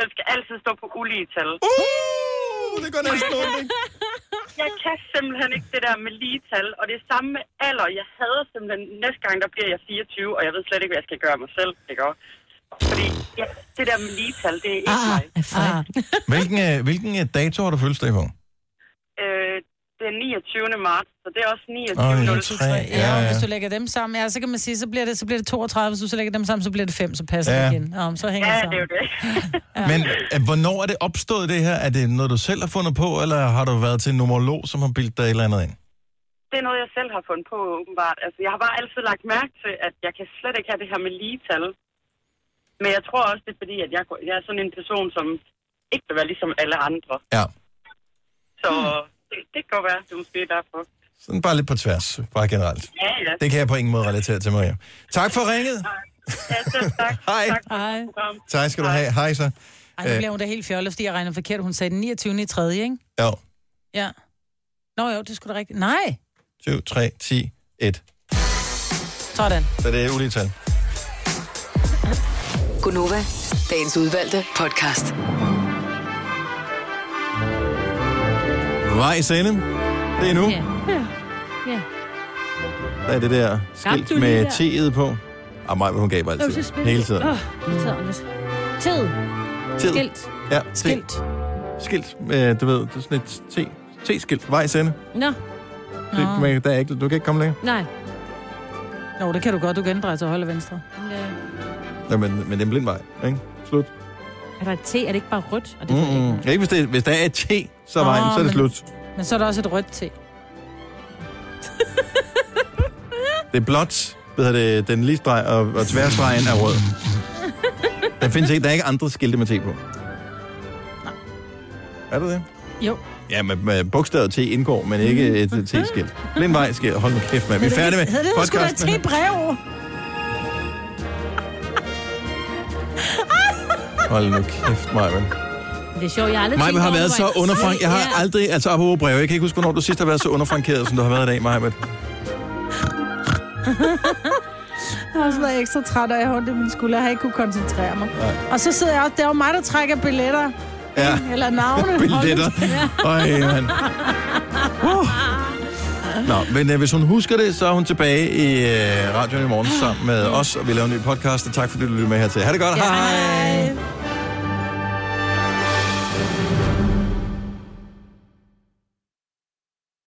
Speaker 14: Den skal altid stå på ulige tal.
Speaker 1: Uh, det går næsten ondt, ikke?
Speaker 14: Jeg kan simpelthen ikke det der med lige tal, og det er samme med alder. Jeg hader simpelthen, næste gang der bliver jeg 24, og jeg ved slet ikke, hvad jeg skal gøre af mig selv, ikke også? Fordi ja, det der med lige tal, det er ikke ah, mig.
Speaker 1: Ah. Hvilken, uh, hvilken uh, dato har du fødselsdag på?
Speaker 14: Øh, den 29. marts, så det er også 29.
Speaker 1: Åh,
Speaker 14: Oh,
Speaker 1: ja, tre. Ja,
Speaker 4: Ja,
Speaker 1: ja.
Speaker 4: ja. hvis du lægger dem sammen, ja, så kan man sige, så bliver det, så bliver det 32, hvis du så lægger dem sammen, så bliver det 5, så passer
Speaker 1: Ja.
Speaker 4: det igen. Ja, så hænger
Speaker 14: Ja,
Speaker 4: det
Speaker 14: det
Speaker 4: sammen.
Speaker 14: er jo det.
Speaker 1: Men øh, hvornår er det opstået, det her? Er det noget, du selv har fundet på, eller har du været til en numerolog, som har bildt dig et eller andet ind?
Speaker 14: Det er noget, jeg selv har fundet på, åbenbart. Altså, jeg har bare altid lagt mærke til, at jeg kan slet ikke have det her med lige tal. Men jeg tror også, det er fordi, at jeg, jeg er sådan en person, som ikke vil være ligesom alle andre.
Speaker 1: Ja.
Speaker 14: Så det, det kan godt være, det er måske derfor.
Speaker 1: Sådan bare lidt på tværs, bare generelt.
Speaker 14: Ja, ja.
Speaker 1: Det kan jeg på ingen måde relatere til, Maria. Tak for ringet.
Speaker 14: Ja, selv tak.
Speaker 1: Hej.
Speaker 14: Tak for
Speaker 4: Hej.
Speaker 14: programmet.
Speaker 1: Tak Øh. skal du have. Hej så.
Speaker 4: Ej, nu bliver hun da helt fjollet, fordi jeg regner forkert. Hun sagde den 29. i 3., ikke?
Speaker 1: Ja,
Speaker 4: Ja. Nå jo, det skulle da rigtigt. Nej!
Speaker 1: 7, 3, 10, 1.
Speaker 4: Sådan.
Speaker 1: Så det er ulige tal.
Speaker 8: Gunova, dagens udvalgte podcast.
Speaker 1: Vej sende. Det er nu.
Speaker 3: Ja. Ja.
Speaker 1: Der er det der
Speaker 3: Gab
Speaker 1: skilt
Speaker 3: du lige
Speaker 1: med
Speaker 3: der?
Speaker 1: T'et på. Ah, mig, hun gav
Speaker 3: Åh, det er
Speaker 1: altid.
Speaker 3: spil-
Speaker 1: Hele tiden.
Speaker 3: Åh, irriterende. Tid.
Speaker 1: Tid.
Speaker 3: Skilt.
Speaker 1: Ja,
Speaker 4: Skilt.
Speaker 1: Skilt. Øh, du ved, det er sådan et T. T-skilt. Vej sende.
Speaker 3: Nå,
Speaker 1: Det, man, der er ikke, du kan ikke komme længere.
Speaker 3: nej.
Speaker 4: Nå, det kan du godt. Du kan ændre dig til højre og venstre.
Speaker 1: Nå, men, men det er en blind vej, ikke? Slut.
Speaker 3: Er der et T? Er det ikke bare rødt? Og det er
Speaker 1: Mm, mm. Ikke, hvis, det, hvis der er et T, så er vejen,
Speaker 4: Nå,
Speaker 1: så er det
Speaker 4: men-
Speaker 1: slut.
Speaker 4: Men så er der også et rødt te.
Speaker 1: Det er blåt, hvad hedder det, den lige streg, og, og tværstregen er rød. Der findes ikke, der er ikke andre skilte med T på. Er det det?
Speaker 4: Jo.
Speaker 1: Ja, med, med bogstavet T indgår, men ikke et T-skilt. Blindvej skilt. Hold nu kæft, mand. Vi er færdige med
Speaker 4: Hed det, der skulle være
Speaker 1: podcasten.
Speaker 4: til brev?
Speaker 1: Hold nu kæft, Maja.
Speaker 3: Det er sjovt, jeg har aldrig
Speaker 1: Maja
Speaker 3: tænkt
Speaker 1: har
Speaker 3: over
Speaker 1: været
Speaker 3: det,
Speaker 1: så
Speaker 3: hvor jeg-
Speaker 1: underfrank. Jeg
Speaker 3: Ja.
Speaker 1: har aldrig, altså apropos brev, jeg kan ikke huske, hvornår du sidst har været så underfrankeret, som du har været i dag, Maja.
Speaker 4: Jeg har også været ekstra træt, og jeg har ondt i min skulder. Jeg har ikke kunne koncentrere mig.
Speaker 1: Nej.
Speaker 4: Og så sidder jeg også... Det er jo mig, der trækker billetter.
Speaker 1: Ja.
Speaker 4: Eller navne.
Speaker 1: Billetter. Øj, mand. Uh. Nå, men øh, hvis hun husker det, så er hun tilbage i øh, radioen i morgen sammen med os, og vi laver en ny podcast. Og tak fordi du lyttede med her til. Ha' det godt. Hej.